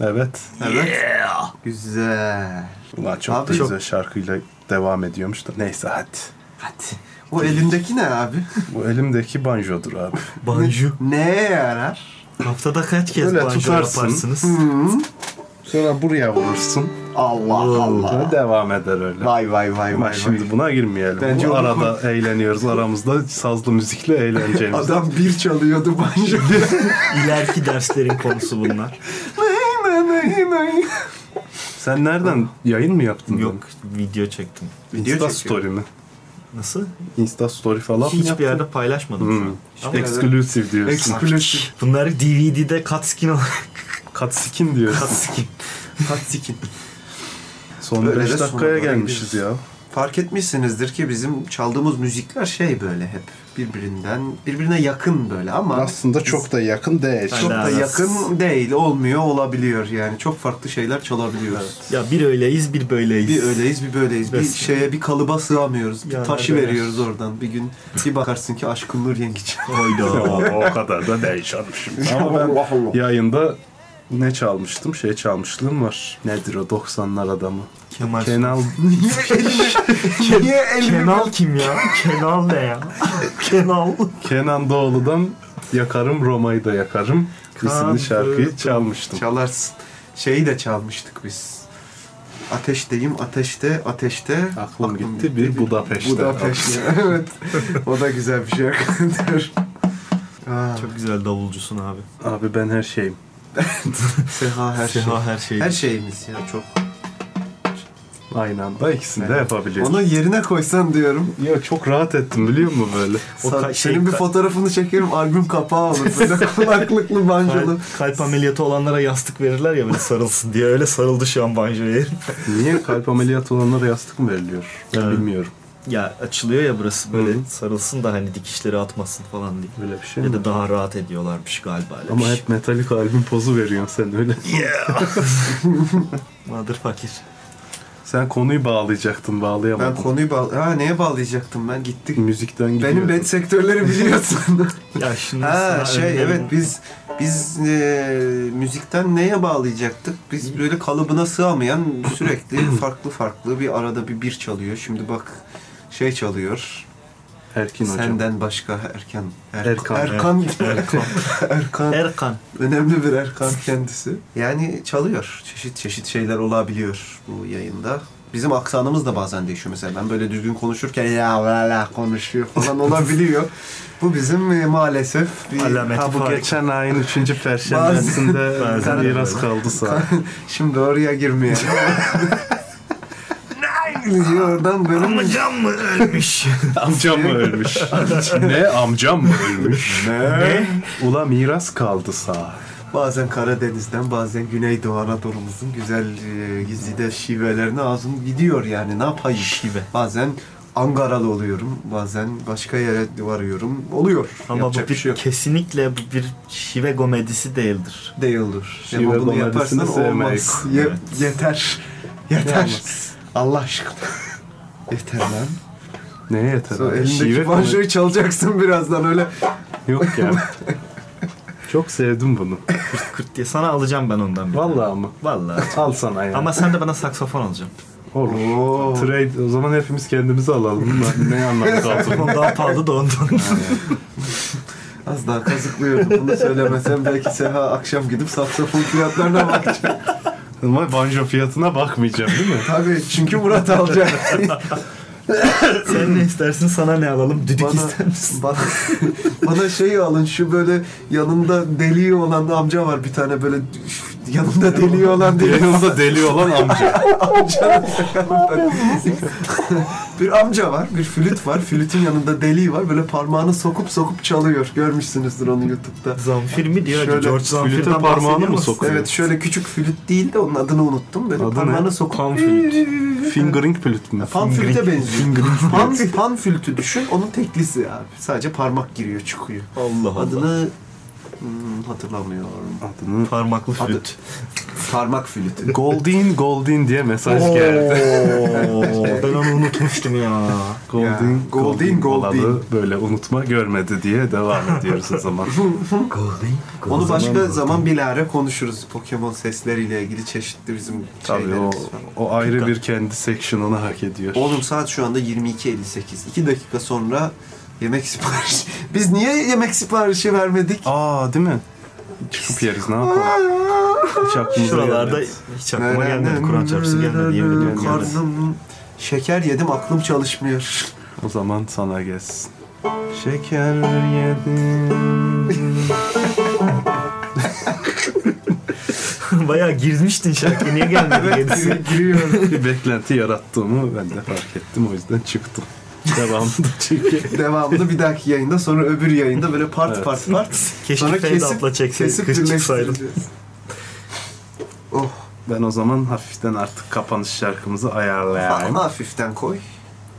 S2: Evet.
S3: Evet. Güzel.
S2: Ulan çok
S3: Abi
S2: da
S3: çok-
S2: güzel şarkıyla devam ediyormuş da. Neyse hadi.
S3: Hadi. O elindeki ne abi?
S2: Bu elimdeki banjodur abi.
S4: banjo.
S3: Neye yarar?
S4: Haftada kaç kez
S2: Böyle
S4: banjo
S2: tutarsın.
S4: yaparsınız?
S2: Sonra buraya vurursun.
S3: Allah Allah.
S2: Sonra devam eder öyle.
S3: Vay vay vay
S2: Ama
S3: vay.
S2: şimdi
S3: vay.
S2: buna girmeyelim.
S3: Bence
S2: Bu
S3: onu-
S2: arada eğleniyoruz. Aramızda sazlı müzikle eğleneceğimiz.
S3: Adam bir çalıyordu banjo.
S4: İleriki derslerin konusu bunlar.
S2: Sen nereden yayın mı yaptın?
S4: Yok video çektim.
S3: Video
S2: Insta
S3: çekiyor.
S2: story mi?
S4: Nasıl?
S2: Insta story falan mı
S4: Hiçbir
S2: yaptın?
S4: yerde paylaşmadım şu
S2: Hmm.
S4: an. Ama
S2: Exclusive diyorsun.
S3: Eksklusif.
S4: bunları DVD'de cut skin olarak
S2: Katskin diyorsun.
S4: cut skin.
S3: Tatsikin.
S2: Son
S3: Böyle
S2: 5
S3: de
S2: dakikaya
S3: sonralara
S2: gelmişiz ya.
S3: gidiyoruz. Fark etmişsinizdir ki bizim çaldığımız müzikler şey böyle hep birbirinden birbirine yakın böyle ama
S2: Aslında çok da yakın değil.
S4: Ben
S3: çok
S4: de
S3: da
S4: arası.
S3: yakın değil olmuyor olabiliyor yani çok farklı şeyler çalabiliyoruz.
S4: Ya bir öyleyiz bir böyleyiz.
S3: Bir öyleyiz bir böyleyiz. Bir
S4: Resmen.
S3: şeye bir kalıba sığamıyoruz. Bir
S4: Yani
S3: taşı
S4: öyle.
S3: veriyoruz oradan. Bir gün bir bakarsın ki aşkın Nur Yengiç.
S4: Hayda.
S2: o kadar da değil çalmışım. Ama ben yayında ne çalmıştım? Şey çalmışlığım var. Nedir o 90'lar adamı?
S4: Kemal.
S2: Kenal
S3: Niye elini
S4: Kenal kim ya? Kenal ne ya? Kenal.
S2: Kenan Doğulu'dan Yakarım Roma'yı da Yakarım isimli şarkıyı çalmıştım.
S3: çalarsın? Şeyi de çalmıştık biz. Ateşteyim, ateşte, ateşte.
S2: Aklım gitti bir Budapeşte.
S3: Budapeşte. evet. O da güzel bir şey. Dur. Aa,
S4: Çok güzel davulcusun abi.
S2: Abi ben her şeyim.
S3: Seha her şey.
S4: Seha her şey.
S3: Her şeyimiz ya çok.
S2: Aynı anda ikisini de yapabiliyorum.
S3: Onu yerine koysan diyorum.
S2: Ya çok rahat ettim biliyor musun böyle?
S4: O
S3: Sen-
S4: ka- şey-
S3: senin bir
S4: ka-
S3: fotoğrafını çekerim albüm kapağı olur. Böyle kulaklıklı bancolu.
S4: Kalp, kalp ameliyatı olanlara yastık verirler ya böyle sarılsın diye. Öyle sarıldı şu an banjoya. herif.
S2: Niye kalp ameliyatı olanlara yastık mı veriliyor? Ben
S4: Evet.
S2: bilmiyorum.
S4: ya açılıyor ya burası böyle sarılsın da hani dikişleri atmasın falan diye.
S2: Öyle bir şey
S4: Ya
S2: mi?
S4: da daha rahat ediyorlarmış galiba. öyle bir
S2: Ama
S4: şey.
S2: hep metalik albüm pozu veriyorsun sen öyle.
S4: Mother fakir.
S2: Sen konuyu bağlayacaktın
S3: Ben
S2: bağlayamadın.
S3: konuyu bağ... Ha neye bağlayacaktım ben? Gittik.
S2: Müzikten gidiyorsun.
S3: Benim bet sektörleri biliyorsun.
S4: Ya şimdi
S3: ha
S4: sana
S3: şey
S4: önlerim-
S3: evet biz biz e, müzikten neye bağlayacaktık? Biz böyle kalıbına sığamayan sürekli farklı farklı bir arada bir bir çalıyor. Şimdi bak şey çalıyor.
S2: Erkin hocam.
S3: Senden başka Erkan. Er-
S2: Erkan.
S3: Erkan.
S4: Erkan.
S3: Erkan.
S4: Erkan.
S3: Önemli bir Erkan kendisi. Yani çalıyor. Çeşit çeşit şeyler olabiliyor bu yayında. Bizim aksanımız da bazen değişiyor mesela. Ben böyle düzgün konuşurken ya la la konuşuyor falan olabiliyor. Bu bizim e, maalesef bir
S4: Alamet.
S2: Ha bu
S4: Fark.
S2: geçen ayın 3. perşembesinde
S4: Bazen-
S2: miras kaldı sağ.
S3: Şimdi oraya girmeyelim. Nein diyor oradan böyle
S4: Amcam mı ölmüş?
S2: amcam mı ölmüş? ne amcam mı ölmüş?
S4: Ne?
S2: Ula miras kaldı sağ.
S3: bazen Karadeniz'den bazen Güneydoğu Anadolu'muzun güzel e, gizlide şivelerine ağzım gidiyor yani ne yapayım.
S4: Şive.
S3: Bazen Angaralı oluyorum. Bazen başka yere varıyorum. Oluyor.
S4: Ama
S3: Yapacak
S4: bu bir,
S3: bir şey yok.
S4: kesinlikle bu bir şive komedisi değildir.
S3: Değildir.
S2: Şive
S3: Ama bunu
S2: domatesini
S3: yaparsan
S2: sevmeyiz.
S3: olmaz. Ye- Yeter. Yeter. Allah aşkına. Yeter lan.
S2: Neye yeter?
S3: Sonra
S2: abi?
S3: elindeki
S2: Şive
S3: banjoyu çalacaksın birazdan öyle.
S2: Yok ya. Çok sevdim bunu.
S4: Kırt kırt diye. Sana alacağım ben ondan bir tane.
S2: Vallahi ama.
S4: Vallahi.
S2: Al sana ya.
S4: Ama sen de bana saksafon alacaksın.
S2: Olur.
S3: Oo.
S2: Trade. O zaman hepimiz kendimizi alalım. Bunlar ne anlamı kaldı?
S4: Saksafon daha pahalı da ondan.
S3: Az daha kazıklıyordum. Bunu söylemesem belki Seha akşam gidip saksafon fiyatlarına bakacak.
S2: Ama banjo fiyatına bakmayacağım değil mi?
S3: Tabii çünkü Murat alacak.
S4: sen ne istersin sana ne alalım? Düdük ister misin?
S3: bana, bana şeyi alın şu böyle yanında deliği olan amca var bir tane böyle yanında deliği olan diye.
S2: Yanımda deli olan amca.
S3: bir amca var, bir flüt var. Flütün yanında deliği var. Böyle parmağını sokup sokup çalıyor. Görmüşsünüzdür onu YouTube'da.
S4: Zamfir mi diyor?
S3: Şöyle
S4: George Zamfir'den
S2: flüte
S4: bahsediyor
S2: parmağını mı
S4: musun?
S2: sokuyor?
S3: Evet şöyle küçük flüt değil de onun adını unuttum. Böyle
S2: Adı ne?
S3: parmağını sokup...
S2: Pan flüt. Fingering flüt mü?
S3: Pan flüte benziyor.
S2: Fingering
S3: Pan, pan flütü düşün. Onun teklisi abi. Sadece parmak giriyor çıkıyor.
S4: Allah Allah.
S3: Adını hmm, hatırlamıyorum.
S2: adını.
S4: Parmaklı
S3: Adı-
S4: flüt.
S3: Parmak flütü.
S2: Goldin Goldin diye mesaj
S4: Oo,
S2: geldi.
S4: ben onu unutmuştum ya.
S3: Ya,
S2: Goldin
S3: Goldin, Goldin.
S2: olalı Böyle unutma görmedi diye devam ediyoruz o zaman.
S4: Golden.
S3: Onu başka zaman bilahare konuşuruz. Pokemon sesleriyle ilgili çeşitli bizim
S2: Tabii o,
S3: şeylerimiz var.
S2: o ayrı bir kendi section'ını hak ediyor.
S3: Oğlum saat şu anda 22.58. 2 dakika sonra yemek siparişi. Biz niye yemek siparişi vermedik?
S2: Aa değil mi? Çıkıp yeriz ne yapalım? Hiç aklımıza
S4: Şuralarda
S2: gelmedi.
S4: hiç aklıma gelmedi. Kur'an çarpısı gelmedi. Yemin ediyorum gelmedi.
S3: Karnım şeker yedim aklım çalışmıyor.
S2: O zaman sana gelsin. Şeker yedim.
S4: Bayağı girmiştin şarkıya. Niye gelmedi? gerisi?
S2: Giriyor. bir beklenti yarattığımı ben de fark ettim o yüzden çıktım. Devamında çünkü.
S3: Devamını bir dahaki yayında sonra öbür yayında böyle part
S2: Evet.
S3: part part.
S4: Keşke
S3: sonra
S4: Fade Up'la çekseydik, kız çıksaydı.
S3: birleştireceğiz. Oh.
S2: Ben o zaman hafiften artık kapanış şarkımızı ayarlayayım.
S3: Hafiften koy.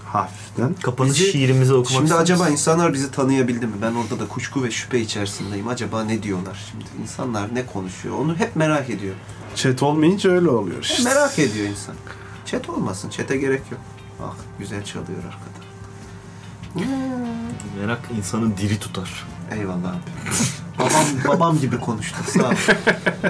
S2: hafiften.
S4: Kapanış
S3: Bizi-
S4: şiirimizi okumak
S3: Şimdi
S4: ister
S3: acaba
S4: misin?
S3: insanlar bizi tanıyabildi mi? Ben orada da kuşku ve şüphe içerisindeyim. Acaba ne diyorlar şimdi? İnsanlar ne konuşuyor? Onu hep merak ediyor.
S2: Chat olmayınca öyle oluyor
S3: Hep
S2: işte.
S3: merak ediyor insan. Çet olmasın. Çete gerek yok. Bak güzel çalıyor arkada.
S4: Merak insanı diri tutar.
S3: Eyvallah abi. babam, babam gibi konuştun sağ ol.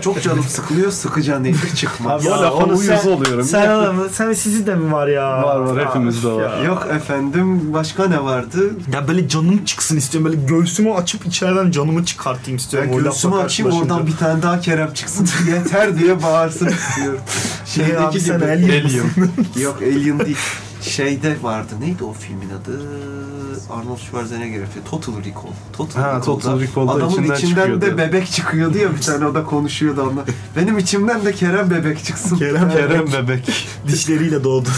S3: Çok canım sıkılıyor. Sıkacağın ilk çıkmaz.
S2: Abi, Ya, lafa
S4: onu
S2: uyuz
S4: sen-
S2: oluyorum.
S4: Sen adamı, sen sizi de mi var ya?
S2: Var var hepimizde var.
S3: Yok efendim başka ne vardı?
S4: Ya böyle canım çıksın istiyorum. Böyle göğsümü açıp içeriden canımı çıkartayım
S3: Ben
S4: istiyorum. O lafla
S3: göğsümü açayım
S4: karşılaşınca.
S3: oradan bir tane daha Kerem çıksın. Yeter diye bağırsın istiyorum.
S4: Şey abi sen
S3: gibi.
S4: el
S2: Geliyor.
S3: Yok Alien değil. Şeyde vardı. Neydi o filmin adı? Arnold Schwarzenegger filmi. Total Recall. Total
S2: Ha,
S3: Recall'da
S2: Total Recall'da
S3: Adamın
S2: içinden
S3: içinden, de
S2: çıkıyordu.
S3: bebek çıkıyordu ya bir tane o da konuşuyordu onunla. Benim içimden de Kerem bebek çıksın.
S4: Kerem-
S2: Kerem bebek.
S4: dişleriyle doğdu.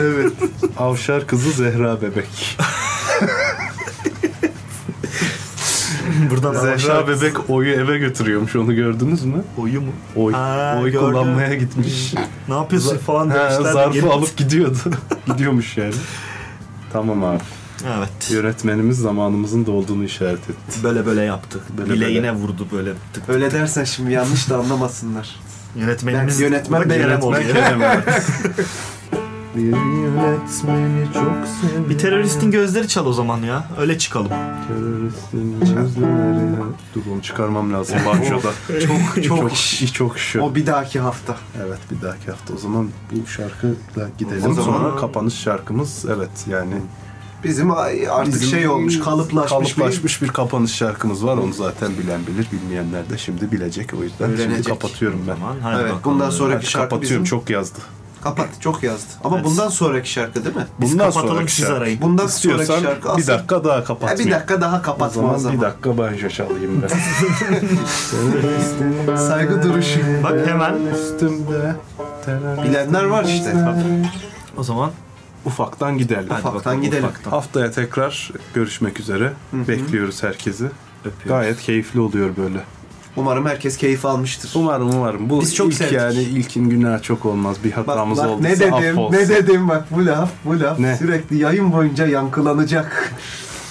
S3: Evet.
S2: Avşar kızı Zehra bebek.
S4: Buradan
S2: Zehra
S4: aşağı-
S2: bebek oyu eve götürüyormuş onu gördünüz mü?
S4: Oyu mu?
S2: Oy,
S4: Ha,
S2: oy
S4: gördüm.
S2: kullanmaya gitmiş.
S4: Ne yapıyorsun falan
S2: Ha,
S4: demişler. de
S2: zarfı
S4: gelip-
S2: alıp gidiyordu. Gidiyormuş yani. Tamam abi.
S4: Evet.
S2: Yönetmenimiz zamanımızın dolduğunu işaret etti.
S4: Böyle böyle yaptı.
S2: Böyle
S4: Bileğine vurdu böyle. Tık.
S3: Öyle dersen şimdi yanlış da anlamasınlar.
S4: Yönetmenimiz
S3: Ben- yönetmen
S4: Bak,
S3: ben-
S4: Kerem
S3: yönetmen
S4: oluyor.
S2: Bir yönetmeni çok seviyorum.
S4: Bir teröristin gözleri çal o zaman ya. Öyle çıkalım.
S2: Teröristin gözleri. Dur onu çıkarmam lazım banjoda.
S3: Çok çok
S2: çok
S3: iş.
S2: iş çok şu.
S3: O bir dahaki hafta.
S2: Evet bir dahaki hafta o zaman bu şarkıyla gidelim.
S3: O zaman-
S2: Sonra kapanış şarkımız evet yani
S3: Bizim ay- artık
S2: Bizim
S3: şey olmuş, kalıplaşmış,
S2: kalıplaşmış bir kapanış şarkımız var. Onu zaten bilen bilir, bilmeyenler de şimdi bilecek. O yüzden
S3: Öğrenecek.
S2: şimdi kapatıyorum ben.
S4: Aman
S3: bir...
S4: hadi
S3: Evet,
S4: bakalım.
S3: bundan sonraki
S2: Hadi
S3: şarkı
S2: kapatıyorum
S3: bizim
S2: çok yazdı.
S3: Kapat. Çok yazdı. Ama
S4: Evet.
S3: bundan sonraki şarkı değil mi?
S4: Biz
S2: Bundan
S4: kapatalım
S2: sonraki
S4: siz
S2: şarkı.
S4: arayın.
S3: Bundan
S2: İstiyorsan
S3: sonraki şarkı
S2: bir
S3: aslında...
S2: dakika daha
S3: Ha,
S2: kapatmayayım.
S3: bir dakika daha
S2: O
S3: kapatma
S2: zaman,
S3: o zaman.
S2: bir dakika banjo çalayım ben.
S3: Saygı duruşu.
S4: Bak hemen.
S2: Üstümde.
S3: Bilenler var işte.
S4: O zaman
S2: Ufaktan gidelim.
S3: Ufaktan gidelim.
S2: Haftaya tekrar görüşmek üzere. Bekliyoruz herkesi.
S4: öpüyorum.
S2: Gayet keyifli oluyor böyle.
S3: Umarım herkes keyif almıştır.
S2: Umarım umarım. Bu
S3: Biz çok
S2: ilk
S3: sevdik.
S2: yani ilkin günah çok olmaz. Bir
S3: Bak,
S2: hatamız
S3: bak
S2: olduysa
S3: ne dedim,
S2: affolsun.
S3: ne dedim bak bu laf, bu laf
S2: Ne?
S3: sürekli yayın boyunca yankılanacak.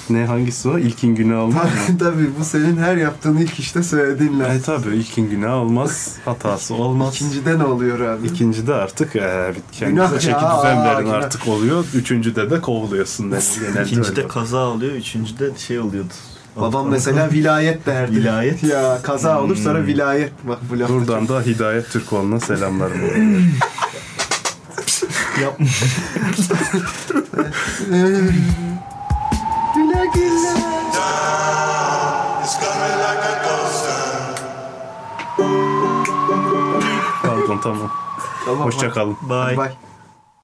S2: Ne hangisi o? İlkin günah olmaz mı?
S3: Tabii bu senin her yaptığın ilk işte söylediğin laf.
S2: e tabi ilkin günah olmaz. Hatası olmaz.
S3: İkincide ne oluyor abi?
S2: İkincide artık e,
S3: Günah
S2: kendinize
S3: ya,
S2: çeki düzen verin
S3: günah.
S2: artık oluyor. Üçüncüde de kovuluyorsun. Yani genelde
S4: İkincide
S2: öyle.
S4: kaza oluyor, üçüncüde şey oluyordu.
S3: Babam mesela vilayet derdi.
S4: Vilayet.
S3: Ya kaza olur sonra vilayet. Bak bu laf.
S2: Buradan Hmm. da Hidayet Türkoğlu'na selamlarımı.
S4: Yapma.
S3: Güle güle.
S5: It's coming like a ghost.
S2: Pardon tamam.
S3: Tamam,
S2: Hoşçakalın.
S4: Bye.
S3: Bye.